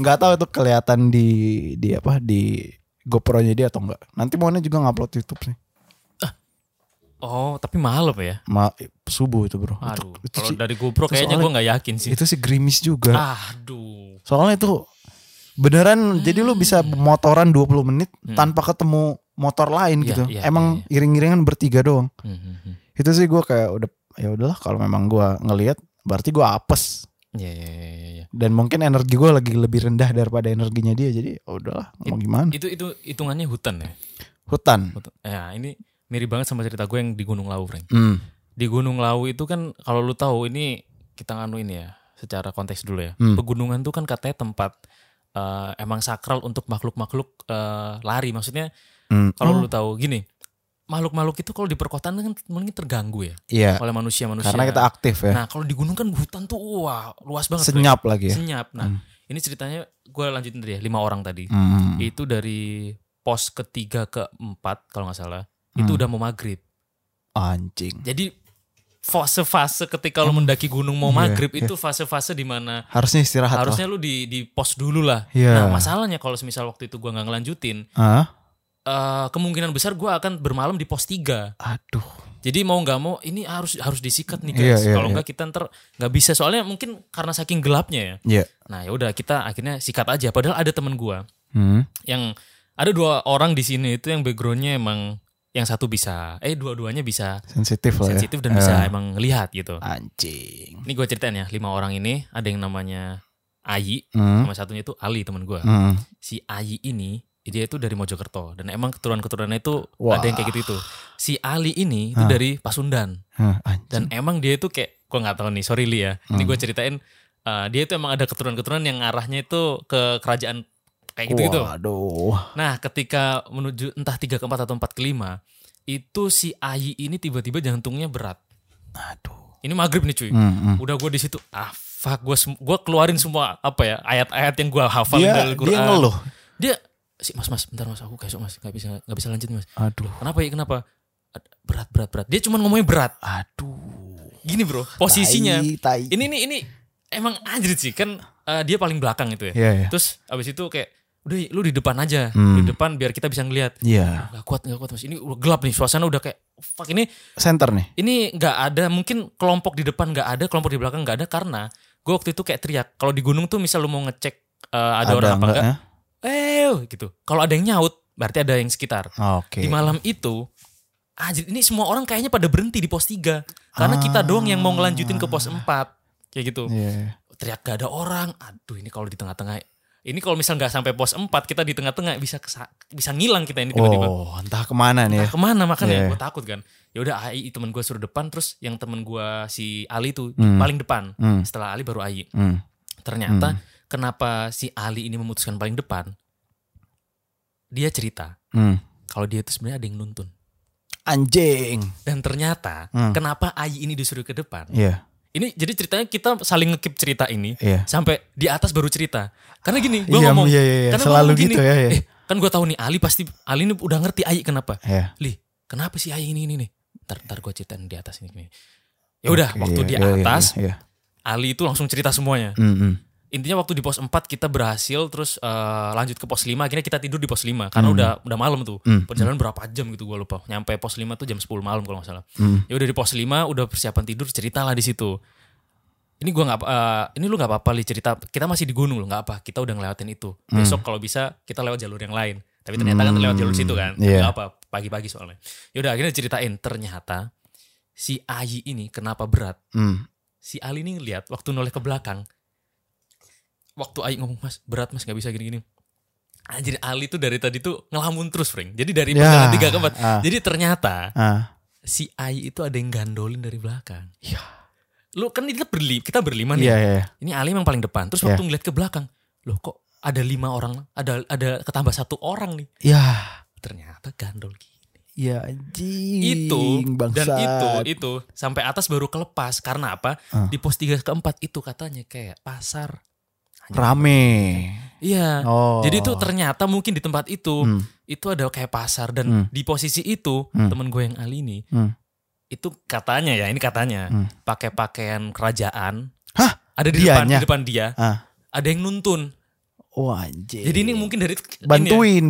[SPEAKER 2] Nggak tahu itu kelihatan di di apa di GoPro-nya dia atau enggak. Nanti maunya juga ngupload YouTube sih.
[SPEAKER 1] Oh, tapi mahal apa ya?
[SPEAKER 2] Ma, subuh itu, Bro.
[SPEAKER 1] Aduh,
[SPEAKER 2] itu, itu,
[SPEAKER 1] kalau
[SPEAKER 2] sih,
[SPEAKER 1] dari GoPro
[SPEAKER 2] itu
[SPEAKER 1] kayaknya
[SPEAKER 2] soalnya-
[SPEAKER 1] gue nggak yakin sih. Ah.
[SPEAKER 2] itu sih gerimis juga.
[SPEAKER 1] Aduh.
[SPEAKER 2] Soalnya itu beneran jadi lu bisa
[SPEAKER 1] Hmm.
[SPEAKER 2] motoran 20 menit tanpa ketemu motor lain
[SPEAKER 1] Iya,
[SPEAKER 2] gitu.
[SPEAKER 1] iya,
[SPEAKER 2] Emang iring-iringan bertiga doang.
[SPEAKER 1] Hmm, hmm, hmm.
[SPEAKER 2] Itu sih gua kayak udah ya udahlah kalau memang gua ngelihat berarti gua apes.
[SPEAKER 1] Iya, iya, iya, iya, iya.
[SPEAKER 2] dan mungkin energi gue lagi lebih rendah daripada energinya dia jadi oh, udahlah
[SPEAKER 1] Iya.
[SPEAKER 2] mau gimana
[SPEAKER 1] Itu itu hitungannya hutan ya.
[SPEAKER 2] hutan
[SPEAKER 1] Hutan. Ya, ini mirip banget sama cerita gue yang di Gunung Lawu, Frank.
[SPEAKER 2] hmm.
[SPEAKER 1] Di Gunung Lawu itu kan kalau lu tahu ini kita nganu ini ya, secara konteks dulu ya.
[SPEAKER 2] Hmm.
[SPEAKER 1] Pegunungan tuh kan katanya tempat eh, emang sakral untuk makhluk-makhluk eh, lari. Maksudnya
[SPEAKER 2] Hmm.
[SPEAKER 1] kalau lu tahu gini, makhluk-makhluk itu kalau di perkotaan kan mungkin terganggu ya
[SPEAKER 2] iya
[SPEAKER 1] oleh manusia-manusia.
[SPEAKER 2] karena kita aktif ya
[SPEAKER 1] Nah, kalau di gunung kan hutan tuh wah, luas banget. Frank.
[SPEAKER 2] senyap lagi ya
[SPEAKER 1] Senyap. Nah, ini ceritanya gue lanjutin tadi ya, lima orang tadi.
[SPEAKER 2] Hmm.
[SPEAKER 1] Itu dari pos ketiga ke empat kalau nggak salah. Itu udah mau maghrib.
[SPEAKER 2] hmm. anjing
[SPEAKER 1] Jadi fase-fase ketika lo mendaki gunung mau
[SPEAKER 2] Iya,
[SPEAKER 1] maghrib
[SPEAKER 2] iya.
[SPEAKER 1] itu fase-fase di mana
[SPEAKER 2] harusnya istirahat
[SPEAKER 1] harusnya lu di di pos dulu lah.
[SPEAKER 2] Iya.
[SPEAKER 1] Nah, masalahnya kalau semisal waktu itu gue nggak ngelanjutin,
[SPEAKER 2] lah. Hah?
[SPEAKER 1] eh, kemungkinan besar gue akan bermalam di pos tiga.
[SPEAKER 2] aduh
[SPEAKER 1] Jadi mau nggak mau ini harus harus disikat nih
[SPEAKER 2] Iya,
[SPEAKER 1] guys.
[SPEAKER 2] iya,
[SPEAKER 1] kalau
[SPEAKER 2] iya.
[SPEAKER 1] nggak kita ntar nggak bisa soalnya mungkin karena saking gelapnya ya.
[SPEAKER 2] ya
[SPEAKER 1] Nah ya udah kita akhirnya sikat aja. Padahal ada temen gua
[SPEAKER 2] hmm.
[SPEAKER 1] yang ada dua orang di sini itu yang backgroundnya emang yang satu bisa, eh dua-duanya bisa
[SPEAKER 2] sensitif lah ya.
[SPEAKER 1] sensitif dan bisa emang lihat gitu.
[SPEAKER 2] Anjing.
[SPEAKER 1] Ini gue ceritain ya, lima orang ini ada yang namanya Ayi,
[SPEAKER 2] Hmm.
[SPEAKER 1] sama satunya itu Ali teman gue.
[SPEAKER 2] Hmm.
[SPEAKER 1] Si Ayi ini dia itu dari Mojokerto dan emang keturunan-keturunannya itu
[SPEAKER 2] Wah.
[SPEAKER 1] ada yang kayak gitu itu. Si Ali ini itu
[SPEAKER 2] Hah.
[SPEAKER 1] dari Pasundan
[SPEAKER 2] Hah, anjing.
[SPEAKER 1] dan emang dia itu kayak gue nggak tahu nih, sorry Li ya.
[SPEAKER 2] Hmm.
[SPEAKER 1] Ini gue ceritain eh, dia itu emang ada keturunan-keturunan yang arahnya itu ke kerajaan kayak gitu-gitu.
[SPEAKER 2] Waduh.
[SPEAKER 1] Nah, ketika menuju entah tiga ke empat atau empat ke lima, itu si Ayi ini tiba-tiba jantungnya berat.
[SPEAKER 2] Aduh.
[SPEAKER 1] Ini maghrib nih cuy.
[SPEAKER 2] Hmm, hmm.
[SPEAKER 1] Udah gue di situ, ah fuck, gue gua keluarin semua apa ya ayat-ayat yang gue hafal
[SPEAKER 2] Dia,
[SPEAKER 1] dari Quran.
[SPEAKER 2] dia ngeluh.
[SPEAKER 1] Dia si mas mas, bentar mas, aku besok mas, nggak bisa nggak bisa lanjut mas.
[SPEAKER 2] Aduh.
[SPEAKER 1] Kenapa ya kenapa? Ad- Berat berat berat. Dia cuma ngomongnya berat.
[SPEAKER 2] Aduh.
[SPEAKER 1] Gini bro, posisinya.
[SPEAKER 2] Tai, tai.
[SPEAKER 1] Ini ini ini emang anjir sih kan eh, dia paling belakang itu ya.
[SPEAKER 2] Iya, iya.
[SPEAKER 1] Terus abis itu kayak udah lu di depan aja, di
[SPEAKER 2] Hmm.
[SPEAKER 1] depan biar kita bisa ngelihat.
[SPEAKER 2] Iya.
[SPEAKER 1] Gak kuat, gak kuat mas. Ini udah gelap nih, suasana udah kayak fuck ini.
[SPEAKER 2] Center nih.
[SPEAKER 1] Ini nggak ada, mungkin kelompok di depan nggak ada, kelompok di belakang nggak ada karena gue waktu itu kayak teriak. Kalau di gunung tuh misal lu mau ngecek eh, ada, orang apa enggak,
[SPEAKER 2] ya?
[SPEAKER 1] eh gitu. Kalau ada yang nyaut, berarti ada yang sekitar.
[SPEAKER 2] Oke.
[SPEAKER 1] Di malam itu, anjir ini semua orang kayaknya pada berhenti di pos 3 karena kita
[SPEAKER 2] Ah.
[SPEAKER 1] doang yang mau ngelanjutin ke pos 4 kayak gitu.
[SPEAKER 2] Iya.
[SPEAKER 1] Teriak gak ada orang, aduh ini kalau di tengah-tengah. Ini kalau misal nggak sampai pos 4 kita di tengah-tengah bisa kesa- bisa ngilang kita ini tiba-tiba.
[SPEAKER 2] Oh, entah kemana nih ya.
[SPEAKER 1] Entah Ah, kemana makanya
[SPEAKER 2] Iya.
[SPEAKER 1] gue takut kan ya udah AI teman gue suruh depan terus yang teman gue si Ali tuh
[SPEAKER 2] Hmm.
[SPEAKER 1] paling depan
[SPEAKER 2] Hmm.
[SPEAKER 1] setelah Ali baru AI
[SPEAKER 2] Hmm.
[SPEAKER 1] ternyata kenapa si Ali ini memutuskan paling depan dia cerita
[SPEAKER 2] Hmm.
[SPEAKER 1] kalau dia itu sebenarnya ada yang nuntun
[SPEAKER 2] Anjing.
[SPEAKER 1] dan ternyata
[SPEAKER 2] Hmm.
[SPEAKER 1] kenapa AI ini disuruh ke depan
[SPEAKER 2] Iya.
[SPEAKER 1] ini jadi ceritanya kita saling ngekip cerita ini
[SPEAKER 2] Iya.
[SPEAKER 1] sampai di atas baru cerita karena gini gue
[SPEAKER 2] Iya,
[SPEAKER 1] ngomong
[SPEAKER 2] iya, iya, iya.
[SPEAKER 1] karena gua
[SPEAKER 2] Selalu
[SPEAKER 1] ngomong gini,
[SPEAKER 2] gitu ya, iya.
[SPEAKER 1] eh, kan gue tahu nih Ali pasti Ali ini udah ngerti AI kenapa
[SPEAKER 2] Iya.
[SPEAKER 1] Lih, kenapa sih ayah ini ini nih? Ntar, ntar gue ceritain di atas ini. ini. Ya udah,
[SPEAKER 2] Oke,
[SPEAKER 1] waktu
[SPEAKER 2] iya,
[SPEAKER 1] di
[SPEAKER 2] iya, iya,
[SPEAKER 1] atas,
[SPEAKER 2] Iya.
[SPEAKER 1] Ali itu langsung cerita semuanya.
[SPEAKER 2] Hmm, hmm.
[SPEAKER 1] Intinya waktu di pos 4 kita berhasil terus eh, lanjut ke pos 5, akhirnya kita tidur di pos 5 karena udah udah malam tuh.
[SPEAKER 2] Hmm.
[SPEAKER 1] Perjalanan berapa jam gitu gua lupa. Nyampe pos 5 tuh jam 10 malam kalau nggak salah.
[SPEAKER 2] Hmm.
[SPEAKER 1] Ya udah di pos 5 udah persiapan tidur ceritalah di situ. Ini gua nggak eh, ini lu nggak apa-apa li cerita. Kita masih di gunung loh, nggak apa. Kita udah ngelewatin itu.
[SPEAKER 2] Hmm.
[SPEAKER 1] Besok kalau bisa kita lewat jalur yang lain. Tapi ternyata kan lewat jalur situ kan.
[SPEAKER 2] Iya.
[SPEAKER 1] Nggak apa pagi-pagi soalnya. Ya udah akhirnya ceritain ternyata si Ayi ini kenapa berat
[SPEAKER 2] Hmm.
[SPEAKER 1] si Ali ini ngeliat waktu noleh ke belakang waktu Ayi ngomong mas berat mas nggak bisa gini-gini anjir Ali tuh dari tadi tuh ngelamun terus Frank jadi dari
[SPEAKER 2] Ya.
[SPEAKER 1] perjalanan tiga ke empat
[SPEAKER 2] Ah.
[SPEAKER 1] jadi ternyata
[SPEAKER 2] Ah.
[SPEAKER 1] si Ayi itu ada yang gandolin dari belakang
[SPEAKER 2] Ya.
[SPEAKER 1] lu kan kita berlima kita berlima nih
[SPEAKER 2] Iya, iya. iya.
[SPEAKER 1] ini Ali memang paling depan terus
[SPEAKER 2] Iya.
[SPEAKER 1] waktu ngeliat ke belakang loh kok ada lima orang ada ada ketambah satu orang nih
[SPEAKER 2] Iya.
[SPEAKER 1] ternyata gandol gini
[SPEAKER 2] Iya, anjing.
[SPEAKER 1] itu dan
[SPEAKER 2] bangsat.
[SPEAKER 1] itu itu sampai atas baru kelepas karena apa
[SPEAKER 2] Ah.
[SPEAKER 1] di pos tiga keempat itu katanya kayak pasar
[SPEAKER 2] rame.
[SPEAKER 1] iya
[SPEAKER 2] Oh.
[SPEAKER 1] jadi itu ternyata mungkin di tempat itu
[SPEAKER 2] Hmm.
[SPEAKER 1] itu ada kayak pasar dan
[SPEAKER 2] Hmm.
[SPEAKER 1] di posisi itu
[SPEAKER 2] Hmm.
[SPEAKER 1] temen gue yang Ali ini
[SPEAKER 2] Hmm.
[SPEAKER 1] itu katanya ya ini katanya
[SPEAKER 2] Hmm.
[SPEAKER 1] pakai pakaian kerajaan
[SPEAKER 2] Hah?
[SPEAKER 1] ada di depan
[SPEAKER 2] Dianya?
[SPEAKER 1] di depan dia
[SPEAKER 2] Ah.
[SPEAKER 1] ada yang nuntun
[SPEAKER 2] Oh, anjing.
[SPEAKER 1] jadi ini mungkin dari ini ya,
[SPEAKER 2] bantuin,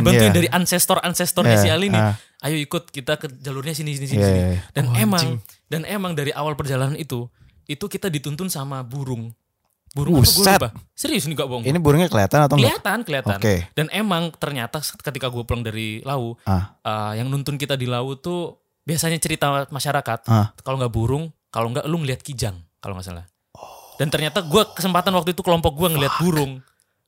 [SPEAKER 1] iya, bantuin
[SPEAKER 2] iya.
[SPEAKER 1] dari ancestor ancestornya
[SPEAKER 2] Iya,
[SPEAKER 1] si Ali ini
[SPEAKER 2] ah.
[SPEAKER 1] ayo ikut kita ke jalurnya sini sini sini,
[SPEAKER 2] Iya,
[SPEAKER 1] sini.
[SPEAKER 2] iya, iya.
[SPEAKER 1] Dan
[SPEAKER 2] Oh,
[SPEAKER 1] emang
[SPEAKER 2] anjing.
[SPEAKER 1] dan emang dari awal perjalanan itu itu kita dituntun sama burung. Burung
[SPEAKER 2] Buset.
[SPEAKER 1] apa gue lupa. Serius nih gak bohong.
[SPEAKER 2] ini burungnya kelihatan atau enggak?
[SPEAKER 1] kelihatan, kelihatan.
[SPEAKER 2] Oke.
[SPEAKER 1] Dan emang ternyata ketika gue pulang dari Lau,
[SPEAKER 2] Ah.
[SPEAKER 1] eh, yang nuntun kita di Lau tuh biasanya cerita masyarakat.
[SPEAKER 2] Ah.
[SPEAKER 1] Kalau nggak burung, kalau nggak lu ngeliat kijang, kalau nggak salah.
[SPEAKER 2] Oh.
[SPEAKER 1] Dan ternyata gue kesempatan waktu itu kelompok gue ngeliat burung.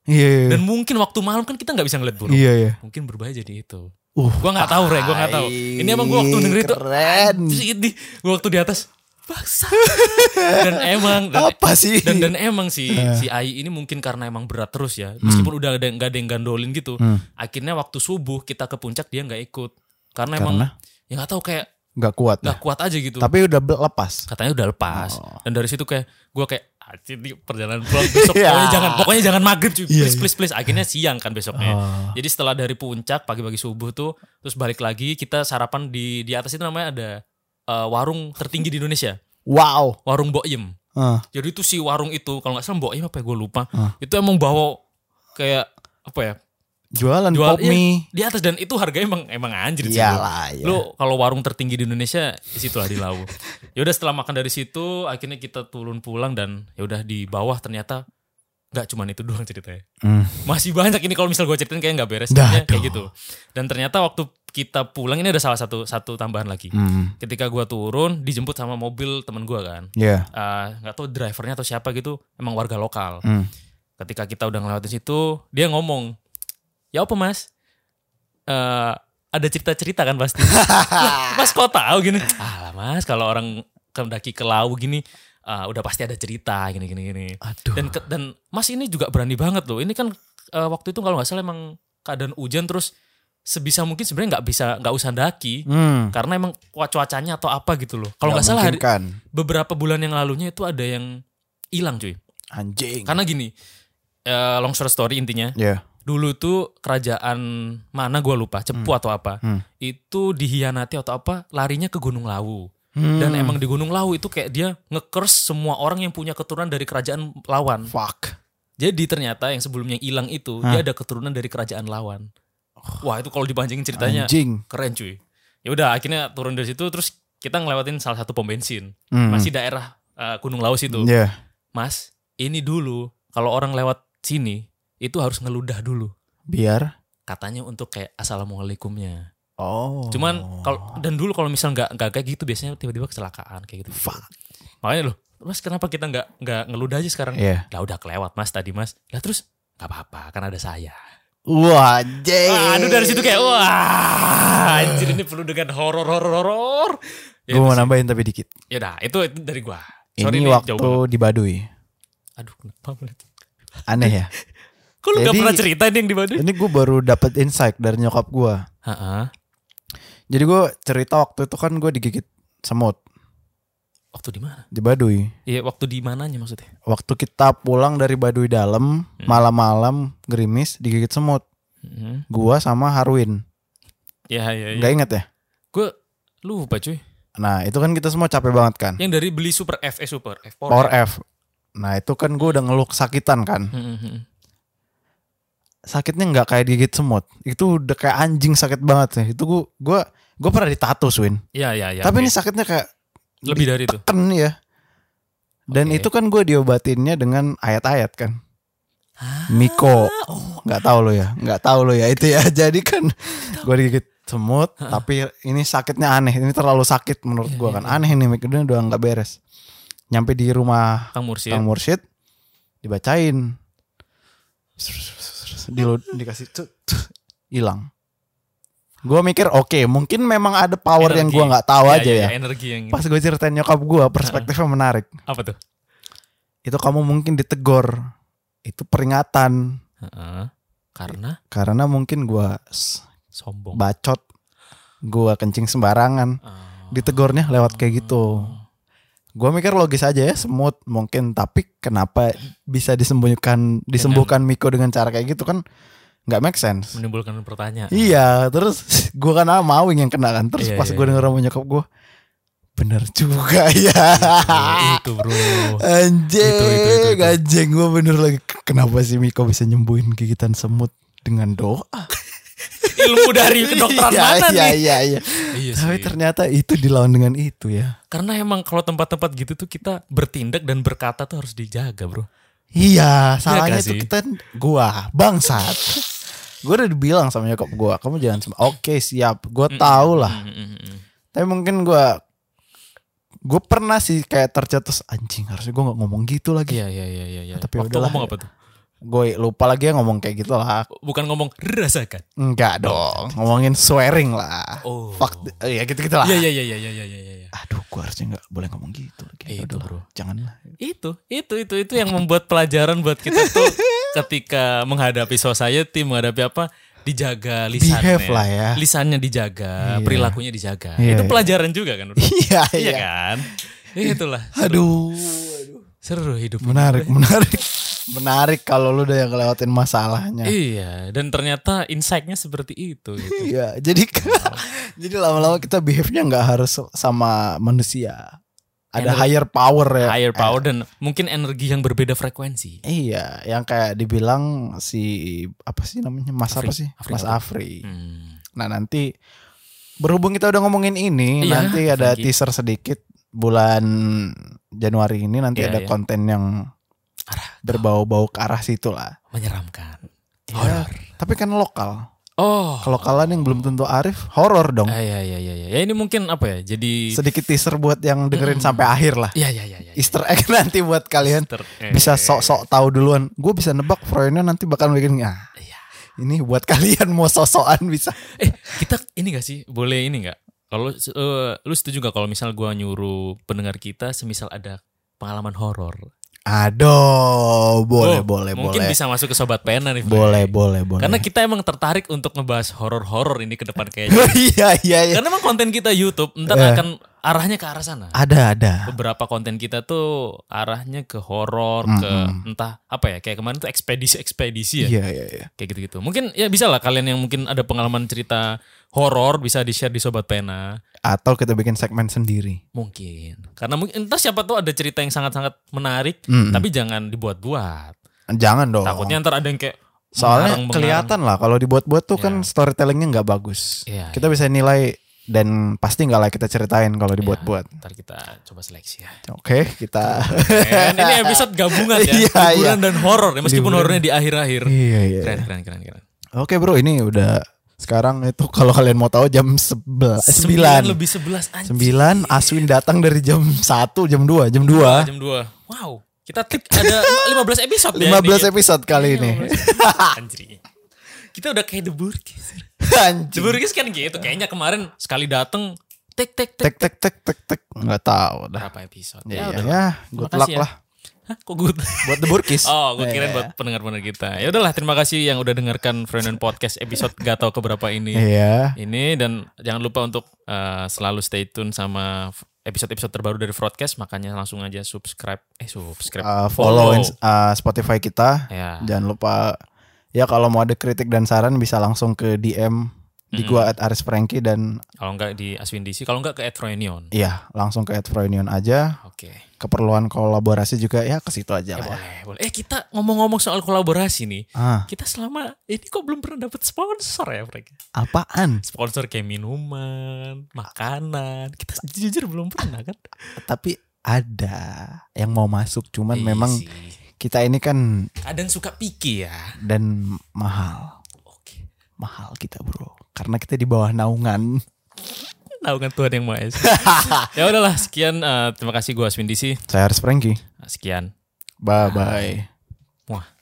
[SPEAKER 2] Iya. iya, iya.
[SPEAKER 1] Dan mungkin waktu malam kan kita nggak bisa ngeliat burung.
[SPEAKER 2] Iya, iya.
[SPEAKER 1] Mungkin berubah jadi itu.
[SPEAKER 2] Uh,
[SPEAKER 1] Gue nggak tahu, Re. Gue nggak tahu. Ini emang gue waktu denger itu,
[SPEAKER 2] Keren.
[SPEAKER 1] ini gue waktu di atas baksa dan emang dan,
[SPEAKER 2] Apa sih?
[SPEAKER 1] dan, dan emang si
[SPEAKER 2] Iya.
[SPEAKER 1] si Ai ini mungkin karena emang berat terus ya meskipun udah ada nggak ada yang gandolin gitu
[SPEAKER 2] Hmm.
[SPEAKER 1] akhirnya waktu subuh kita ke puncak dia nggak ikut karena, emang
[SPEAKER 2] Karena
[SPEAKER 1] ya nggak tahu kayak
[SPEAKER 2] nggak kuat.
[SPEAKER 1] nggak
[SPEAKER 2] ya.
[SPEAKER 1] kuat aja gitu
[SPEAKER 2] Tapi udah be- lepas.
[SPEAKER 1] katanya udah lepas
[SPEAKER 2] Oh.
[SPEAKER 1] dan dari situ kayak gue kayak "Ah, cik, ini perjalanan pulang besok
[SPEAKER 2] Iya.
[SPEAKER 1] pokoknya jangan pokoknya jangan maghrib cuy
[SPEAKER 2] Iya,
[SPEAKER 1] please
[SPEAKER 2] iya.
[SPEAKER 1] please please akhirnya siang kan besoknya
[SPEAKER 2] Oh.
[SPEAKER 1] jadi setelah dari puncak pagi-pagi subuh tuh terus balik lagi kita sarapan di di atas itu namanya ada eh, warung tertinggi di Indonesia
[SPEAKER 2] Wow.
[SPEAKER 1] warung Boyem.
[SPEAKER 2] Ah,
[SPEAKER 1] Jadi itu si warung itu kalau nggak salah Boyem apa ya gue lupa.
[SPEAKER 2] Ah.
[SPEAKER 1] Itu emang bawa kayak apa ya
[SPEAKER 2] jualan
[SPEAKER 1] Jual- iya.
[SPEAKER 2] pop mie.
[SPEAKER 1] di atas dan itu harganya emang emang anjir sih. bro.
[SPEAKER 2] Iyalah, ya.
[SPEAKER 1] Lu kalau warung tertinggi di Indonesia di situ lah di Lawu. ya udah setelah makan dari situ akhirnya kita turun pulang dan ya udah di bawah ternyata nggak cuman itu doang ceritanya.
[SPEAKER 2] Hmm.
[SPEAKER 1] Masih banyak ini kalau misal gue ceritain kayak nggak beres
[SPEAKER 2] Dah,
[SPEAKER 1] kayaknya kayak
[SPEAKER 2] aduh.
[SPEAKER 1] gitu. Dan ternyata waktu kita pulang ini ada salah satu satu tambahan lagi.
[SPEAKER 2] Hmm.
[SPEAKER 1] Ketika gua turun dijemput sama mobil temen gua kan.
[SPEAKER 2] Ya.
[SPEAKER 1] Eh, nggak tahu drivernya atau siapa gitu emang warga lokal.
[SPEAKER 2] Hmm.
[SPEAKER 1] Ketika kita udah ngelewatin situ dia ngomong, "Ya apa Mas?" Eh ada cerita-cerita kan pasti. Lah, mas kok tahu gini? Ah lah, Mas kalau orang kendaki ke laut gini eh, udah pasti ada cerita gini gini gini.
[SPEAKER 2] Aduh.
[SPEAKER 1] Dan ke- dan Mas ini juga berani banget loh. Ini kan eh, waktu itu kalau nggak salah emang keadaan hujan terus sebisa mungkin sebenarnya nggak bisa nggak usah daki
[SPEAKER 2] Hmm.
[SPEAKER 1] karena emang cua- cuacanya atau apa gitu loh. Kalau nggak salah hari,
[SPEAKER 2] memungkinkan.
[SPEAKER 1] beberapa bulan yang lalunya itu ada yang hilang cuy.
[SPEAKER 2] anjing.
[SPEAKER 1] Hmm. Karena gini, eh, long short story intinya,
[SPEAKER 2] Ya.
[SPEAKER 1] dulu tuh kerajaan mana gua lupa, Cepu atau apa,
[SPEAKER 2] Hmm.
[SPEAKER 1] itu dihianati atau apa, larinya ke Gunung Lawu.
[SPEAKER 2] Hmm.
[SPEAKER 1] Dan emang di Gunung Lawu itu kayak dia ngekers semua orang yang punya keturunan dari kerajaan lawan.
[SPEAKER 2] fuck.
[SPEAKER 1] Jadi ternyata yang sebelumnya hilang itu dia ada keturunan dari kerajaan lawan. Wah itu kalau dipancingin ceritanya
[SPEAKER 2] Oh. Anjing.
[SPEAKER 1] keren cuy. Ya udah akhirnya turun dari situ terus kita ngelewatin salah satu pom bensin
[SPEAKER 2] Hmm.
[SPEAKER 1] masih daerah eh, Gunung Laos itu.
[SPEAKER 2] Ya.
[SPEAKER 1] Mas, ini dulu kalau orang lewat sini itu harus ngeludah dulu.
[SPEAKER 2] Biar.
[SPEAKER 1] Katanya untuk kayak assalamualaikumnya.
[SPEAKER 2] Oh.
[SPEAKER 1] Cuman kalau dan dulu kalau misal nggak nggak kayak gitu biasanya tiba-tiba kecelakaan kayak gitu.
[SPEAKER 2] fuck.
[SPEAKER 1] Makanya loh, Mas kenapa kita nggak nggak ngeludah aja sekarang?
[SPEAKER 2] Ya.
[SPEAKER 1] Lah udah kelewat Mas tadi Mas. Lah terus nggak apa-apa kan ada saya.
[SPEAKER 2] Wah, anjing.
[SPEAKER 1] Ah, Aduh dari situ Ah. kayak wah anjir ini perlu dengan horor horor horor. Ya
[SPEAKER 2] Gue mau
[SPEAKER 1] itu sih.
[SPEAKER 2] nambahin tapi dikit.
[SPEAKER 1] Yaudah, itu, itu dari gua.
[SPEAKER 2] Ini
[SPEAKER 1] nih,
[SPEAKER 2] waktu
[SPEAKER 1] jauh banget.
[SPEAKER 2] di Baduy.
[SPEAKER 1] Aduh kenapa banget.
[SPEAKER 2] Aneh ya.
[SPEAKER 1] Kok lu nggak
[SPEAKER 2] Jadi- Iya.
[SPEAKER 1] pernah cerita ini yang di Baduy?
[SPEAKER 2] Ini gue baru dapet insight dari nyokap gue.
[SPEAKER 1] Heeh.
[SPEAKER 2] Jadi gue cerita waktu itu kan gue digigit semut
[SPEAKER 1] Waktu di mana?
[SPEAKER 2] di Baduy.
[SPEAKER 1] Iya, waktu di mananya maksudnya?
[SPEAKER 2] Waktu kita pulang dari Baduy
[SPEAKER 1] Hmm.
[SPEAKER 2] dalam malam-malam gerimis digigit semut.
[SPEAKER 1] Heeh.
[SPEAKER 2] Gua sama Harwin.
[SPEAKER 1] Ya, ya, ya.
[SPEAKER 2] Gak inget ya?
[SPEAKER 1] Gue lupa cuy.
[SPEAKER 2] Nah itu kan kita semua capek banget kan.
[SPEAKER 1] Yang dari beli super F, eh super F
[SPEAKER 2] Power F. Nah itu kan gue udah ngeluh kesakitan kan.
[SPEAKER 1] Heeh, heeh.
[SPEAKER 2] Sakitnya nggak kayak digigit semut. Itu udah kayak anjing sakit banget sih. Itu gue gua gua pernah ditato Win.
[SPEAKER 1] Ya, ya, ya.
[SPEAKER 2] Tapi
[SPEAKER 1] oke.
[SPEAKER 2] ini sakitnya kayak
[SPEAKER 1] lebih dari itu.
[SPEAKER 2] teken ya. Dan
[SPEAKER 1] Oke.
[SPEAKER 2] itu kan gue diobatinnya dengan ayat-ayat kan.
[SPEAKER 1] Ah,
[SPEAKER 2] Miko.
[SPEAKER 1] Oh,
[SPEAKER 2] nggak tahu lo ya nggak tahu lo ya itu ya jadi kan gue digigit semut tapi ini sakitnya aneh ini terlalu sakit menurut
[SPEAKER 1] Iya,
[SPEAKER 2] gua
[SPEAKER 1] iya,
[SPEAKER 2] kan aneh nih mikirnya udah nggak beres nyampe di rumah
[SPEAKER 1] Kang Mursi. ya?
[SPEAKER 2] Kang Mursyid dibacain di dikasih tut, tut, hilang gua mikir oke mungkin memang ada power yang gua
[SPEAKER 1] Energi.
[SPEAKER 2] nggak tahu
[SPEAKER 1] Ya,
[SPEAKER 2] aja
[SPEAKER 1] ya,
[SPEAKER 2] ya,
[SPEAKER 1] ya, Energi yang
[SPEAKER 2] pas gue ceritain nyokap gua perspektifnya menarik
[SPEAKER 1] apa tuh?
[SPEAKER 2] itu kamu mungkin ditegor itu peringatan
[SPEAKER 1] Heeh. Karena
[SPEAKER 2] karena mungkin gua s-
[SPEAKER 1] sombong.
[SPEAKER 2] bacot gua kencing sembarangan
[SPEAKER 1] Ah.
[SPEAKER 2] ditegurnya lewat kayak gitu gua mikir logis aja ya semut mungkin tapi kenapa bisa disembunyikan disembuhkan Miko dengan cara kayak gitu kan nggak make sense
[SPEAKER 1] menimbulkan pertanyaan.
[SPEAKER 2] iya terus gua kan mau yang kena kan terus
[SPEAKER 1] Iya,
[SPEAKER 2] pas
[SPEAKER 1] iya,
[SPEAKER 2] gua
[SPEAKER 1] iya.
[SPEAKER 2] denger sama nyokap gua bener juga ya
[SPEAKER 1] Ya, itu, Bro. Itu, itu, itu,
[SPEAKER 2] anjing
[SPEAKER 1] itu.
[SPEAKER 2] anjing gua bener lagi kenapa sih Miko bisa nyembuhin gigitan semut dengan doa
[SPEAKER 1] Ilmu dari kedokteran
[SPEAKER 2] Iya,
[SPEAKER 1] mana
[SPEAKER 2] iya,
[SPEAKER 1] nih?
[SPEAKER 2] iya, iya.
[SPEAKER 1] Iya
[SPEAKER 2] Tapi
[SPEAKER 1] sih.
[SPEAKER 2] ternyata itu dilawan dengan itu ya.
[SPEAKER 1] Karena emang kalau tempat-tempat gitu tuh kita bertindak dan berkata tuh harus dijaga, Bro.
[SPEAKER 2] Iya, salahnya
[SPEAKER 1] gak
[SPEAKER 2] itu
[SPEAKER 1] sih?
[SPEAKER 2] kita gua bangsat. gua udah dibilang sama nyokap gua, kamu jangan sem- Oke, siap. Gua tahu
[SPEAKER 1] Mm,
[SPEAKER 2] lah.
[SPEAKER 1] mm, mm, mm.
[SPEAKER 2] Tapi mungkin gua gua pernah sih kayak tercetus anjing, harusnya gua nggak ngomong gitu lagi.
[SPEAKER 1] Iya, iya, iya, iya, iya.
[SPEAKER 2] Tapi
[SPEAKER 1] Waktu
[SPEAKER 2] udahlah,
[SPEAKER 1] ngomong
[SPEAKER 2] ya.
[SPEAKER 1] apa tuh?
[SPEAKER 2] Gue lupa lagi ya ngomong kayak gitu lah.
[SPEAKER 1] Bukan ngomong rasakan.
[SPEAKER 2] Enggak dong, ngomongin swearing lah.
[SPEAKER 1] Oh.
[SPEAKER 2] Fuck, the- eh, ya gitu-gitu lah.
[SPEAKER 1] Iya, iya, iya, iya, iya, iya, iya, iya.
[SPEAKER 2] Aduh, gua harusnya nggak boleh ngomong gitu lagi.
[SPEAKER 1] Eh, itu,
[SPEAKER 2] Udahlah,
[SPEAKER 1] bro.
[SPEAKER 2] Janganlah.
[SPEAKER 1] Itu, itu, itu, itu yang membuat pelajaran buat kita tuh ketika menghadapi society, menghadapi apa, dijaga lisannya.
[SPEAKER 2] Behave lah ya.
[SPEAKER 1] Lisannya dijaga,
[SPEAKER 2] Iya.
[SPEAKER 1] perilakunya dijaga.
[SPEAKER 2] Iya,
[SPEAKER 1] itu
[SPEAKER 2] iya.
[SPEAKER 1] pelajaran juga kan, bro?
[SPEAKER 2] Iya,
[SPEAKER 1] iya
[SPEAKER 2] iya.
[SPEAKER 1] kan? Itulah.
[SPEAKER 2] Aduh, aduh.
[SPEAKER 1] Seru hidup.
[SPEAKER 2] Menarik, menarik, Iya. menarik kalau lu udah ngelewatin masalahnya.
[SPEAKER 1] Iya, dan ternyata insight-nya seperti itu gitu.
[SPEAKER 2] Iya, jadi jadi lama-lama kita behave-nya nggak harus sama manusia. Ada
[SPEAKER 1] Energi-
[SPEAKER 2] higher power ya.
[SPEAKER 1] Higher power dan mungkin energi yang berbeda frekuensi.
[SPEAKER 2] Eh, iya, yang kayak dibilang si apa sih namanya Mas
[SPEAKER 1] Afri.
[SPEAKER 2] apa sih
[SPEAKER 1] Afri
[SPEAKER 2] Mas
[SPEAKER 1] apa?
[SPEAKER 2] Afri.
[SPEAKER 1] Hmm.
[SPEAKER 2] Nah nanti berhubung kita udah ngomongin ini,
[SPEAKER 1] Iya,
[SPEAKER 2] nanti ada
[SPEAKER 1] Frankie.
[SPEAKER 2] teaser sedikit bulan Januari ini nanti
[SPEAKER 1] Iya,
[SPEAKER 2] ada
[SPEAKER 1] iya.
[SPEAKER 2] konten yang
[SPEAKER 1] Arah
[SPEAKER 2] berbau-bau ke arah situ lah.
[SPEAKER 1] menyeramkan.
[SPEAKER 2] Iya. Tapi kan lokal.
[SPEAKER 1] Oh.
[SPEAKER 2] Kalau kalian yang belum tentu arif, horor dong.
[SPEAKER 1] Ah, ya, ya, ya, ya. Ya ini mungkin apa ya? Jadi
[SPEAKER 2] Sedikit teaser buat yang dengerin sampai akhir lah.
[SPEAKER 1] ya, ya, ya, ya.
[SPEAKER 2] Easter egg nanti buat kalian
[SPEAKER 1] Easter egg.
[SPEAKER 2] bisa sok-sok tahu duluan. Gue bisa nebak Froyna nanti bakal bikin ah,
[SPEAKER 1] Iya.
[SPEAKER 2] ini buat kalian mau sosokan bisa.
[SPEAKER 1] Eh, kita ini gak sih? Boleh ini gak? Kalau eh, lu setuju gak kalau misal gua nyuruh pendengar kita semisal ada pengalaman horor?
[SPEAKER 2] Aduh,
[SPEAKER 1] Oh,
[SPEAKER 2] boleh boleh
[SPEAKER 1] Mungkin
[SPEAKER 2] Eh, boleh.
[SPEAKER 1] bisa masuk ke sobat pena nih. Fre.
[SPEAKER 2] Boleh boleh boleh.
[SPEAKER 1] Karena kita emang tertarik untuk ngebahas horor-horor ini ke depan kayaknya.
[SPEAKER 2] iya iya iya.
[SPEAKER 1] Karena emang konten kita YouTube ntar
[SPEAKER 2] Eh.
[SPEAKER 1] akan arahnya ke arah sana.
[SPEAKER 2] Ada ada.
[SPEAKER 1] Beberapa konten kita tuh arahnya ke horor, ke entah apa ya, kayak kemarin tuh ekspedisi-ekspedisi ya.
[SPEAKER 2] Iya iya iya.
[SPEAKER 1] Kayak gitu-gitu. Mungkin ya bisa lah kalian yang mungkin ada pengalaman cerita horor bisa di-share di sobat pena.
[SPEAKER 2] Atau kita bikin segmen sendiri.
[SPEAKER 1] Mungkin. Karena mungkin entah siapa tuh ada cerita yang sangat-sangat menarik,
[SPEAKER 2] Mm-mm.
[SPEAKER 1] tapi jangan dibuat-buat.
[SPEAKER 2] Jangan dong.
[SPEAKER 1] Takutnya ntar ada yang kayak
[SPEAKER 2] Soalnya
[SPEAKER 1] mengarang-mengarang.
[SPEAKER 2] kelihatan lah kalau dibuat-buat tuh kan
[SPEAKER 1] Iya.
[SPEAKER 2] storytellingnya nggak bagus.
[SPEAKER 1] Iya, Iya.
[SPEAKER 2] kita bisa nilai dan pasti nggak lah kita ceritain kalau dibuat-buat.
[SPEAKER 1] Ntar kita coba seleksi ya.
[SPEAKER 2] Oke, kita.
[SPEAKER 1] Keren. ini episode gabungan ya,
[SPEAKER 2] Iya,
[SPEAKER 1] hiburan dan horor ya, meskipun
[SPEAKER 2] Liburan.
[SPEAKER 1] horornya di akhir-akhir.
[SPEAKER 2] iya iya.
[SPEAKER 1] Keren, keren, keren, keren.
[SPEAKER 2] Oke bro, ini udah sekarang itu kalau kalian mau tahu jam sebel-
[SPEAKER 1] Sembilan
[SPEAKER 2] sembilan
[SPEAKER 1] lebih sebelas anjing.
[SPEAKER 2] Sembilan Aswin datang dari jam 1, jam 2, jam 2.
[SPEAKER 1] Iya, Jam dua. Wow, kita tik ada 15 episode ya.
[SPEAKER 2] 15 episode kali ini.
[SPEAKER 1] iya, Anjir. Kita udah kayak The Burgess. The
[SPEAKER 2] Anjing.
[SPEAKER 1] Burgess kan gitu, kayaknya kemarin sekali datang tek tek tek
[SPEAKER 2] Tek tek tek tek tek nggak tahu dah.
[SPEAKER 1] berapa episode.
[SPEAKER 2] Ya, ya,
[SPEAKER 1] udah.
[SPEAKER 2] ya, good
[SPEAKER 1] Makasih
[SPEAKER 2] luck
[SPEAKER 1] ya.
[SPEAKER 2] lah Iya,
[SPEAKER 1] Hah, kok good?
[SPEAKER 2] buat The Burkis.
[SPEAKER 1] Oh, gue kirain buat pendengar-pendengar kita. Ya udahlah, terima kasih yang udah dengarkan Friend and Podcast episode gak tau keberapa ini.
[SPEAKER 2] Iya.
[SPEAKER 1] ini dan jangan lupa untuk eh, selalu stay tune sama f- episode-episode terbaru dari broadcast makanya langsung aja subscribe eh subscribe
[SPEAKER 2] Uh, follow ins- uh, Spotify kita.
[SPEAKER 1] ya
[SPEAKER 2] Jangan lupa ya kalau mau ada kritik dan saran bisa langsung ke DM di gua at Aris Franky dan
[SPEAKER 1] kalau enggak di Aswindisi kalau enggak ke @froenion
[SPEAKER 2] iya Ya langsung ke at Froynion aja
[SPEAKER 1] oke
[SPEAKER 2] keperluan kolaborasi juga ya ke situ
[SPEAKER 1] Eh,
[SPEAKER 2] aja lah. ya.
[SPEAKER 1] boleh boleh eh kita ngomong-ngomong soal kolaborasi nih
[SPEAKER 2] Ah,
[SPEAKER 1] kita selama ini kok belum pernah dapet sponsor ya mereka
[SPEAKER 2] apaan?
[SPEAKER 1] sponsor kayak minuman makanan kita jujur belum pernah kan
[SPEAKER 2] Tapi ada yang mau masuk cuman
[SPEAKER 1] Iya
[SPEAKER 2] memang
[SPEAKER 1] sih.
[SPEAKER 2] kita ini kan
[SPEAKER 1] kadang suka piki ya
[SPEAKER 2] dan mahal.
[SPEAKER 1] oke
[SPEAKER 2] Mahal kita, Bro. Karena kita di bawah naungan.
[SPEAKER 1] naungan kan Tuhan yang maha esa ya udahlah sekian eh, terima kasih gue Aswindisi
[SPEAKER 2] Saya harus Frankie.
[SPEAKER 1] sekian
[SPEAKER 2] Bye bye.
[SPEAKER 1] Wah.